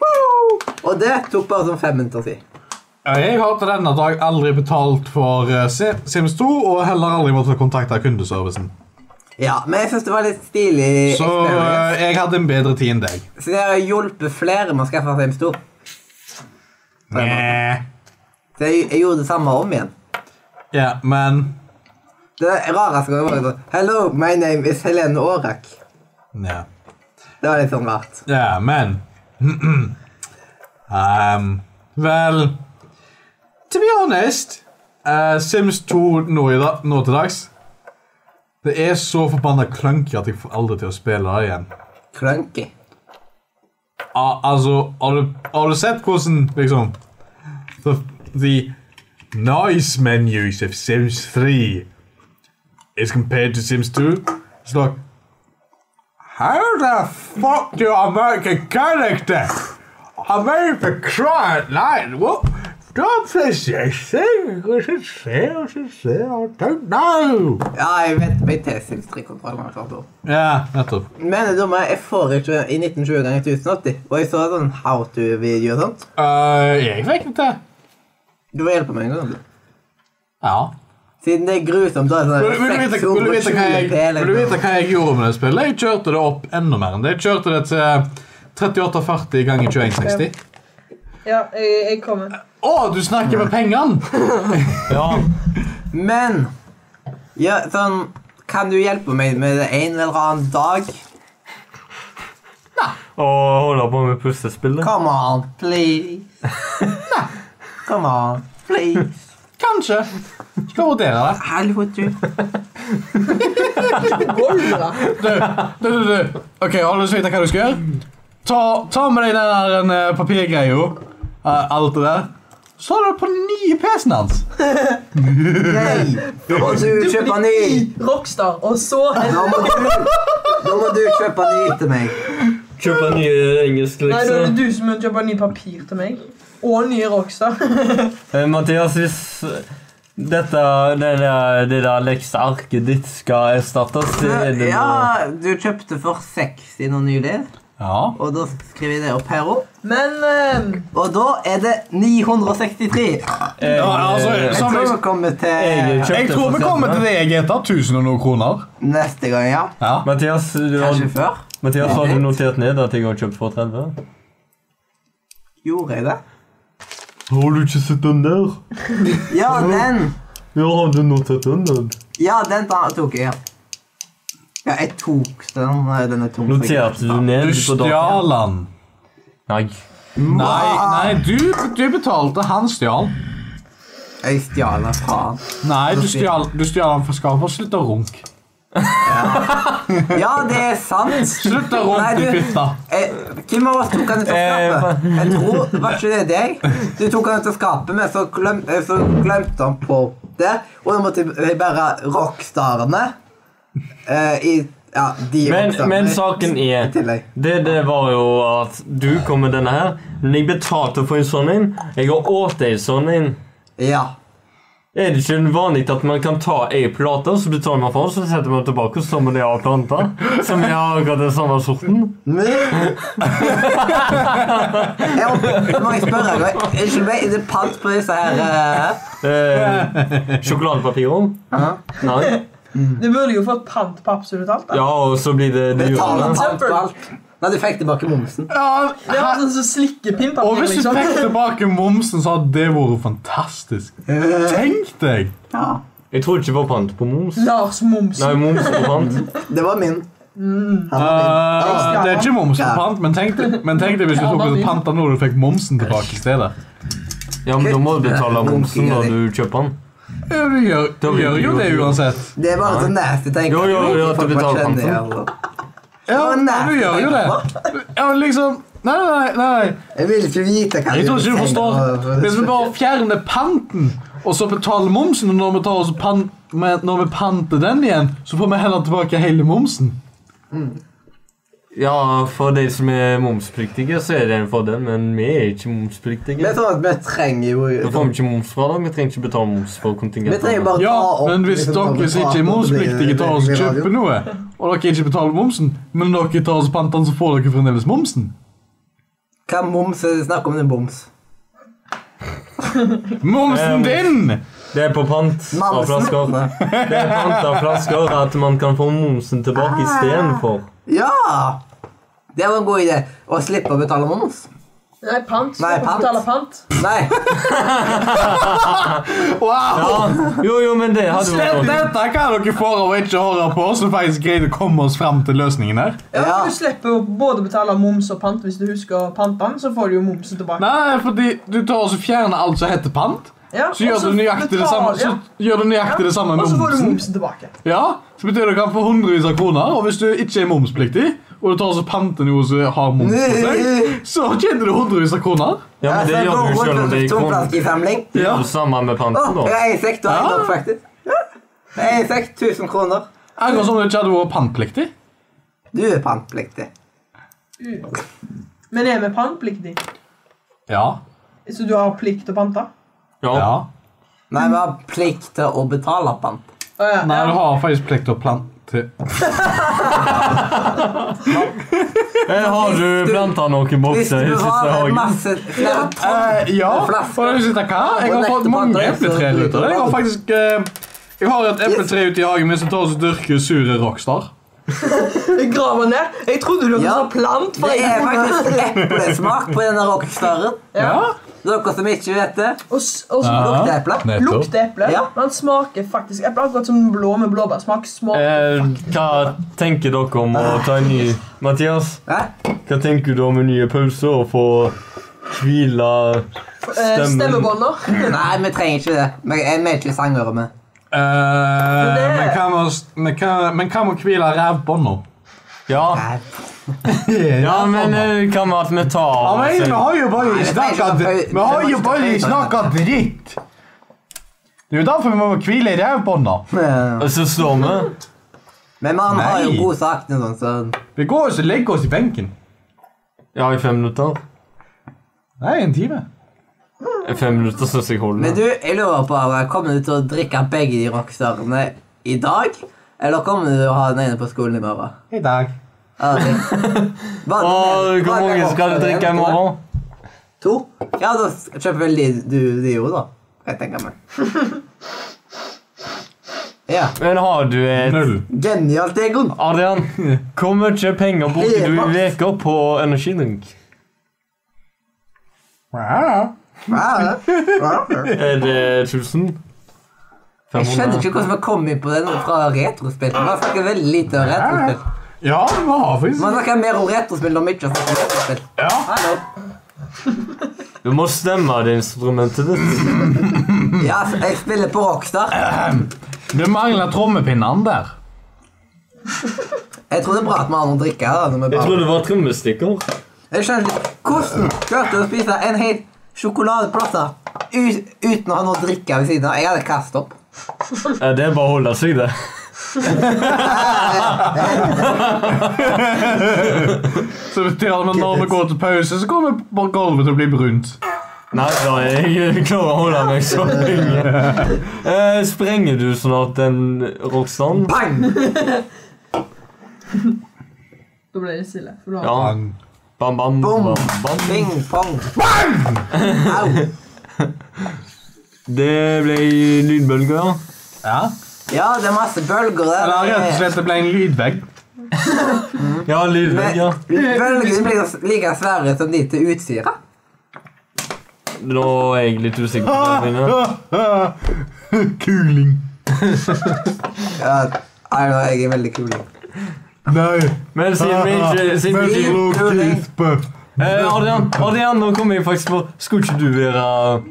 S2: Woo! Og det tok bare sånn fem minutter å si.
S3: Ja, Jeg har til denne dag aldri betalt for eh, Si- Sims 2, og heller aldri måttet kontakte kundeservicen.
S2: Ja, men jeg syns det var litt stilig.
S3: Så
S2: experience.
S3: eh, jeg hadde en bedre tid enn deg.
S2: Så det har hjulpet flere med å skaffe seg en stor.
S3: Næh.
S2: Så jeg, jeg gjorde det samme om igjen.
S3: Ja, men
S2: Det rareste gangen var jo sånn Hello, my name is Helene Aarak.
S3: Ja.
S2: Det var litt sånn rart.
S3: Ja, men [CLEARS THROAT] um, Vel To be honest eh, Sims 2 nå, i dag, nå til dags Det er så forbanna clunky at jeg får aldri til å spille det igjen.
S2: Clunky.
S3: Al altså, har du, har du sett hvordan liksom The, the nice menus of Sims 3 is compared to Sims 2? It's like How the fuck do I make a character? I made for crying light. What? Don't say thing. I should say, I should say, I don't know.
S2: Ja, jeg vet meg til Sims 3-kontroll. men jeg klarte det.
S3: Ja, nettopp.
S2: Men det dumme er, jeg får ikke i 1920 ganger 1080. Og jeg så sånn how to-video og sånt.
S3: Uh, jeg fikk det til.
S2: Du får hjelpe meg en gang. du.
S3: Ja.
S2: Siden det er grusomt, da er
S3: Vil, vil, du
S2: det
S3: vite,
S2: sånn
S3: vil, du vite hva jeg,
S2: 620p.
S3: vil du vite
S2: liksom.
S3: hva jeg gjorde med det spillet? Jeg kjørte det opp enda mer enn det. Jeg kjørte det til 38,40 ganger 2160.
S1: Ja, jeg, jeg kommer.
S3: Å, du snakker med [LAUGHS] pengene!
S4: Ja.
S2: Men ja, sånn Kan du hjelpe meg med det en eller annen dag?
S4: Og holder på med puslespillet.
S2: Come on, please. [LAUGHS] Come on, please.
S3: Kanskje. Skal vurdere det.
S2: Hallo, du.
S3: Du, du, du, du. Ok, har du lyst til å vite hva du skal gjøre? Ta, ta med deg den der en, eh, papirgreia. eh, alt det der. Så har du det på den nye PC-en hans. [LAUGHS]
S2: Nei, nå må du kjøpe ny.
S1: Rockstar, og så
S2: Nå må du, nå må du kjøpe ny til meg.
S4: Kjøpe nye
S1: Nei,
S4: engelske
S1: da er
S4: lekser.
S1: det du som må kjøpe ny papir til meg. Og nye Rockstar.
S4: Eh, Mathias, hvis eh, dette, det der, det der leksearket ditt skal erstattes, eh, det er det nå.
S2: Ja, du kjøpte for 60 nå nylig,
S3: Ja.
S2: og da skriver jeg det opp her òg.
S1: [LAUGHS] Men eh,
S2: Og da er det 963.
S4: Jeg,
S3: ja altså,
S4: eh,
S2: Jeg
S3: som
S2: tror
S3: jeg,
S2: vi kommer
S4: jeg
S2: til
S4: kjøpte
S3: jeg tror
S4: for
S3: vi kommer til det jeg heter. 1000 og noen kroner.
S2: neste gang, ja.
S3: Ja.
S4: Mathias, du har,
S2: Kanskje før.
S4: Mathias, har du notert ned at jeg har kjøpt for 30?
S2: Gjorde jeg det?
S4: Har du ikke sett den der?
S2: Ja,
S4: Mhm.
S2: den.
S4: Ja, har du notert den der?
S2: Ja, den ta- tok jeg, ja. Ja, jeg tok den. Nei, Den er tom. for
S4: Noterte du
S2: greit.
S4: ned
S3: Du
S4: på dagen?
S3: stjal den.
S4: Nei.
S3: Nei, nei du, du betalte. Han stjal.
S2: Jeg stjal den fra han.
S3: Nei, du stjal, du stjal den fra skapet. Slutt å runke.
S2: Ja, det er sant.
S3: Slutt å
S2: Nei,
S3: runke, du
S2: du-
S3: fitte.
S2: Eh, Hvem av oss tok han ut
S4: Eh,
S2: av skapet? Jeg tror, Var ikke det deg? Du tok han ut av skapet, men så, glem, eh, så glemte han på det. Og da måtte jeg bare rockstarene eh, i Ja, de
S4: Men,
S2: rockstarene
S4: men saken
S2: i
S4: er
S2: tillegg.
S4: det, det var jo at du kom med denne her, men jeg betalte for en sånn en. Jeg har åt en sånn en.
S2: Ja.
S4: Er det ikke vanlig at man kan ta en plate, og så betaler man for den, så setter man tilbake, og så må de ha planter som er akkurat den samme sorten?
S2: Men- Jeg må- Nå må jeg spørre deg. Unnskyld meg, er det pant på disse her eh,
S4: Eh, Sjokoladepapirer?
S2: Ja.
S4: Nei.
S1: Du burde jo fått pant på absolutt alt. da.
S4: Ja, og så blir det de-
S2: Betaler
S1: men-
S2: alt på alt. Nei, du fikk tilbake momsen.
S1: Det var sånn som slikkepinn-papir.
S3: Og hvis du
S1: liksom.
S3: fikk tilbake momsen, så hadde det vært fantastisk. Tenk deg!
S4: Jeg tror ikke det var pant på
S1: [LAUGHS]
S4: moms.
S1: Lars Moms.
S4: Nei, moms og pant.
S2: Det var min. Han var
S4: Ah.
S2: min.
S3: Eh, det er ikke moms på pant, men tenk deg, men tenk deg hvis du
S1: Ja,
S3: tok
S1: bare
S3: ut
S1: din.
S3: panta når du fikk momsen tilbake i stedet.
S4: Ja, men da må du betale momsen når du kjøper den.
S3: Ja, Du gjør, du gjør
S4: blir det
S3: jo
S4: jo
S3: det
S4: dyrt.
S3: uansett.
S2: Det er bare sånn nasty tenker
S4: Jo, jo, jo, at du betaler
S2: altså.
S3: Ja,
S2: Å, nei.
S3: du gjør jo det. Ja, men liksom Nei, nei, nei.
S2: Jeg vil ikke vite hva
S3: Jeg tror ikke du
S2: trenger
S3: forstår.
S2: å-
S3: Hvis vi bare fjerner panten, og så betaler momsen, og når vi, tar oss pan, med, når vi panter den igjen, så får vi heller tilbake hele momsen.
S4: Ja, for de som er momspliktige, så er det en fordel, men vi er ikke
S2: Vi
S4: momspliktige.
S2: tror at vi trenger jo
S4: Da får vi ikke momsfradrag. Vi trenger ikke betale moms for kontingenten.
S2: Vi trenger bare
S3: Ja,
S2: ta opp
S3: men hvis
S2: liksom,
S3: dere som ikke er momspliktige, tar oss og kjøper noe, og dere ikke betaler momsen, men dere tar oss panten, så får dere fremdeles momsen.
S2: Hva moms er det snakk om? Det er boms.
S3: Momsen
S4: Um,
S3: din!
S4: Det er på pant av
S2: Mamsen.
S3: altså.
S4: flasker. Det er pant av flasker at man kan få momsen tilbake istedenfor.
S2: Ja! Det var en god idé. Å slippe å betale moms.
S1: Nei, pant.
S2: Nei,
S1: Du
S2: pant.
S1: betaler pant.
S3: [LAUGHS]
S2: Nei.
S4: Ja, jo, jo, men det hadde
S3: Det,
S4: vært godt.
S3: dette er hva dere får av å ikke høre på oss, og faktisk greide å komme oss fram til løsningen her.
S1: Ja,
S2: Ja.
S1: for Du slipper å både betale moms og pant hvis du husker pantene, så får du jo momsen tilbake.
S3: Nei, fordi du tar og så fjerner alt som heter pant,
S1: Ja,
S3: så gjør
S1: og
S3: du nøyaktig det samme,
S1: betaler-
S3: så
S1: ja,
S3: gjør du nøyaktig det samme
S1: Og
S3: med
S1: så får du
S3: momsen.
S1: momsen tilbake.
S3: Ja, så betyr det at du kan få hundrevis av kroner, og hvis du ikke er momspliktig, og du tar og så panter noe som har moms på seg, så tjener du hundrevis av kroner.
S4: Ja, men det gjør du jo selv om det er i
S2: Tom
S4: kroner.
S2: flaske i femling.
S4: Det gjør du sammen med
S2: Å,
S4: panten,
S2: jeg
S4: da.
S2: har en sekk, du har en
S3: Ja.
S2: opp, faktisk. Ja. Jeg har en sekk, 1000 kroner.
S3: Akkurat som om du ikke hadde vært pantpliktig.
S2: Du er pantpliktig.
S1: Men er vi pantpliktig?
S3: Ja.
S1: Så du har plikt til å pante?
S4: Ja.
S3: ja.
S2: Nei, vi har plikt til å betale pant.
S1: Å, ja.
S3: Nei, du
S1: ja.
S3: har faktisk plikt til å plante.
S4: Men Eh, har du planta noen
S2: Hvis
S4: bokser
S2: du
S4: i siste
S2: har
S4: hagen?
S2: masse flere tonn
S3: Eh, ja, og
S2: Flasker.
S3: da vil jeg sitte hva? Jeg har
S2: Og
S3: fått
S2: nekte på
S3: mange
S2: andre,
S3: epletrær
S2: så-
S3: ut av det. Jeg har faktisk eh, Jeg har et epletre ute i hagen min som tar oss og dyrker sure rockstar.
S1: Jeg graver ned. Jeg trodde du hadde
S2: Ja.
S1: sånn plant. For
S2: Det
S1: jeg
S2: er
S1: trodde-
S2: faktisk eplesmak på denne rockstaren.
S3: Ja.
S2: Dere som ikke vet det,
S1: Og s- og så
S3: Ja.
S2: lukter eple.
S3: Nettopp.
S1: lukter eple.
S2: Ja.
S1: Men smaker faktisk eple. Akkurat som blå med blåbær. Smaker smaker.
S4: Eh, hva tenker dere om å ta en ny Mathias?
S2: Hæ?
S4: Hva tenker du om en ny pause og få hvile
S1: Eh,
S4: stemmen?
S1: Stemmebånder.
S2: Nei, vi trenger ikke det. Vi er vi er ikke sangere, vi.
S1: det-
S3: Eh, men hva med oss- men hva- men hva med å hvile rævbånda?
S4: Ja,
S2: Nei,
S4: ja, men eh, hva med at vi tar
S3: Ja, men
S4: oss
S3: vi
S4: en-
S3: har jo bare snakka
S2: Nei,
S3: Vi har jo bare snakka dritt! Det er jo derfor vi må hvile rævbånda.
S2: Men
S4: Og så står vi.
S2: men man har jo
S3: Nei.
S2: god sak til sånn, så
S3: Vi går og så legger oss i benken.
S4: Ja, i fem minutter.
S3: Nei, en time.
S4: I fem minutter syns jeg
S2: Men
S4: holder.
S2: du, jeg lurer på, Are, kommer du til å drikke begge de rockstarene i dag? Eller kommer du til å ha den ene på skolen i morgen?
S3: I dag.
S2: Ja, det- Hva-
S4: Åh, hvor
S2: hva-
S4: mange skal du drikke i morgen?
S2: To? Ja, da s- kjøper vel de, du de jo, da. Jeg tenker meg. [LAUGHS] Ja.
S4: Men har du et
S3: Null.
S2: Genialt, Egon.
S4: [LAUGHS] Adrian, hvor mye penger bruker du i
S2: Maks.
S4: uka på energidrink?
S2: Ja, ja.
S4: Er det 1000?
S2: Jeg skjønner ikke hvordan vi kom inn på den fra retrospill. Man snakker veldig lite om retrospill.
S3: Ja, vi har faktisk
S2: Man snakker mer om retrospill når vi ikke snakker om retrospill.
S3: Ja.
S2: Hallo.
S4: Du må stemme det instrumentet ditt.
S2: Ja, altså, jeg spiller på Rockstar.
S3: Det mangler trommepinnene der.
S2: Jeg tror det er bra at vi har noen drikker. her, Da, når vi
S4: Jeg
S2: bare...
S4: trodde det var trommestikker.
S2: Jeg skjønner ikke Hvordan klarte du å spise en hel sjokoladeplate u- uten å ha noe å drikke ved siden av? Jeg hadde kastet opp.
S4: Ja, det er bare å holde seg, det.
S3: Så betyr det at når vi går til pause, så kommer bare gulvet til å bli brunt.
S4: Nei da, jeg klarer å holde meg så lenge. Eh, sprenger du snart den rockstaren?
S2: Bang!
S1: Da ble det stille. For du har
S4: Ja. Bam, bam, bam,
S2: Bom.
S4: bam.
S2: Ping, pong, bang! Au.
S4: Det ble lydbølger.
S3: Ja.
S2: Ja, det er masse bølger der.
S3: Eller rett og slett, det ble en lydvegg.
S4: Ja, lydvegg, ja.
S2: Bølgene blir like svære som de til Utsira.
S4: Nå er jeg litt usikker på det mine.
S3: Kuling.
S2: Ja, nei, nå er jeg er veldig kul.
S3: Nei.
S4: Men siden vi
S2: [LAUGHS]
S4: ikke siden vi ikke-
S2: lå
S3: kispe.
S4: eh, Adrian, Adrian, nå kommer jeg faktisk på Skulle ikke du være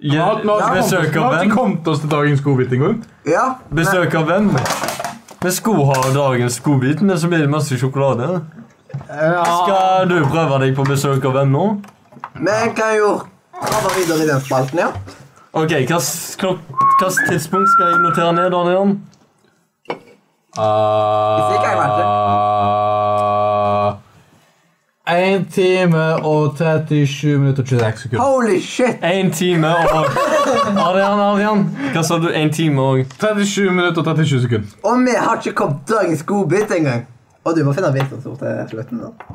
S4: ja, besøk av
S3: Vi
S4: venn?
S3: kommet oss Ah, til dagens godbit en gang.
S2: Ja,
S4: Besøk av venn? Vi skulle ha dagens godbit, men så blir det masse sjokolade. Skal du prøve deg på besøk av venn nå?
S2: vi kan jo komme videre i den spalten, ja.
S4: Ok, hvilket tidspunkt skal jeg notere ned, Adrian?
S2: Hvis ikke, jeg vet det.
S3: Én Ah, time og 37 minutter og 26 sekunder.
S2: Holy shit!
S4: En time og Adrian, Adrian. Hva sa du? En time og
S3: 37 minutter og 37 sekunder.
S2: Og vi har ikke kommet dagens godbit engang. Og du må finne vitser som til slutten. da.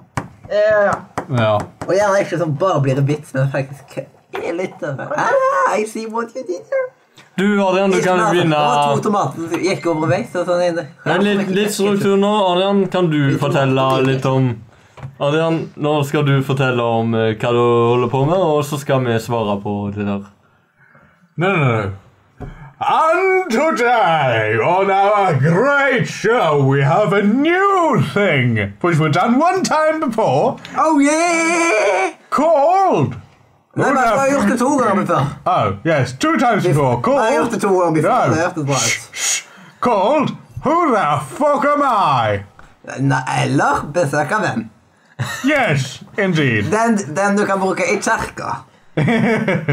S1: Eh, ja.
S3: Ja.
S2: Og gjerne ikke som bare blir en vits, men faktisk er litt av det. ah, I see what you did there.
S4: Du, Adrian, du kan jo begynne
S2: Og to tomater som gikk over en vei. Så sånn inne.
S4: Men litt, litt struktur nå. Adrian, kan du fortelle litt om Adrian, nå skal du fortelle om eh, hva du holder på med, og så skal vi svare på det der.
S3: No, no, no. And today on our great show, we have a new thing which we've done one time before
S2: Oh yeah!
S3: called.
S2: Nei, men jeg har gjort det to ganger før.
S3: Oh, yes, two times before.
S2: Jeg har
S3: Called.
S2: gjort det to ganger før.
S3: No.
S2: Det hørtes bra ut.
S3: Called. Who the fuck am I?
S2: Nei, eller besøk av venn.
S3: Yes, indeed.
S2: Den, den du kan bruke i kirka.
S4: [LAUGHS]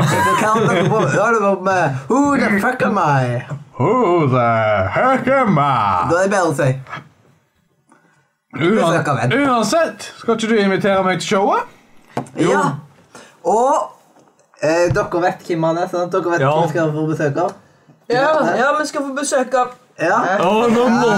S2: Så kan dere på- høre på med Who the fuck am I?
S3: Who the heck am I?
S2: Da er det bedre å si. Besøk av venn.
S3: uansett, skal ikke du invitere meg til showet?
S2: Ja. Og eh, dere vet hvem han er, sant? Dere vet
S4: Ja.
S2: hvem vi skal få besøk av?
S1: Ja, ja, vi skal få besøk av
S2: Ja.
S4: Å, nå må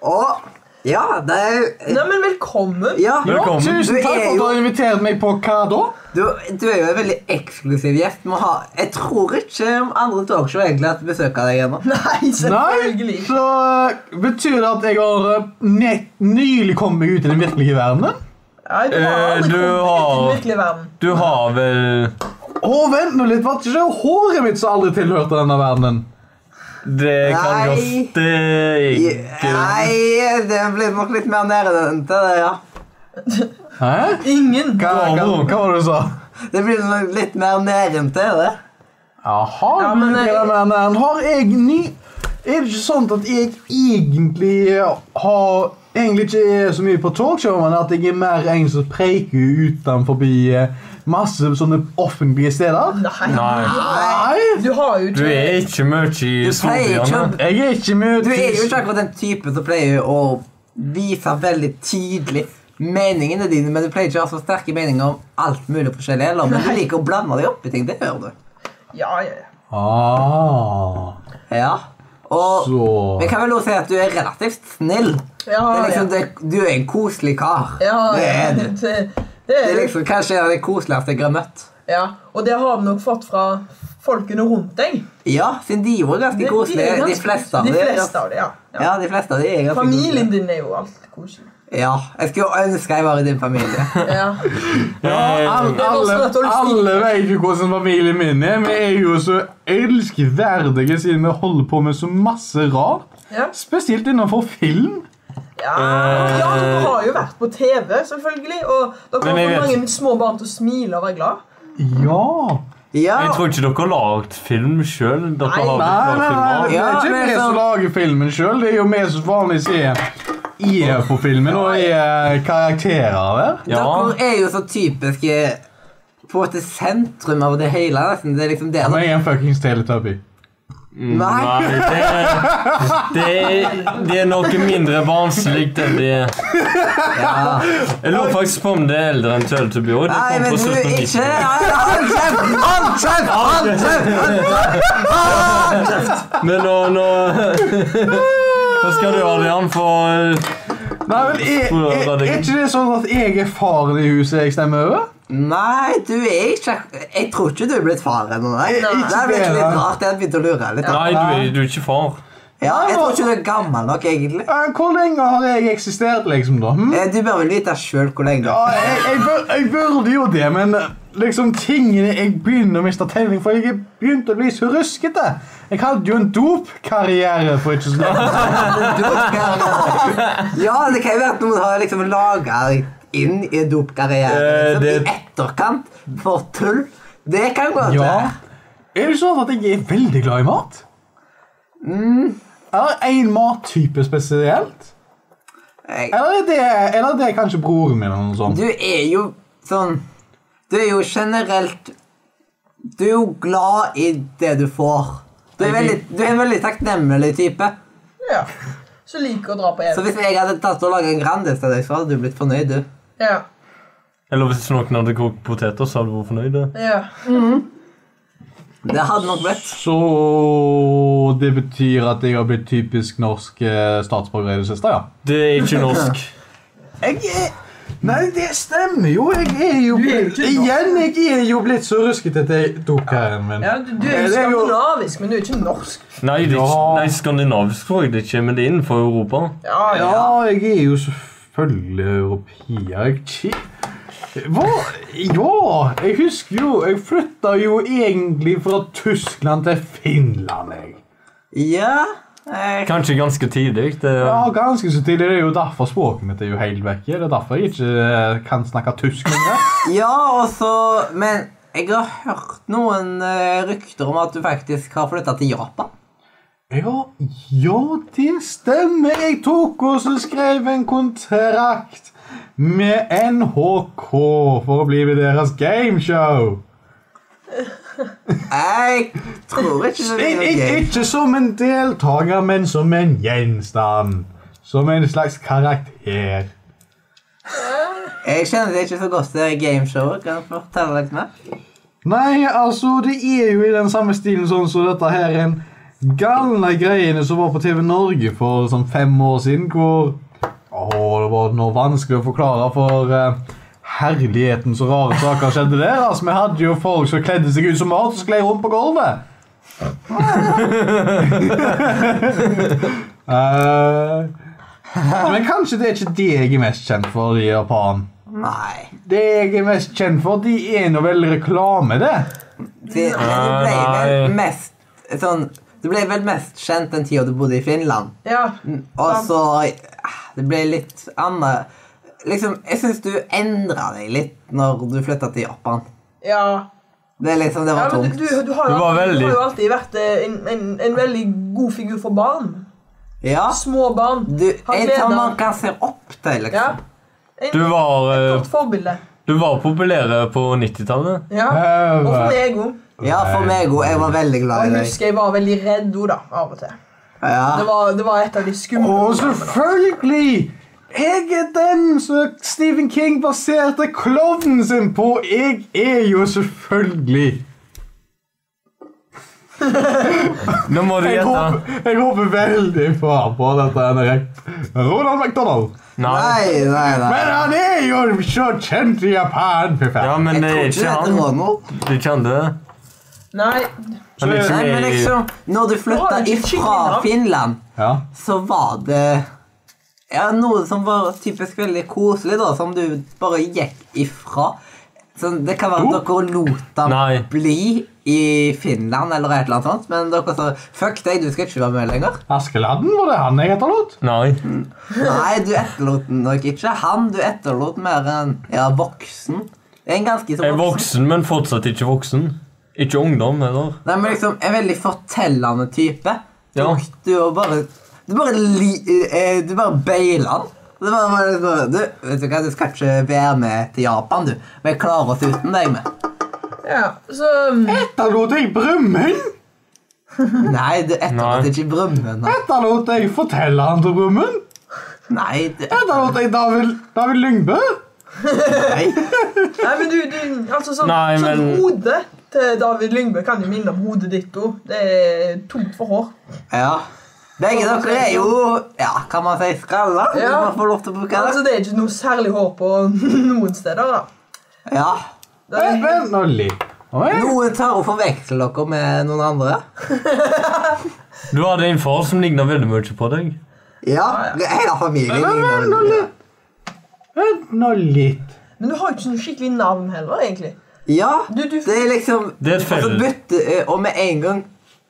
S2: Og ja, det er jo
S1: Nei, men velkommen!
S2: Ja.
S4: Velkommen.
S2: Du
S3: Tusen takk
S2: er
S3: for at du
S2: jo,
S3: har invitert meg på hva da?
S2: du, du er jo en veldig eksklusiv gjest. Må ha, jeg tror ikke om andre talkshow egentlig har hatt besøk av deg ennå.
S1: Nei, selvfølgelig.
S3: Nei, så eh, betyr det at jeg har eh, ne nylig kommet meg ut i den virkelige verdenen?
S1: Nei, du har
S4: Eh,
S1: aldri
S4: du
S1: kommet ut i
S4: har-
S1: den virkelige verden.
S4: Du har vel
S3: Å, vent nå litt, var det ikke håret mitt som aldri tilhørte denne verdenen?
S4: Det kan
S2: Nei.
S4: godt ikke
S2: Nei, det blir nok litt mer nede enn til det, ja.
S3: Hæ?
S1: Ingen.
S3: Hva, hva, hva var det du sa?
S2: Det blir nok litt mer nede enn til det.
S3: Jaha,
S1: Ja,
S3: men eh,
S1: men jeg-
S3: den verdenen har jeg ny... Er det ikke sånn at jeg egentlig eh, har... Egentlig ikke er så mye på talkshow, men at jeg er mer en som preker utenfor eh, masse sånne offentlige steder?
S1: Nei.
S4: Nei.
S3: Nei,
S1: Du har jo
S4: Du
S1: ikke
S4: er ikke mye i
S2: pleier ikke
S4: storbyene.
S3: jeg er ikke mye...
S2: Du er jo ikke akkurat den typen som pleier å vise veldig tydelig meningene dine, men du pleier ikke å ha så sterke meninger om alt mulig forskjellig heller, men du liker å blande deg opp i ting. Det gjør du.
S1: Ja, ja, ja.
S3: Ah,
S2: Ja. Og
S3: så...
S2: vi kan vel også si at du er relativt snill.
S1: Ja,
S2: Det er
S1: ja.
S2: liksom, det, du er en koselig kar.
S1: Ja,
S2: det er du.
S1: [LAUGHS] det, det
S2: Det
S1: er
S2: er
S1: det.
S2: liksom kanskje en av de koseligste jeg har møtt.
S1: Ja, og det har vi nok fått fra folkene rundt deg.
S2: Ja, siden de var
S1: De-
S2: ganske
S1: de er
S2: koselige, de
S1: ganske-
S2: fleste av
S1: de
S2: dem.
S1: fleste av dem. Ja. Ja.
S2: Ja, de fleste av de er ganske
S1: Familien din er jo alltid koselig.
S2: koselige. Ja, jeg skulle ønske jeg var i din familie. [LAUGHS]
S1: Ja.
S4: Eh,
S3: Alle,
S1: Det er bare sånn at
S3: alle,
S1: du
S3: alle vet jo hvordan familien min er. Vi er jo så elskverdige siden vi holder på med så masse rart.
S1: Ja.
S3: Spesielt innenfor film.
S1: Ja. ja, dere har jo vært på TV, selvfølgelig. Og dere
S4: Men jeg
S1: har fått
S4: vet-
S1: mange små barn til å smile og være glad.
S3: Ja.
S2: Ja,
S4: Jeg tror ikke dere har lagd film sjøl. Dere
S1: Nei,
S4: har
S3: Nei, nei,
S4: lagd
S3: nei,
S4: filmer.
S3: det er
S2: Ja,
S3: ikke
S2: men
S3: vi
S2: så-
S3: som lager filmen sjøl. Det er jo vi som vanligvis er, er på filmen og er karakterer der.
S4: Ja.
S2: Dere er jo så typiske på til sentrum av det hele. Nesten. Det er liksom det
S3: Men jeg er en fuckings teletubby.
S2: Nei,
S4: Mm, Nei, det, det, det er noe mindre barnslig enn det.
S2: ja.
S4: Jeg lurer faktisk på om det er eldre enn Teletubby òg.
S2: Nei, men du er ikke
S4: Men
S2: Nei, Hold kjeft! Hold kjeft! Hold kjeft! hold kjeft! Hold kjeft!
S4: nå, nå [LAUGHS] Nå skal du, Adrian, få eh,
S3: Nei, men er, er, er ikke det sånn at jeg er faren i huset jeg stemmer over?
S2: Nei, du er ikke Jeg tror ikke du er blitt far ennå, nei. Det er blitt litt rart. Jeg begynte å lure litt.
S4: Nei, du er, du er ikke far.
S2: Ja, jeg tror ikke du er gammel nok, egentlig.
S3: Eh, Hvor lenge har jeg eksistert, liksom, da? Hm?
S2: Eh, Du bør vel vite sjøl hvor lenge.
S3: Ja, jeg, jeg, bør, jeg burde jo det, men eh, liksom tingene Jeg begynner å miste telling, for jeg er begynt å bli så ruskete. Jeg hadde jo en dopkarriere for ikke så lenge.
S2: Ja, det kan jo være at noen har liksom laga inn i
S4: Eh,
S2: dopkarrieren
S4: det-
S2: liksom, i etterkant for tull. Det kan godt være.
S3: Er det sånn at jeg er veldig glad i mat? Mm. Er det én mattype spesielt?
S2: Jeg-
S3: Eller er det, eller er det kanskje broren min eller noe sånt?
S2: Du er jo sånn Du er jo generelt Du er jo glad i det du får. Du er, veldig, du er en veldig takknemlig type.
S1: Ja. Så liker å dra på
S2: Så
S1: evig.
S2: hvis jeg hadde tatt og laga en Grandis til deg, så hadde du blitt fornøyd, du.
S1: Ja.
S4: Eller hvis noen hadde kokt poteter, så hadde du vært fornøyd. eh.
S1: Ja.
S2: Det hadde nok blitt.
S3: Så det betyr at jeg har blitt typisk norsk eh, statsborger i det siste, ja?
S4: Det er ikke norsk.
S3: Jeg er Nei, det stemmer jo. Jeg er jo blitt Igjen, jeg er jo blitt så ruskete at jeg tok her min.
S1: ja du, du er jo
S3: Det er jo-
S1: skandinavisk, men du er ikke norsk.
S4: Nei, det er ikke,
S3: Ja.
S4: nei skandinavisk tror jeg det ikke, men det er innenfor Europa.
S1: Ja, ja.
S3: Ja, jeg er jo selvfølgelig europeer. Jeg ki- Hva? Ja, jeg husker jo Jeg flytta jo egentlig fra Tyskland til Finland, jeg.
S2: Ja. eh, Jeg,
S4: Kanskje ganske tidlig. Det,
S3: Ja, ganske så tidlig. Det er jo derfor språket mitt er jo helt vekke. Det er derfor jeg ikke eh, kan snakke tysk lenger.
S2: ja, og så Men jeg har hørt noen eh, rykter om at du faktisk har flytta til Japan.
S3: Ja, ja, det stemmer. Jeg tok og så skrev en kontrakt med NHK for å bli med deres gameshow.
S2: Jeg tror ikke det blir
S3: Ik
S2: noe
S3: ik
S2: gøy.
S3: ikke som en deltaker, men som en gjenstand. Som en slags karakter.
S2: Jeg kjenner det ikke så godt til gameshowet. Kan du fortelle litt mer?
S3: Nei, altså, det er jo i den samme stilen sånn som dette her en galne greiene som var på TV Norge for sånn fem år siden, hvor Åh, det var noe vanskelig å forklare, for eh, herligheten så rare saker skjedde der. Altså, vi hadde jo folk som kledde seg ut som mat og sklei rundt på gulvet. [LAUGHS] Eh, men kanskje det er ikke det jeg er mest kjent for i Japan.
S2: Nei.
S3: Det jeg er mest kjent for, de er nå vel reklame, det.
S2: Det, det ble vel mest sånn Du ble vel mest kjent den tida du bodde i Finland. Mm,
S1: ja.
S2: Og så ah, Det ble litt annet Liksom, Jeg syns du endra deg litt når du flytta til Japan.
S1: ja.
S2: Det er liksom, det
S1: ja
S2: var
S1: men
S2: tungt.
S1: du, du, du, har jo
S4: Du var
S1: alltid, du
S4: veldig-
S1: har jo alltid vært eh, en, en, en veldig god figur for barn.
S2: Ja,
S1: Små barn.
S2: du
S1: Han
S2: er som
S1: leder.
S2: man kan se opp
S1: Ja.
S2: til, liksom.
S1: En,
S4: du, var,
S1: et
S4: eh,
S1: godt forbilde.
S4: du var populære på 90-tallet.
S1: Ja.
S3: Eh,
S1: Og for meg òg.
S2: Ja, for meg òg. Jeg var veldig
S1: Og
S2: glad i
S1: jeg
S2: deg.
S1: husker jeg var veldig redd hun da, av og til. Det
S2: Ja,
S1: var, det var et av de skumle
S3: Og selvfølgelig! Jeg er den som Stephen King baserte klovnen sin på. Jeg er jo selvfølgelig
S4: Nå må du
S3: Jeg
S4: gjette.
S3: håper, jeg håper veldig far på dette. Henrik. Ronald McDonald.
S4: Nei.
S2: Nei, nei, nei.
S3: Men han er jo så kjent i Japan. fy
S4: Ja,
S3: faen.
S4: men eh,
S2: Jeg
S4: det
S2: tror ikke du
S4: er ikke
S2: heter
S4: han.
S2: Ronald.
S4: Du kjente det?
S1: Nei,
S4: Han
S2: Nei,
S4: er
S2: men
S4: ikke med i
S2: liksom, når du flytta
S1: Å, det er ikke
S2: ifra
S1: skikkelig navn.
S2: Finland
S3: Ja.
S2: så var det ja, noe som var typisk veldig koselig, da, som du bare gikk ifra. Så det kan være at dere lot ham
S4: Nei.
S2: bli i Finland eller et eller annet sånt, men dere sa 'fuck deg, du skal ikke være med lenger'.
S3: Askeladden, var det han jeg etterlot?
S4: Nei.
S2: Nei, du etterlot nok ikke han, du etterlot mer enn ja, voksen. En ganske så
S4: Jeg er
S2: voksen.
S4: voksen, men fortsatt ikke voksen. Ikke ungdom heller.
S2: Nei, men liksom, en veldig fortellende type.
S4: Ja.
S2: Du og bare Du bare li... eh, Du bare beila han. Du bare, bare, bare du, vet du hva, du skal ikke være med til Japan, du. Vi klarer oss uten deg med.
S1: ja, så mm.
S3: Etterlot jeg Brumund?
S2: Nei, du
S4: Nei.
S2: etterlot ikke Brumund. da.
S3: Etterlot jeg fortelleren til Brumund?
S2: Nei, du
S3: Etterlot jeg David, David Lyngbø?
S2: nei.
S1: Nei, men du, du altså sånn,
S4: Nei,
S1: sånn
S4: men-
S1: Hodet til David Lyngbø kan jo minne om hodet ditt òg. Det er tomt for hår.
S2: Ja. Begge dere er jo Ja, kan man si skalla?
S1: Ja.
S2: Man får lov til å bruke
S1: Altså, [LAUGHS]
S2: det.
S1: det er ikke noe særlig hår på noen steder. da
S2: Ja.
S1: Den,
S3: Vent nå litt.
S2: Noen tar og forveksler dere med noen andre.
S4: Du hadde en far som ligna veldig mye på deg.
S2: Ja, hele familien. ligner veldig.
S3: Vent nå litt.
S1: men du har jo ikke noe skikkelig navn heller, egentlig.
S2: Ja,
S1: Du, du,
S2: det er liksom
S4: Det er et
S2: Og så
S4: felles-
S2: bytte, eh, og med en gang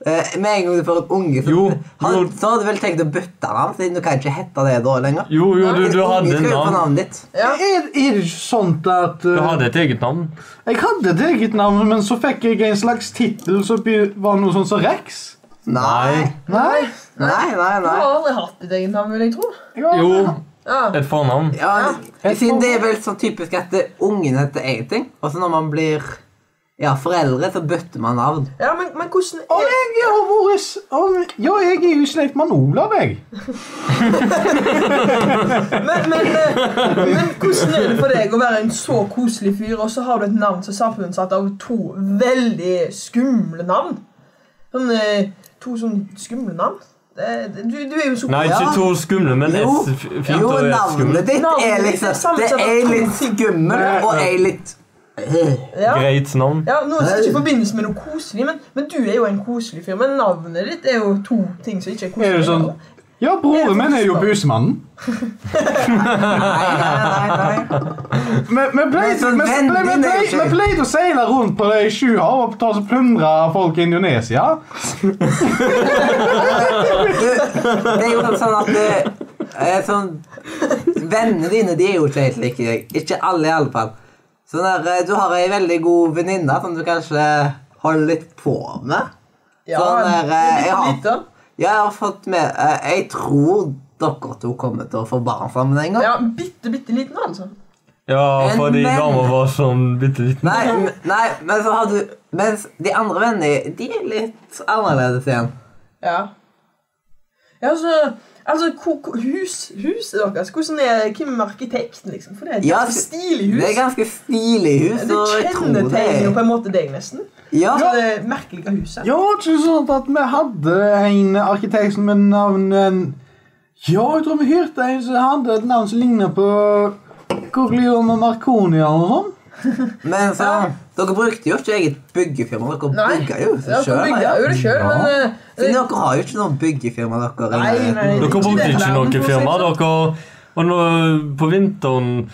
S2: eh, Med en gang du får en unge, så,
S4: Jo,
S2: han,
S4: jo.
S2: så hadde du vel tenkt å bytte navn, siden du kan ikke hete det da lenger.
S4: Jo, jo, du, du
S2: En unge
S4: hadde
S2: skal jo
S4: en
S2: få
S4: navn.
S2: navnet ditt.
S1: ja.
S3: Er, er det ikke sånt at
S4: Du
S3: eh,
S4: hadde et eget navn.
S3: Jeg hadde et eget navn, men så fikk jeg en slags tittel som be- var noe sånn som Rex?
S2: Nei.
S3: Nei?
S2: Nei, nei,
S1: Du
S2: nei.
S1: har aldri hatt ditt eget navn, vil jeg tro.
S4: Jo,
S1: Ja.
S4: et fornavn.
S2: Ja, men siden det er vel sånn typisk at eh, ungen heter én ting, og så når man blir ja, foreldre, så bytter man navn.
S1: Ja, men, men hvordan
S3: Og
S1: er
S3: jeg har vært s- og- Ja, jeg er jo i slekt med Olav, jeg.
S1: men, men, eh, men hvordan er det for deg å være en så koselig fyr, og så har du et navn som er sammensatt av to veldig skumle navn? Sånn, eh, to sånn skumle navn? Det- det- Du, du er jo så
S4: Nei,
S2: Ja.
S4: ikke to skumle, men
S2: Jo,
S4: ett f- fint
S2: jo
S4: og ett
S2: navnet
S4: skummelt.
S2: ditt
S1: Navnet
S2: er
S1: ditt er
S2: liksom Det
S1: sammensatt av
S2: er
S1: to
S2: litt
S1: ting.
S2: skummel og ei
S4: [LAUGHS]
S2: litt
S1: ja.
S4: Greit navn.
S1: Ja, Noe som ikke forbindes med noe koselig, men, men du er jo en koselig fyr. Men navnet ditt er jo to ting som ikke er
S3: Er
S1: koselig.
S3: det sånn? Ja, broren min er jo Busmannen.
S2: Nei, nei, nei. nei.
S3: Men men
S2: Men
S3: pleide
S2: sånn
S3: men-
S2: venn,
S3: men- men
S2: din er jo
S3: pleide-
S2: ikke-
S3: men pleide å seile rundt på de sju hav og ta og plyndre folk i Indonesia.
S2: Du, det er jo noe sånn at eh, eh, sånn, Vennene dine de er jo ikke helt like deg. Ikke alle, i alle fall. Så der, eh, du har ei veldig god venninne som du kanskje holder litt på med.
S1: Ja,
S2: Sånn der, eh, jeg har-
S1: litt lite.
S2: Jeg har fått med eh, Jeg tror dere to kommer til å få barn sammen en gang.
S1: Ja, bitte, bitte liten, altså.
S4: Ja,
S2: Men-
S4: fordi
S2: men-
S4: dama var sånn bitte liten.
S2: Nei, m- nei, men så har du Mens de andre vennene de er litt annerledes igjen.
S1: Ja. Ja, så Altså, ko- ko- hus, huset deres Hvordan er Hvem er arkitekten, liksom? For det er et
S2: Ja,
S1: ganske
S2: så-
S1: stilig hus.
S2: Det er ganske stilig hus.
S1: Det
S2: og jeg tror det
S1: kjennetegner jo på
S2: er-
S1: en måte deg, nesten.
S2: Ja,
S1: Så det er merkelig av huset.
S3: Ja, var ikke det sånn at vi hadde en arkitekt som med navnet Ja, jeg tror vi hyrte en som hadde et navn som ligner på Corleone Marconia eller noe sånt.
S2: Men så, dere brukte jo ikke eget byggefirma. Dere
S1: Nei.
S2: bygga jo
S1: Ja,
S2: selv,
S1: dere bygde
S2: ja.
S1: jo det sjøl, men eh,
S2: Siden dere har jo ikke noe byggefirma, dere.
S1: Nei, nei.
S4: Dere
S1: Ikke
S4: brukte
S1: det
S4: ikke
S1: navnet,
S4: noe
S1: for å si
S4: firma.
S1: det
S4: Dere, og nå, på vinteren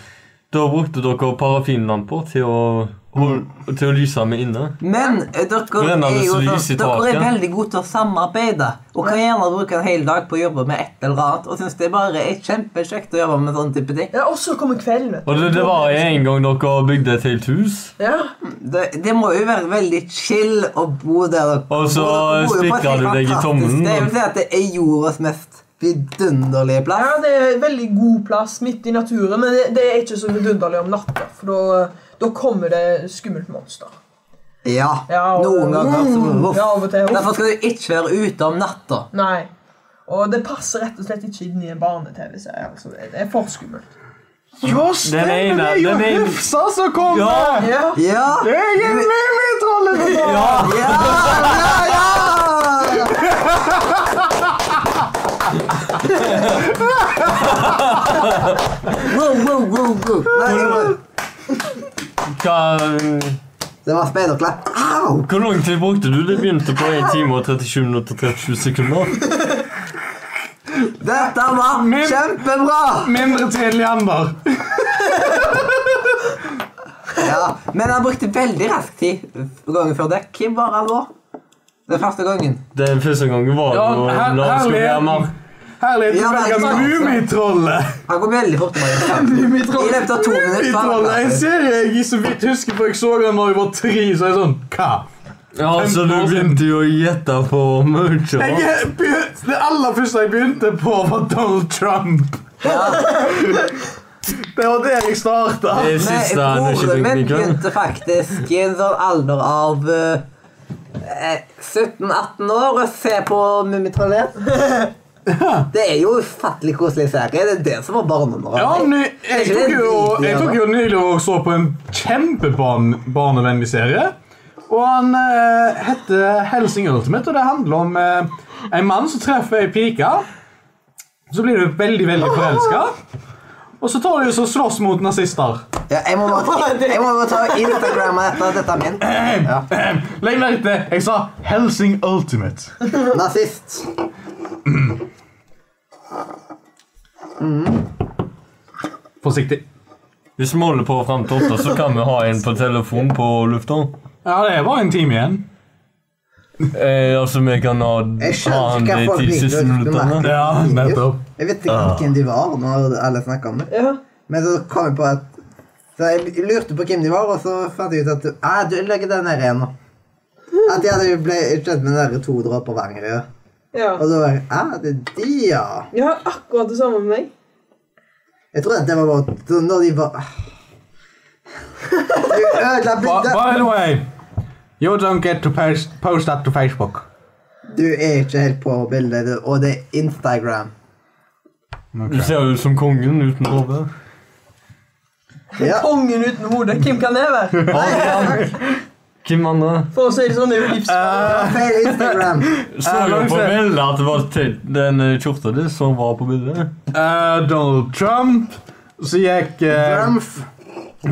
S4: da brukte dere parafinlamper til å, til å lyse med inne.
S2: Men eh, dere
S4: Brennende
S2: er jo
S4: lys i
S2: sånn, dere er
S4: taket.
S2: veldig gode til å samarbeide. Og kan gjerne bruke en hel dag på å jobbe med et eller annet. Og synes det bare er kjempekjekt å jobbe med sånne type ting.
S1: Ja, og så kommer kvelden, vet du.
S4: Og det, det var en gang dere bygde et helt hus.
S1: Ja.
S2: Det, det må jo være veldig chill å bo der dere
S4: Og så
S2: bor. Dere bor jo på et
S4: stikker
S2: helt
S4: du deg i
S2: fantastisk-
S4: tommelen,
S2: Det
S4: og-
S2: vil si at det er jordas mest vidunderlige
S1: ja,
S2: plass.
S1: det er en veldig god plass midt i naturen, men det, det er ikke så vidunderlig om natta. For da, da kommer det skummelt monster.
S2: Ja.
S1: Ja, og-
S2: Noen ganger så Voff.
S1: Ja, av og til.
S2: Derfor skal du ikke være ute om natta.
S1: Nei. Og det passer rett og slett ikke inn i en barne-TV-serie. Altså, det det er for skummelt.
S3: Ja, stemmer,
S4: Den ene-
S3: det er jo
S4: den ene-
S3: Hufsa som kommer!
S4: Ja.
S1: Ja.
S2: Ja!
S3: Jeg er Mummitrollet! for faen!
S2: Ja! ja, ja! wow, wow, wow, wow. Nei, det var-
S4: Hva,
S2: det var speiderklapp. Au!
S4: hvor lang tid brukte du? Det begynte på 1 time og 37 minutter og 37 sekunder.
S2: Dette var
S3: Men-
S2: kjempebra!
S3: Mindre til en leander.
S2: Ja, men han brukte veldig rask tid gangen før det. Hvem var han da? Den første gangen.
S4: Den første gangen var det
S3: Ja,
S4: jo
S3: her-
S4: når han skulle
S3: herlig.
S4: være med.
S3: Herlighet,
S2: Ja,
S3: du
S2: men
S3: velger
S2: sant, sant.
S3: Mummitrollet!
S2: Han går veldig fort.
S3: [LAUGHS]
S2: Maria. I løpet av to minutter. så
S3: Mummitrollet er
S2: han
S3: en
S2: klart.
S3: serie jeg så vidt husker, for jeg så den da jeg var tre, så jeg er sånn Hva?
S4: Ja, så du begynte jo å gjette på sånn. mye.
S3: Jeg,
S4: da.
S3: er- begy- det aller første jeg begynte på, var Donald Trump. [LAUGHS] det var der jeg starta.
S4: Det er
S2: Nei,
S4: siste
S2: broren min
S4: nøkkelteknikken.
S2: begynte faktisk i en sånn alder av eh, eh, 17-18 år å se på Mummitrollet. Det er jo ufattelig koselig serie. Det er det som var
S3: Ja,
S2: barneunderholdning.
S3: ny, jeg, tok jo, jeg tok jo nylig og så på en kjempebarnevennlig serie. Og han eh, heter Helsing Ultimate, og det handler om eh, en mann som treffer ei pike. Så blir du veldig, veldig forelska, og så tar de og så slåss mot nazister.
S2: Ja, jeg må bare, jeg må bare ta og Instagramme dette. Dette er min. Ja.
S3: Legg merke til jeg sa Helsing Ultimate.
S2: Nazist.
S3: Forsiktig.
S4: Hvis målet på frem til åtte, så kan vi ha en på telefon på lufta.
S3: Ja, det er bare en time igjen.
S4: Eh, altså, vi kan ha,
S2: Jeg
S4: ha
S2: skjønner
S4: han
S2: ikke hva
S4: de
S2: folk
S4: ti
S2: vil,
S4: siste
S2: du- du
S4: minuttene.
S2: merker.
S3: Ja, nettopp.
S2: Jeg vet ikke hvem de var når alle snakka om det.
S1: Ja.
S2: Men så kom jeg på at Så jeg lurte på hvem de var, og så fant jeg ut at ah, du legger den ned igjen nå. At de hadde ble kjent med den der to dråper hver. ja.
S1: Ja.
S2: Og da var jeg ah, det er de, ja.
S1: Jeg har akkurat det samme med meg.
S2: Jeg trodde at det var bare så Når de var ah. Du ødela
S3: By,
S2: bildet.
S3: by the way, you don't get to post, post that to Facebook.
S2: Du er ikke helt på bildet, du- og det er Instagram.
S4: Du ser jo ut som kongen uten hode.
S2: Ja.
S1: Kongen uten hode. Hvem kan det være?
S4: Hvem andre?
S1: For å si det sånn, det er jo
S3: Uh,
S1: livsfarlig.
S2: Feil Instagram.
S4: Så jo på bildet at det var til den eh, kjorta di som var på bildet.
S3: Eh, Donald Trump. Så gikk eh,
S2: Trumf.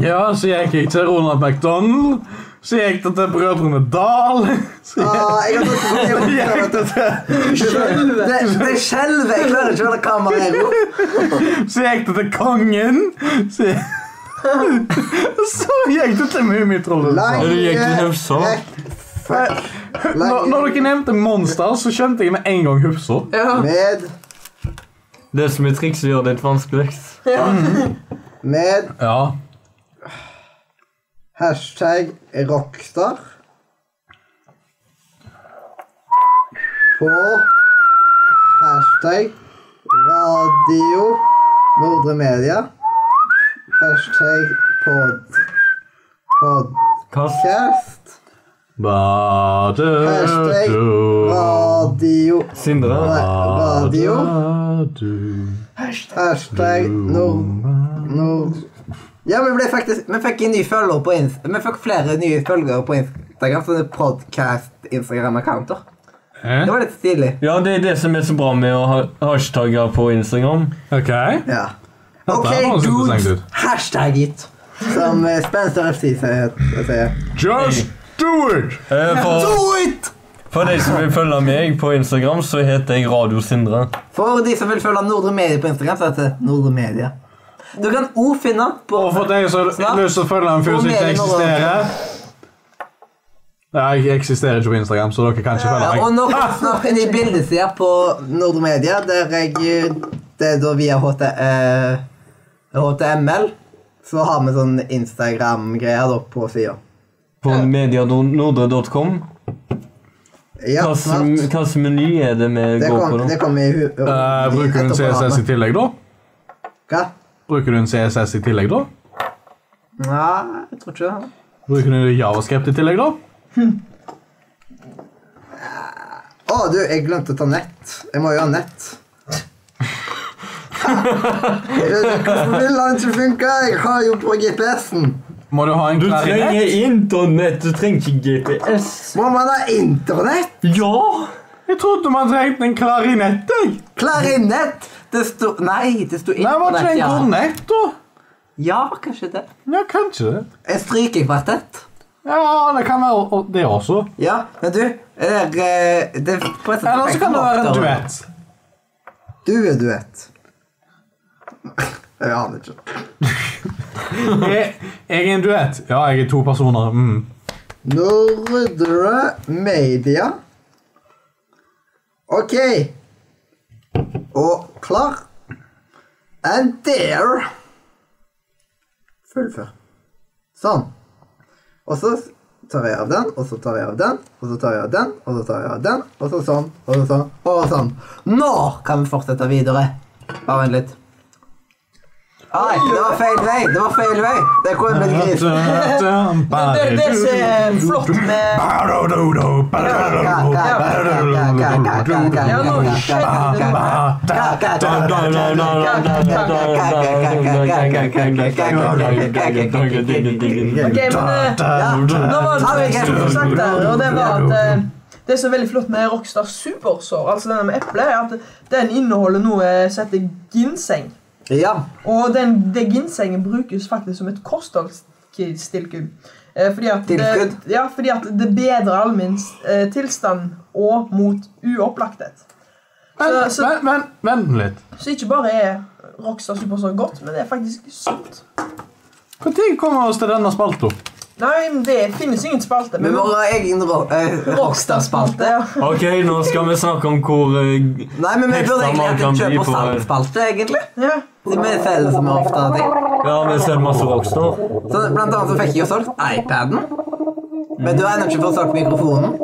S3: Ja, så gikk jeg til Ronald McDonald. Så gikk det til Brødrene Dal. [LAUGHS] Så
S2: Ah, jeg har fått
S3: gikk det til,
S1: Helvete.
S2: Det, det skjelver. Jeg klarer ikke å holde kameraet i ro.
S3: så gikk det til Kongen. Så, [LAUGHS] så gikk det til Mummitrollet.
S4: Er det egentlig
S2: Lange
S4: Hufsa?
S3: Når, når dere nevnte Monster, så skjønte jeg med en gang Hufsa.
S2: Med,
S4: Det som er trikset, gjør det litt vanskelig.
S2: med
S3: Ja.
S2: hashtag rockstar. På hashtag radio Nordre Media. Hashtag pod,
S4: Kast.
S2: podcast. Hashtag
S3: Bade
S2: radio
S4: Sindre.
S2: Nei, radio.
S3: du
S2: Hashtag nord... nord... Ja, vi ble faktisk Vi fikk en ny følger på Inst... Vi fikk flere nye følgere på Instagram. Sånne podcast-Instagram-accounter. Det
S3: Eh?
S2: var litt stilig.
S4: Ja, det er det som er så bra med å ha hashtagger på Instagram.
S3: Ok.
S2: Ja.
S3: Dette
S2: Ok,
S3: her høres interessant
S2: dude.
S3: ut.
S2: Hashtag it. Som eh, Spencer FC sier. sier.
S3: Just do it!
S4: Eh,
S2: [LAUGHS]
S4: For,
S2: Do it!
S4: for de som vil følge meg på Instagram, så heter jeg Radio Sindre.
S2: For de som vil følge Nordre Media på Instagram, så heter det Nordre Media. Du kan òg finne på
S3: Og for deg som har lyst til å følge en fyr som ikke eksisterer Ja, jeg eksisterer ikke på Instagram, så dere kan ikke
S2: Ja,
S3: følge
S2: og
S3: meg.
S2: nå snart en ny bildeside på Nordre Media, der jeg eh, Det er da via HT, eh, HTML. Så har vi sånn Instagram-greier da på sida.
S4: På medianordre.com.
S2: Ja, snart.
S4: Hvilken meny er det vi
S2: Det
S4: går på,
S2: kom,
S4: da?
S2: det kom i hu...
S3: Eh, bruker du en CSS i tillegg, da?
S2: Hva?
S3: Bruker du en CSS i tillegg, da?
S2: Nei, jeg tror ikke det.
S3: Bruker du javascript i tillegg, da?
S2: Å, du, jeg glemte å ta nett. Jeg må jo ha nett. Hvorfor vil han ikke funke? Jeg har jo på GPS-en.
S3: Må du ha en
S4: Du
S3: klarinett?
S4: trenger internett, du trenger ikke GPS.
S2: Må man ha internett?
S4: Ja!
S3: Jeg trodde man trengte en klarinett, jeg.
S2: Klarinett? Det sto Nei, det sto
S3: Nei, var
S2: internett.
S3: ikke det en
S2: ja.
S3: kornett, da?
S2: ja, kanskje det.
S3: Ja, kanskje det.
S2: En strykekvartett.
S3: Ja, det kan være og det også.
S2: Ja, men du er, eh, det presser
S3: Eller så kan det være en duett.
S2: Dueduett. Jeg aner ikke.
S3: Jeg, jeg er en duett. Ja, jeg er to personer. Mm.
S2: [LAUGHS] Nordre Media. OK. Og klar. And there. Fullfør. Sånn. Og så tar jeg av den, og så tar jeg av den, og så tar jeg av den, og så tar jeg av den, og så sånn, og så sånn, og sånn. Nå kan vi fortsette videre. Bare vent litt. Nei, det var feil vei. Det var feil vei. Det kunne blitt gris.
S1: Det er det som er flott med
S2: Ja,
S1: Ja, nå skjønner du det. Ok, men eh, Nå var det noe jeg skulle sagt der, og det var at eh, det som er veldig flott med Rockstar Supersår, altså denne med eple, er at den inneholder noe som heter ginseng.
S7: Ja.
S1: Og den, det ginsengen brukes faktisk som et kostholdstilskudd. Eh, fordi at det,
S2: Tilskudd?
S1: ja, fordi at det bedrer allmenn eh, tilstand og mot uopplagthet. Så, så,
S3: Vent, vent, vent nå litt.
S1: så ikke bare er Rockstar Superstar godt, men det er faktisk sunt.
S3: Når kommer oss til denne spalta?
S1: Nei, men det finnes ingen spalte.
S2: Vi må ha egen ro- eh, Rockstar-spalte.
S1: ja.
S4: Ok, nå skal vi snakke om hvor eh,
S2: Nei, men vi burde
S4: Heksa
S2: egentlig
S4: man
S2: hatt
S4: kan
S2: en
S4: bli
S2: kjøp- og
S4: på-
S2: salg-spalte, egentlig.
S1: Ja.
S2: Det er selv som har ofte har ting.
S4: Ja, vi ser masse Rockstar.
S2: Så blant annet så fikk jeg jo solgt iPaden. Men du har ennå ikke fått solgt mikrofonen.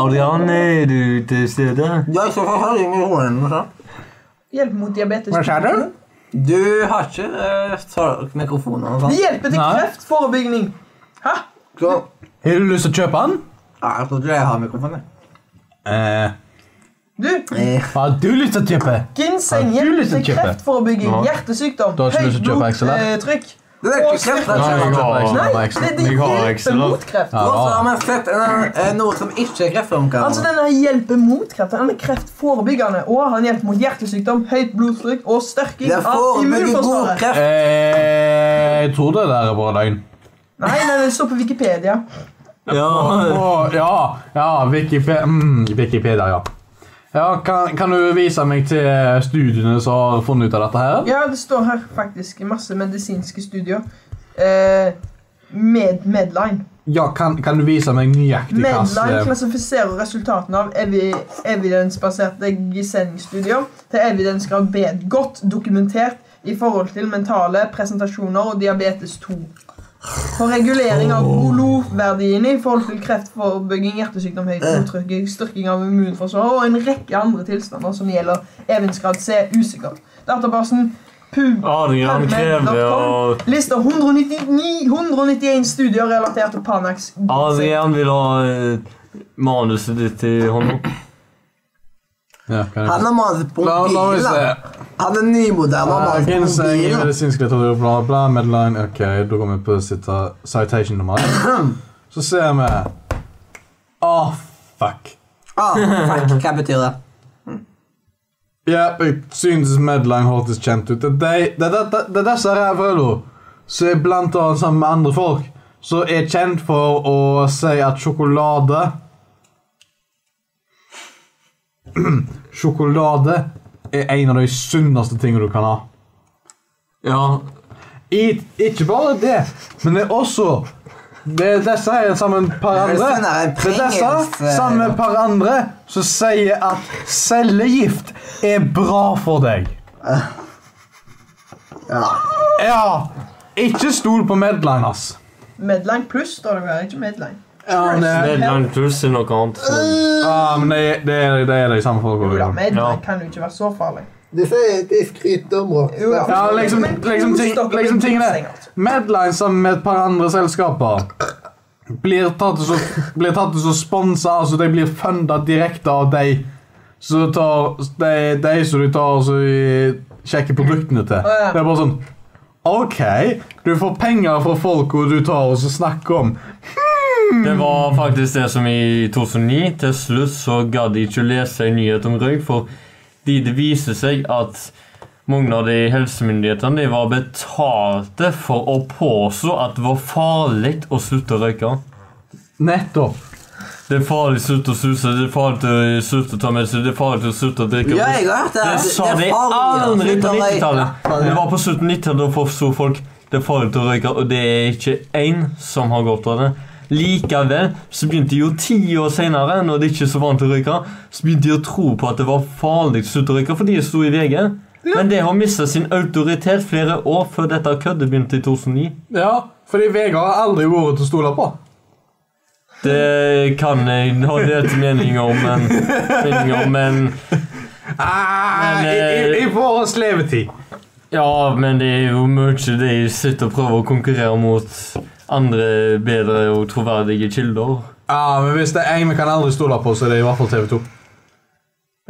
S4: Adrian, er du til stede?
S2: Du har ikke fått solgt mikrofonen. sa.
S1: Hjelp mot diabetes.
S3: Hva skjer du?
S2: Du har ikke eh, solgt mikrofonen. og
S1: Det
S2: sånt.
S1: hjelper til
S3: Nei.
S1: kreftforebygging. Hæ?
S2: Så,
S3: Har du lyst til å kjøpe den?
S2: ja, jeg tror ikke jeg har mikrofon. jeg.
S3: Eh,
S1: Du,
S2: Eh,
S3: har du lyst til å kjøpe?
S1: ginseng
S3: Har du
S1: hjelper
S3: lyst til
S1: til
S3: å kjøpe?
S1: kreftforebygging, hjertesykdom,
S3: Da har ikke
S1: høyt
S3: du lyst til å kjøpe XLR?
S1: blodtrykk
S2: Det er
S1: og
S2: ikke kreft.
S1: styrke-
S2: det er
S3: Nei, jeg
S2: ikke
S3: har
S2: kreft.
S1: Nei,
S3: Nei,
S1: det, det
S3: jeg har
S1: hjelper
S3: XLR.
S1: mot kreft.
S2: Og så har vi sett en- eh, noe som ikke er
S1: Altså
S2: kreftfremkallende.
S1: denne hjelper mot kreft, den er kreftforebyggende, og han hjelper mot hjertesykdom, høyt blodtrykk og styrking
S2: Det
S1: av
S2: forebygger god
S1: immunforsvaret.
S2: kreft.
S3: Eh, jeg tror det der er bare [LAUGHS] løgn.
S1: Nei, nei, det står på Wikipedia.
S4: Ja,
S3: Å, ja, ja, Wikipedia, mm, Wikipedia ja. ja kan, kan du vise meg til studiene som har funnet ut av dette her?
S1: Ja, det står her faktisk i masse medisinske studier. Eh, med Medline.
S3: Ja, kan, kan du vise meg nøyaktig hva
S1: Medline
S3: som-
S1: klassifiserer resultatene av evi evidensbaserte gisenstudier til evidensgrad B, godt dokumentert i forhold til mentale presentasjoner og diabetes 2. For regulering av blodverdiene i forhold til kreftforebygging, hjertesykdom, høyt blodtrykk, styrking av immunforsvaret og en rekke andre tilstander som gjelder evidensgrad C, usikkert. Databasen pub
S4: Adrian krever å
S1: Lista 199, 191 studier relatert til Panax.
S4: Adrian vil ha eh, manuset ditt i hånda.
S3: Ja, kan jeg-
S2: Han har malt på
S3: La- la meg
S2: mobilen.
S3: se.
S2: Han er nymoderne og malt på
S3: Ginseng,
S2: mobilen.
S3: medisinsk litteratur, bla, bla, medline Ok, da går vi på sita- citation nummer én. Så ser vi Å, fuck.
S2: Ah, fuck, hva betyr det?
S3: Ja, jeg synes medline hørtes kjent ut. Det er de- det er det- det er disse rævhøla som er blant annet sammen med andre folk, som er kjent for å si at sjokolade [CLEARS THROAT] Sjokolade er en av de sunneste tingene du kan ha.
S4: Ja,
S3: I, ikke bare det, men det er også det er disse her sammen med par
S2: Det er
S3: andre
S2: sånn der en
S3: Det er eh, disse
S2: prengelse-
S3: sammen med par andre som sier at cellegift er bra for deg. Ja. Ikke stol på Medline, ass.
S1: Medline pluss, står det vel. Ikke Medline.
S4: Medline Plus er noe annet. som-
S3: Ja, men det, det, er, det er de samme folka.
S1: Jo da,
S3: Ja,
S1: Medline
S4: Ja.
S1: kan jo ikke være så farlig.
S7: De sier de skryter om rock.
S1: Jo da.
S3: liksom,
S1: Men
S3: liksom, ting,
S1: stokker
S3: liksom
S1: med
S3: tingene
S1: ginseng, altså.
S3: Medline sammen med et par andre selskaper blir tatt til så- blir tatt til å sponse, altså de blir fundet direkte av de som tar de, de som du tar og så sjekker produktene til.
S1: ja.
S3: Det er bare sånn OK, du får penger fra folk og du tar og så snakker om
S4: Det var faktisk det som i 2009. Til slutt så gadd jeg ikke lese en nyhet om røyk, fordi det viser seg at mange av de helsemyndighetene de var betalte for å påstå at det var farlig å slutte å røyke.
S3: Nettopp.
S4: Det er farlig å slutte å snuse, det er farlig å slutte å ta med seg, det er farlig å slutte å drikke
S2: Ja, jeg har hørt det.
S4: Det
S2: Det-
S4: sa
S2: det er
S4: de
S2: farlig å
S4: aldri
S2: slutte å
S4: på
S2: røyke.
S4: 90-tallet. Det var på slutten av 90-tallet da forsto folk det er farlig å røyke, og det er ikke én som har godt av det. Likevel så begynte de jo ti år senere, når de ikke er så vant til å røyke, så begynte de å tro på at det var farlig å slutte å røyke fordi det sto i VG. Men det har mista sin autoritet flere år før dette køddet begynte i 2009.
S3: Ja, fordi Vegard har aldri vært til å stole på.
S4: Det kan jeg ha delte meninger om, men, meninger om, men
S3: Ah,
S4: Men,
S3: i, i,
S4: eh,
S3: I vår levetid.
S4: Ja, men det er jo mye de sitter og prøver å konkurrere mot andre bedre og troverdige kilder.
S3: Ja, men Hvis det er en vi kan aldri stole på, så er det i hvert fall TV 2.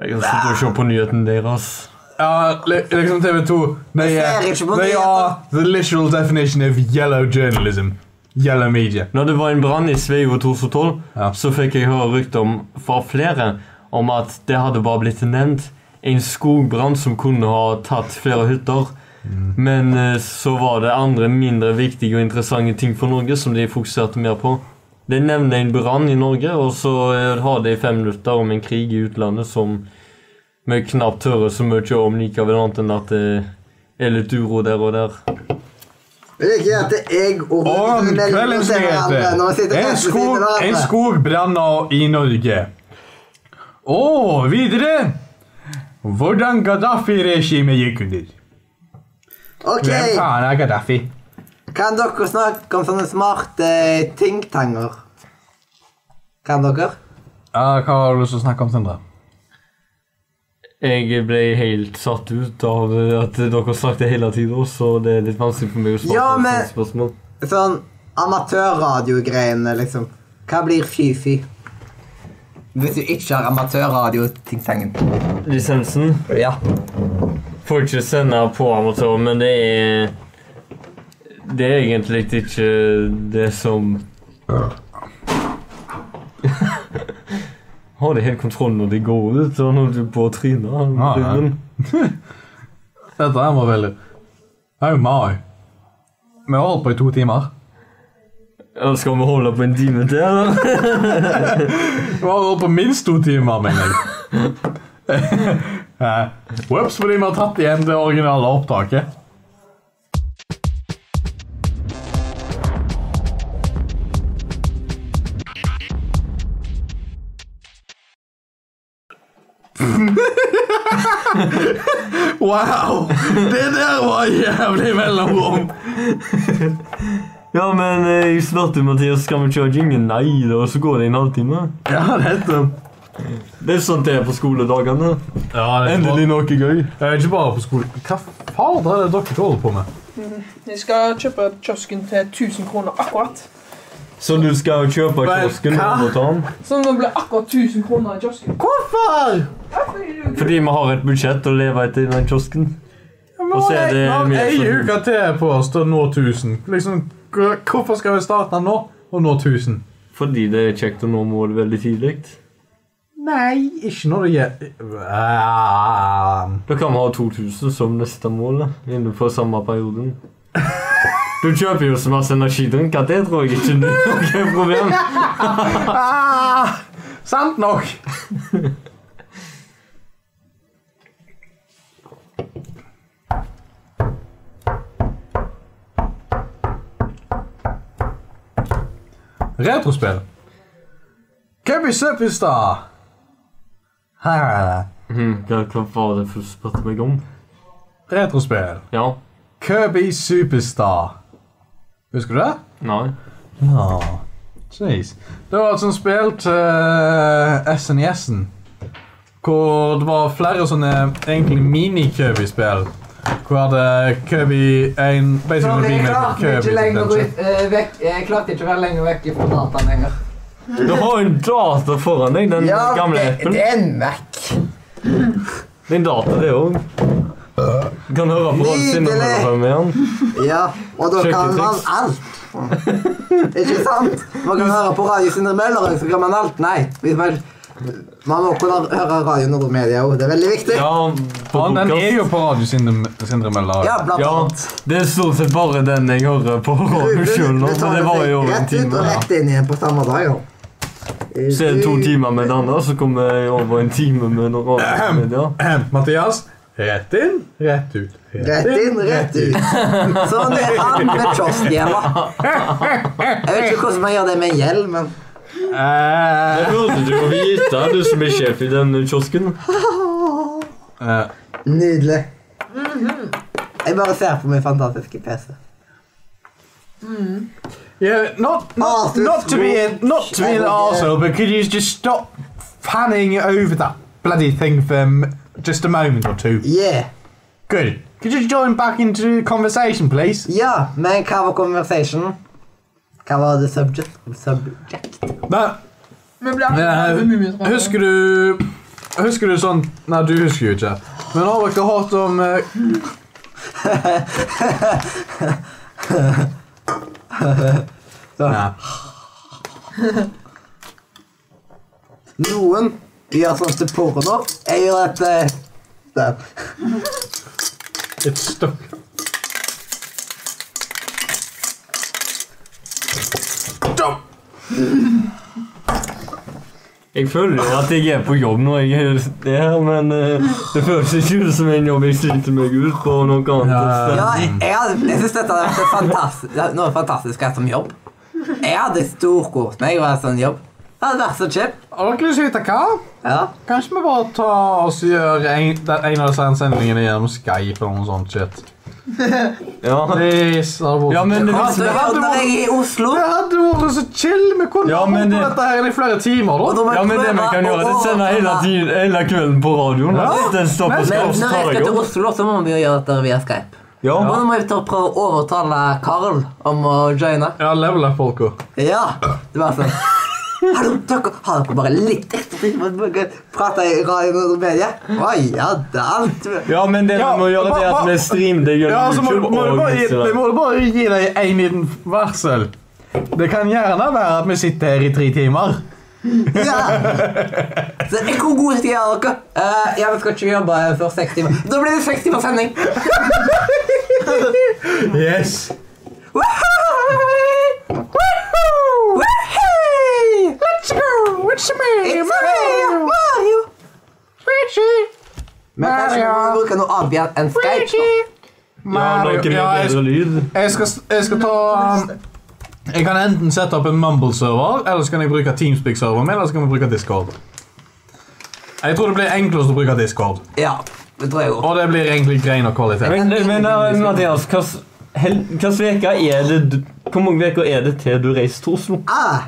S4: Jeg kan sitte og se på nyheten deres.
S3: Ja, li liksom TV 2 They,
S2: Jeg ser
S3: uh,
S2: ikke på
S3: they
S2: nyheter.
S3: are the literal definition of yellow journalism. Yellow media.
S4: Når det var en brann i Sveio 2012,
S3: Ja.
S4: så fikk jeg høre rykter om fra flere om at det hadde bare blitt nevnt en skogbrann som kunne ha tatt flere hytter. Men eh, så var det andre mindre viktige og interessante ting for Norge som de fokuserte mer på. De nevner en brann i Norge, og så eh, har de fem minutter om en krig i utlandet som vi knapt hører så mye om likevel, annet enn at det er litt uro der og der.
S8: Det er ikke at jeg og
S3: Og kveldens nyheter. En, skog, en skogbrann nå i Norge. Og videre Hvordan Gaddafi-regimet gikk under.
S2: Ok,
S3: Hvem faen er Gaddafi?
S2: kan dere snakke om sånne smarte tinktanger? Kan dere?
S3: Ah, hva har du lyst til å snakke om, Sindre?
S4: Jeg ble helt satt ut av at dere snakket hele tiden, så det er litt vanskelig for meg å svare
S2: Ja,
S4: på
S2: men-
S4: sånne spørsmål.
S2: Sånn amatørradiogreiene, liksom. Hva blir fy-fy? Hvis du ikke har amatørradio-tinktangen.
S4: Lisensen
S2: Ja.
S4: får ikke sende på amatør, men det er Det er egentlig ikke det som [LAUGHS] Har de helt kontroll når de går ut, og når du er på trynet? han
S3: Ah, ja.
S4: driven.
S3: Dette her var veldig Au, mai. Vi har holdt på i to timer.
S4: Ja, Skal vi holde på en time til, eller?
S3: Vi har holdt på minst to timer, mener jeg. [LAUGHS] Eh, Whoops, fordi vi har tatt igjen det originale opptaket. [LAUGHS] Wow! Det der var jævlig mellomrom.
S4: [LAUGHS] Ja, men eh, jeg spurte Mathias skal vi kjøre jingle. Nei da, og så går det en halvtime.
S3: Ja, det eh, heter det.
S4: Det er sånt det er på skoledagene.
S3: Ja, det er
S4: Endelig
S3: ikke
S4: noe gøy.
S3: bare- det er ikke bare på skolen. Hva faen er det dere holder på med?
S1: Jeg skal kjøpe kiosken til 1000 kroner akkurat.
S4: Så du skal kjøpe
S3: Vel,
S4: kiosken
S3: hva?
S4: og ta den?
S1: Så nå ble akkurat 1000 kroner i kiosken. Hvorfor?
S4: Fordi vi har et budsjett å leve etter i den kiosken. Og så er det
S3: Nå
S4: mye
S3: er ei
S4: som-
S3: uke til på oss til å nå 1000. Liksom, hva- hvorfor skal vi starte nå og nå 1000?
S4: Fordi det er kjekt å nå målet veldig tidlig.
S3: Nei, ikke når det gjelder Ah,
S4: Da kan vi ha 2000 som neste mål da, innenfor samme perioden. Du kjøper jo så masse energidrink at det tror jeg ikke det er noe problem.
S3: ah, Sant nok. Retrospill. Hva vi se på i stad? Her er det.
S4: Mhm, Hva, hva var det først spurte meg om?
S3: Retrospill.
S4: Ja.
S3: Kirby Superstar. Husker du det?
S4: Nei.
S3: Ja. Jeez. Det var et sånt spill til eh, SNES-en. Hvor det var flere sånne egentlig mini-Kirby-spill. Hvor hadde Kirby en
S2: Sorry,
S3: Basically
S2: jeg
S3: med
S2: klarte ikke
S3: Kirby
S2: lenger
S3: Adventure.
S2: ut, eh, vekk, jeg klarte ikke å være lenger vekk fra dataen lenger.
S4: Du har jo en data foran deg, den gamle appen.
S2: er en Mac.
S4: Det er en data, det òg. Du kan høre på Rolf sin
S2: Nydelig!
S4: med han.
S2: Ja, og da kan man
S4: Sjekketriks.
S2: alt. Ikke sant? Man kan høre på Radio Sindre Møller, så kan man alt. Nei. hvis Man man må kunne høre Radio Nordmedia òg. Det er veldig viktig.
S4: Ja, på
S3: Ja, den er
S4: podcast.
S3: jo på radio, Sindre- Sindre Møller.
S2: Ja, blant
S4: Ja,
S2: annet.
S4: det er stort sett bare den jeg hører [LAUGHS] på radio sjøl nå, men det var jo over en
S2: Rett ut
S4: time.
S2: og rett inn igjen på samme dag. jo.
S4: Så er det to timer med den, og så kommer jeg over en time med noen radiomedia.
S3: [CLEARS THROAT] Mathias, rett inn, rett ut.
S2: Rett inn, rett ut. Sånn er han med kioskhjelma. Jeg vet ikke hvordan man gjør det med en gjeld, men
S4: Det
S3: Eh,
S4: burde du jo vite, du som er sjef i den kiosken.
S3: eh,
S2: nydelig. Jeg bare ser på min fantastiske PC.
S3: Yeah, not not,
S2: Arthur
S3: not to be an,
S2: Fleck.
S3: not to be an
S2: Yeah.
S3: arsehole, but could you just stop fanning over that bloody thing for m- just a moment or two?
S2: Yeah.
S3: Good. Could you join back into the conversation, please?
S2: Ja, men hva var conversation? Hva var det subject? subject?
S3: No.
S1: Vi ble
S3: Eh,
S1: akkurat med Mummitrollet.
S3: husker du Husker du sånn Nei, du husker jo ikke. Men har dere hørt om eh, [LAUGHS] Nei.
S2: Noen gjør sånn til porno. Jeg gjør et eh,
S9: Der.
S3: It's stuck.
S4: Jeg føler jo at jeg er på jobb når jeg gjør det her, men eh, det føles ikke ut som en jobb jeg sliter meg ut på og noe annet.
S2: Ja, jeg, jeg, hadde- jeg syns dette hadde vært et fantastisk, noe fantastisk å ha som jobb. Jeg hadde storkost meg å ha sånn jobb. Det hadde vært så kjipt.
S3: Har dere lyst til å vite hva?
S2: Ja.
S3: Kanskje vi bare tar oss og gjør en, den ene av disse sendingene gjennom Skype eller noe sånt shit.
S4: Ja.
S3: Please, det hadde vært
S4: Ja, men det
S2: Og
S4: visste
S2: så
S3: hadde
S2: når jeg er i Oslo
S3: Det hadde vært så chill. Vi kunne
S4: Ja,
S3: ja, holdt
S4: men
S3: på
S4: det-
S3: dette her i flere timer,
S2: og
S3: da.
S2: da må jeg
S4: Ja, men det vi
S2: prøve
S4: kan gjøre, det
S2: å-
S4: er sende hele, tiden, hele kvelden på radioen.
S3: Ja.
S4: Den stopper
S2: Men
S4: skal
S2: når jeg
S4: ta
S2: skal
S4: deg
S2: til
S4: opp.
S2: Oslo, så må vi jo gjøre dette via Skype.
S4: Ja.
S2: Og nå må vi ta- prøve å overtale Carl om å joine.
S3: Ja, level up, folka.
S2: Ja! Det var sånn Hallo, dere har dere bare litt ekstra tid for å bruke- prate i radioen og media? Å ja, det er alt.
S4: ja, men det
S3: Ja,
S4: vi må gjøre, det er
S3: hva-
S4: at vi streamer det
S3: Ja,
S4: gjennom
S3: altså, må,
S4: YouTube
S3: må, du
S4: og
S3: bare, gi-
S4: Instagram.
S3: må du bare gi deg en liten varsel. Det kan gjerne være at vi sitter her i tre timer.
S2: Ja. Så jeg hvor god tid er dere? Uh, ja, vi skal ikke jobbe før seks timer. Da blir det seks timer sending.
S3: Yes.
S2: Let's go! It's me, Mario! Mario! Men kanskje vi må bruke noe annet enn Skype?
S4: Ja, noe med
S3: ja, jeg,
S4: bedre lyd.
S3: jeg, skal, jeg skal ta um, Jeg kan enten sette opp en Mumble-server, eller så kan jeg bruke Teamspeak-serveren min, eller så kan vi bruke Discord. Jeg tror det blir enklest å bruke Discord,
S2: da? Ja, det tror jeg også.
S3: og det blir egentlig grein og kvalitet.
S4: Men, men eh, Mathias, hvilken uke er det du Hvor mange uker er det til du reiser til Oslo?
S2: Ah,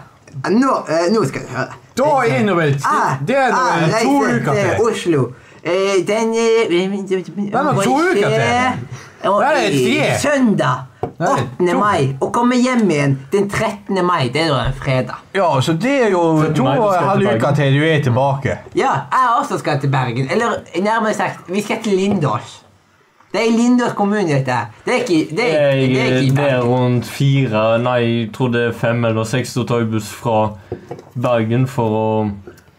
S2: nå, eh, nå skal du høre.
S3: Da er det vel
S2: Ah,
S3: Det er det
S2: ah,
S3: vel to
S2: reise
S3: uker
S2: til
S3: til.
S2: Oslo. Eh, Den er
S3: er to uker til.
S2: Og
S3: Nei, det er
S2: i
S3: tre.
S2: søndag
S3: Nei,
S2: 8.
S3: to.
S2: mai. Og komme hjem igjen den 13. mai. Det er da en fredag.
S3: Ja, så det er jo to
S4: meg, du
S3: og
S4: skal
S3: en halv
S4: tilbake.
S3: uke til du er tilbake.
S2: Ja, jeg også skal til Bergen. Eller nærmere sagt, vi skal til Lindås. Det er i Lindås kommune, dette her. Det er ikke, det er, det er ikke
S4: Jeg
S2: i
S4: det er
S2: Bergen.
S4: rundt fire, nei, jeg tror det er fem eller seks, da tar jeg buss fra Bergen for å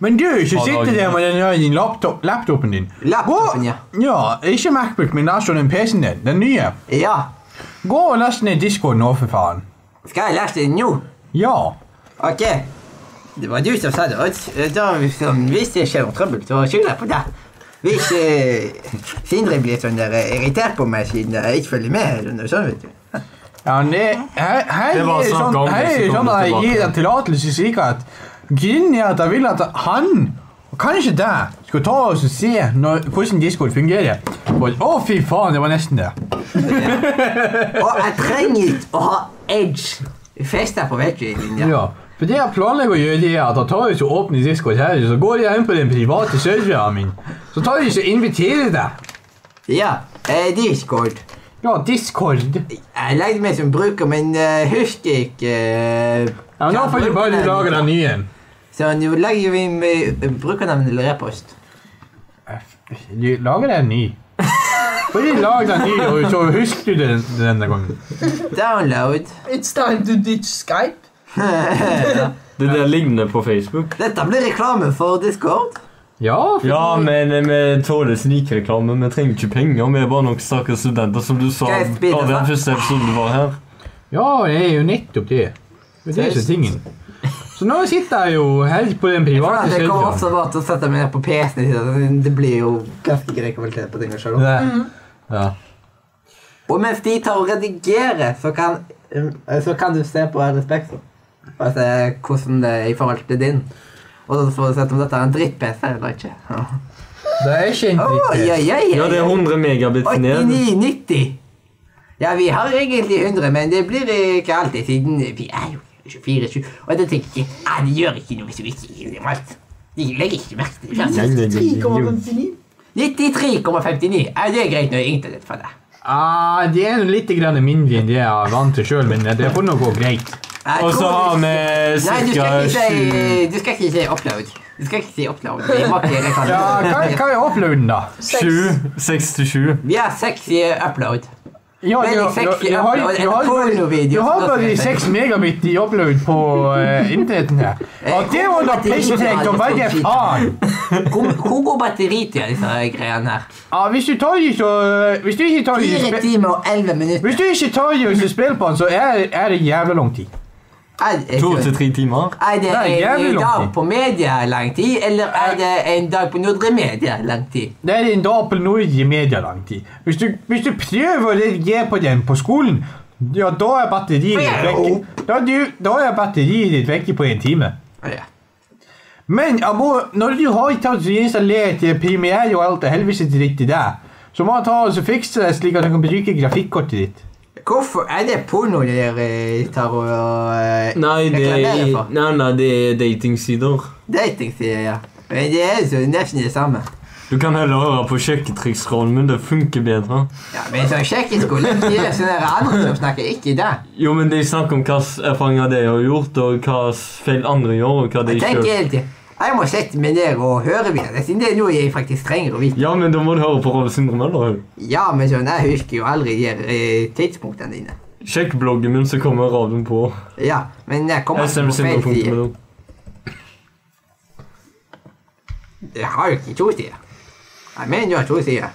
S3: Men du, ikke
S4: Har
S3: sitte
S4: dagen.
S3: der med den jævla laptop, laptopen din.
S2: Laptopen,
S3: Gå-
S2: ja.
S3: Ja, ikke Macbook, men altså den PC-en din. Den nye.
S2: Ja.
S3: Gå og last ned Discord nå, for faen.
S2: Skal jeg lese det nå?
S3: Ja.
S2: Ok. Det var du som sa det, Odd. Da, sånn, hvis det skjer noe trøbbel, så skylder jeg på deg. Hvis eh, Sindre blir sånn der eh, irritert på meg siden jeg ikke følger med, eller noe sånt, vet du.
S3: ja men det, hei, hei,
S10: Det var
S3: er
S10: snakk
S3: sånn,
S10: om det,
S3: hei,
S10: så kom
S3: sånn
S10: det
S3: at jeg gir
S10: tilbake.
S3: deg tillatelse slik at grunnen er at jeg vil at han, og kanskje deg, skal ta oss og se når, hvordan Discord fungerer. Og- Å, fy faen, det var nesten det.
S2: Og jeg trenger ikke å ha edge festa på vegglinja.
S3: Ja. For det jeg planlegger å gjøre, det er at jeg tar ikke åpne Discord her, så går jeg inn på den private serveren min. Så tar jeg ikke og inviterer deg.
S2: Ja, eh, Discord.
S3: Ja, Discord.
S2: Jeg lagde meg som bruker, men eh, husker ikke eh,
S3: Ja, nå får du bare lage den nye en.
S2: Så nå lager vi med brukernavn eller e-post.
S3: Du lager deg en ny. Bare lag den ny, og så husker du den denne gangen.
S2: Download. [LAUGHS]
S1: It's time to ditch Skype.
S4: Det der ligner på Facebook.
S2: Dette blir reklame for Discord.
S3: Ja,
S4: Ja, men eh, vi tåler snikreklame. Vi trenger ikke penger. Vi er bare noen stakkars studenter, som du sa.
S2: Skal jeg spille,
S4: av
S2: da?
S4: den første episoden du var her.
S3: ja, det er jo nettopp det. Men det er ikke tingen. Så nå sitter jeg jo her på den private
S2: Jeg kommer
S3: serveren.
S2: observert og setter meg ned på PC-en. i stedet. Det blir jo ganske grei kvalitet på tingene selv.
S3: Det- Ja.
S2: Og mens de tar og redigerer, så kan, um, så kan du se på Respekt. Og se hvordan det er i forhold til din. Og så får du sett om dette er en dritt-PC eller ikke.
S3: Det er ikke en
S2: Oi, oi,
S3: dritt.
S2: oi, oi.
S4: Ja, det er 100 megabits ned.
S2: 89,90. Ja, vi har egentlig 100, men det blir eh, ikke alltid, siden vi er jo 24-7. Og da tenker jeg ja, det gjør ikke noe hvis vi ikke gir dem alt. De legger ikke merke til det.
S4: Nei, nei, nei, nei, nei.
S1: 3,59.
S2: 93,59. Ja, det er greit når internett for deg.
S3: Ah, det er jo litt grann mindre enn det jeg er vant til sjøl, men det får nå gå greit.
S2: Jeg
S4: Og så
S2: tror-
S4: har vi
S2: Nei, du
S4: cirka
S2: skal ikke
S4: sju
S2: si, du skal ikke si upload. Du skal ikke si upload. Vi må ikke reklame.
S3: Ja, hva, hva er uploaden, da?
S1: Seks.
S4: Sju. Seks til sju.
S2: Vi har seks i upload.
S3: Ja,
S2: Det er
S3: ja,
S2: litt
S3: ja,
S2: sexy,
S3: jeg har-
S2: og en
S3: jeg har bare-
S2: pornovideo
S3: Jeg har
S2: som
S3: bare
S2: skal se.
S3: 6 megabit i upload på eh, internetten her.
S2: Eh,
S3: Og det var da pisspreik å være faen!
S2: Hvor, hvor går batteritida, disse her greiene her?
S3: Ja, hvis du tar de så eh, Hvis du ikke tar de
S2: Fire
S3: spe-
S2: timer og elleve minutter.
S3: hvis du ikke tar de og så spiller på den, så er, er det jævla lang tid.
S2: Er det,
S4: To til tre timer.
S2: er det
S3: Nei, jævlig
S2: en eh,
S3: lang
S2: dag
S3: tid.
S2: på media lang tid, eller er det en dag på Nordre Media lang tid?
S3: Det er en dag på noe i media lang tid. Hvis du, hvis du prøver å reagere på den på skolen, ja, da er batteriet ditt vekke. Da, er du- da er batteriet ditt vekke på en time.
S2: Ja.
S3: Men Abo, når du har tatt installert eh, Premiere og alt det helvete dritt i det, så må han ta og så fikse det slik at han kan bruke grafikkortet ditt.
S2: Hvorfor er det porno dere eh, tar og eh,
S4: Nei, det
S2: reklamerer
S4: er,
S2: for?
S4: nei, nei, det er datingsider.
S2: Dating, sier jeg. ja. Men det er jo nesten det samme.
S4: Du kan heller høre på sjekketriksråden, men det funker bedre.
S2: Ja, men så sjekk i skolen. De er sånne andre som snakker ikke det.
S4: Jo, men de snakker om hva slags erfaringer de har gjort, og hva slags feil andre gjør, og hva de
S2: Jeg
S4: ikke
S2: tenker
S4: gjør.
S2: hele tiden, Jeg må sette meg ned og høre videre, siden det er noe jeg faktisk trenger å vite.
S4: Ja, men da må du høre på Rolf Sindre Møller. jo.
S2: Ja, men sånn, jeg husker jo aldri de eh, tidspunktene dine.
S4: Sjekk bloggen min, så kommer radioen på.
S2: Ja, men jeg kommer alltid på feil side.
S4: smsindre.no.
S2: Jeg har jo ikke to sider. Jeg mener du har to sider.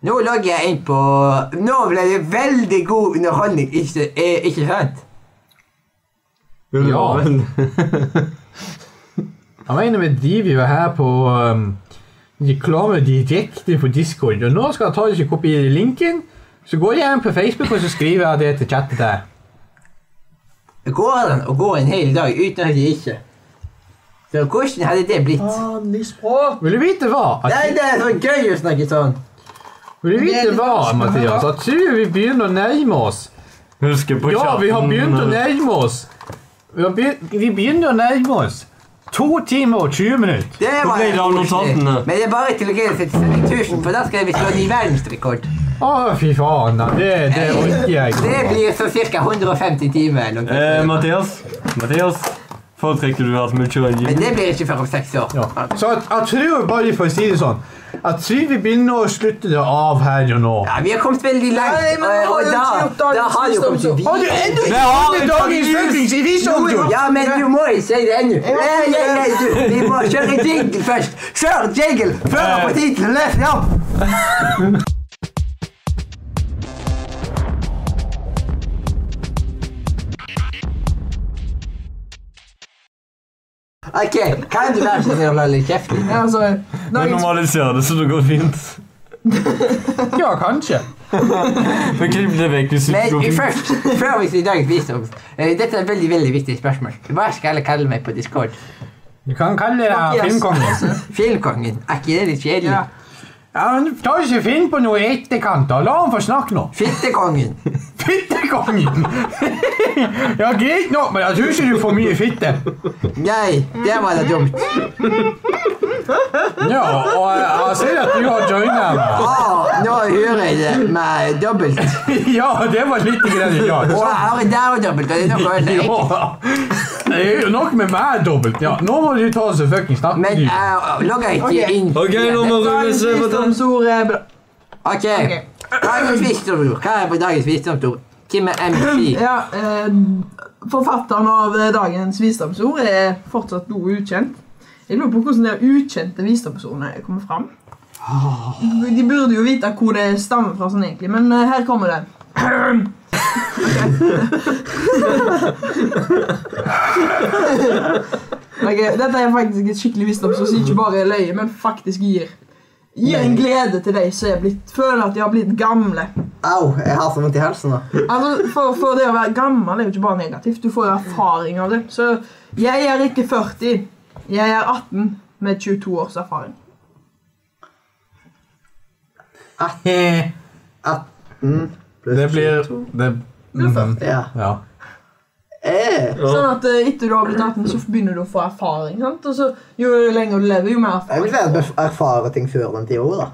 S2: Nå logger jeg inn på Nå ble det veldig god underholdning, ikke, eh, ikke sant?
S4: Ja.
S3: Han mener vi driver jo her på um, reklame direkte på Discord, og nå skal han ta og så kopiere linken, så går jeg inn på Facebook og så skriver jeg det til chatten der.
S2: Går den å gå en hel dag uten at de ikke Så hvordan hadde det blitt?
S1: Vanlig språk.
S3: Vil du vite hva? At,
S2: Nei, det er så gøy å snakke sånn.
S3: vil du vite hva, Mathias? At tror vi begynner å nærme oss.
S4: Husker på
S3: Ja, vi har
S4: chatten,
S3: begynt å
S4: eh,
S3: nærme oss. Vi, har begynt, vi begynner å nærme oss. To timer og 20 minutter.
S2: Det
S4: Hvor ble det av
S2: koselig.
S4: notatene?
S2: Men det er bare til å glede seg til 7000, for da skal vi slå ny verdensrekord.
S3: Å, fy faen. da. Det, det orker jeg
S2: Det
S3: ikke.
S2: blir så ca. 150 timer. eller noe.
S4: Eh, Mathias? Mathias? Foretrekker du at vi kjører
S2: Men
S4: jul?
S2: det blir ikke før om seks år.
S3: Ja. Så jeg, jeg tror bare for å si det sånn Jeg tror vi begynner å slutte det av her og nå.
S2: Ja, vi har kommet veldig langt, Eh,
S1: Nei, men nå
S2: og,
S1: har
S2: og
S1: jo
S2: da,
S1: ikke gjort dagens
S2: da har jo kommet
S1: visdom, så-
S2: vi-
S3: Har du ennå ikke
S4: har
S3: funnet dagens fuckings
S2: Jo,
S3: avisomtale?
S2: Ja, men du må ikke si det ennå. Nei, nei, nei, du, vi må kjøre jingle først. Kjør jingle før jeg får tid til å lese den opp. Ok, kan du være så snill å holde litt kjeft? litt?
S1: Ja, altså,
S4: Vi
S1: dagens
S4: normaliserer det, så det går fint.
S3: Ja, kanskje.
S4: Vi klipper det vekk hvis det går
S2: Men
S4: fint.
S2: først, før vi sier dagens visdom, eh, dette er et veldig, veldig viktig spørsmål. Hva skal jeg kalle meg på Discord?
S3: Du kan kalle deg filmkongen.
S2: Filmkongen, er ikke det litt kjedelig?
S3: Ja. Ja, men Ta ikke finn på noe i etterkant. da. La han få snakke nå. [LAUGHS]
S2: Fittekongen.
S3: Fittekongen! [LAUGHS] Ja, greit nok, men jeg tror ikke du får mye fitte.
S2: Nei, det var da dumt.
S3: Ja, og jeg, jeg ser at du har joina.
S2: Å, Ah, nå hører jeg det med dobbelt.
S3: [LAUGHS] Ja, det var litt grann rart.
S2: Og jeg har der og dobbelt, og det er noe ødeleggende.
S3: Ja. Det er jo nok med meg dobbelt. Ja, nå må du ta oss og fuckings snakke.
S2: Men eh,
S3: du.
S2: jeg logger ikke inn.
S4: Ok, nå må Rune se på den.
S1: visdomsord er bra.
S2: Ok, dagens visdomsord. Hva er på dagens visdomsord? Hvem er MC?
S1: Ja, eh, forfatteren av eh, dagens visdomsord er fortsatt noe ukjent. Jeg lurer på hvordan de ukjente visdomsordene kommer fram. De burde jo vite hvor det stammer fra, sånn egentlig, men eh, her kommer det. Ok. Ok, dette er faktisk et skikkelig visdomsord som ikke bare er løye, men faktisk gir, gir en glede til de som er blitt, føler at de har blitt gamle.
S2: Au, jeg har så vondt i halsen nå.
S1: Altså, for, for det å være gammel er jo ikke bare negativt. Du får jo erfaring av det. Så jeg er ikke 40. Jeg er 18 med 22 års erfaring.
S11: 18 pluss
S12: Det blir det,
S4: Mhm.
S11: Ja.
S12: Ja.
S11: Eh,
S1: Sånn at eh, etter du har blitt 18, så begynner du å få erfaring. sant? Og så Jo lenger du lever, jo mer
S11: jeg vil
S1: erfaring.
S11: si at vi erfarer ting før den tida òg, da.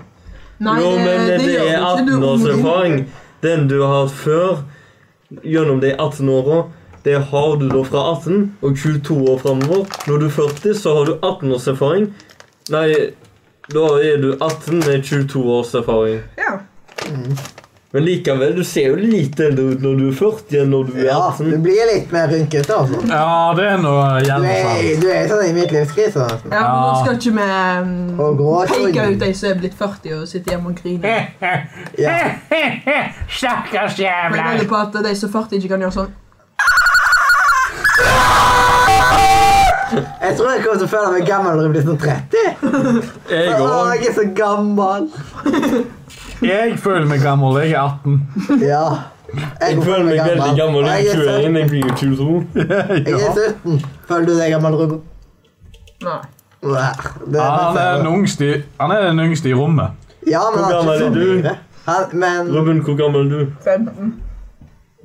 S1: Nei,
S4: Jo,
S1: det,
S4: men
S1: det,
S4: det
S1: gjør
S4: er
S1: du ikke.
S4: 18
S1: Du
S4: års
S1: er ung.
S4: erfaring. Den du har hatt før, gjennom de 18 åra, det har du da fra 18 og 22 år framover. Når du er 40, så har du 18 års erfaring. Nei, da er du 18 med 22 års erfaring.
S1: Ja.
S4: Men likevel, du ser jo litt eldre ut når du er 40 enn når du er
S2: Ja,
S4: 18.
S2: du blir litt mer rynkete, altså.
S3: Ja, det er noe
S2: Du
S3: gjerne sant.
S2: er, du er sånn i midtlivskrise. nesten.
S1: Ja, men nå skal ikke vi
S2: Og grå
S1: mm, peke
S2: øyne.
S1: ut de som er blitt 40 og sitter hjemme og griner.
S2: Ja.
S13: Stakkars
S1: Men
S13: jævla
S1: jeg lurer på at de som er 40 ikke kan gjøre sånn.
S2: Jeg tror jeg kommer til å føle meg gammel når jeg blir sånn 30.
S3: Jeg
S2: Å,
S3: òg.
S2: jeg er så gammel.
S3: Jeg føler meg gammel. Jeg er 18.
S2: Ja.
S4: Jeg
S2: går
S4: føler meg veldig gammel.
S2: Og
S4: Jeg
S2: Jeg
S4: er
S2: er
S4: 21, jeg blir jo 22.
S2: sytt- jeg er 17. Føler du deg gammel, Rogo?
S1: Nei.
S2: Nei, det
S3: Ja, Han er den
S2: er
S3: yngste i- han er den yngste i rommet.
S2: ja, men han
S4: Hvor
S2: er
S4: gammel
S2: ikke
S4: er
S2: så
S4: du?
S2: mye. Han, men
S4: Robin, hvor gammel er du?
S1: 15.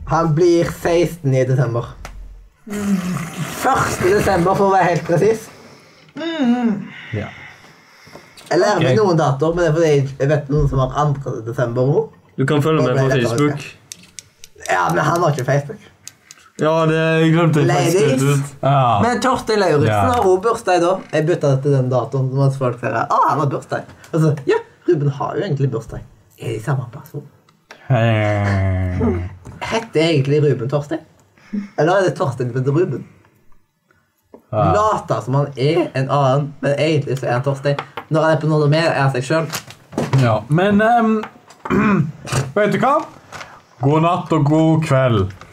S2: han blir 16 i desember. 1. desember, for å være helt presis. Mm-hmm.
S14: Ja.
S2: Jeg lærer meg
S4: Ok.
S2: noen datoer, men det er fordi jeg vet noen som har 2. desember også.
S4: Du kan følge meg på
S2: Robin, jeg tar
S4: Facebook.
S2: Ja, men han har ikke Facebook.
S4: Ja, det jeg glemte jeg
S2: Ladies.
S4: faktisk. ut.
S3: Ja.
S2: Men Torstein Lauritzen
S3: Ja.
S2: har også bursdag da. Jeg bytta det til den datoen mens folk sier at ah, han har bursdag. Og så, ja, Ruben har jo egentlig bursdag. Er de samme person? Heter egentlig Ruben Torstein? Eller er det Torstein som heter Ruben? Later som han er en annen, men egentlig så er han Torstein. Når han er på noe mer, er han seg sjøl.
S3: ja. [CLEARS THROAT] Men ehm, Vet du hva? God natt og god kveld.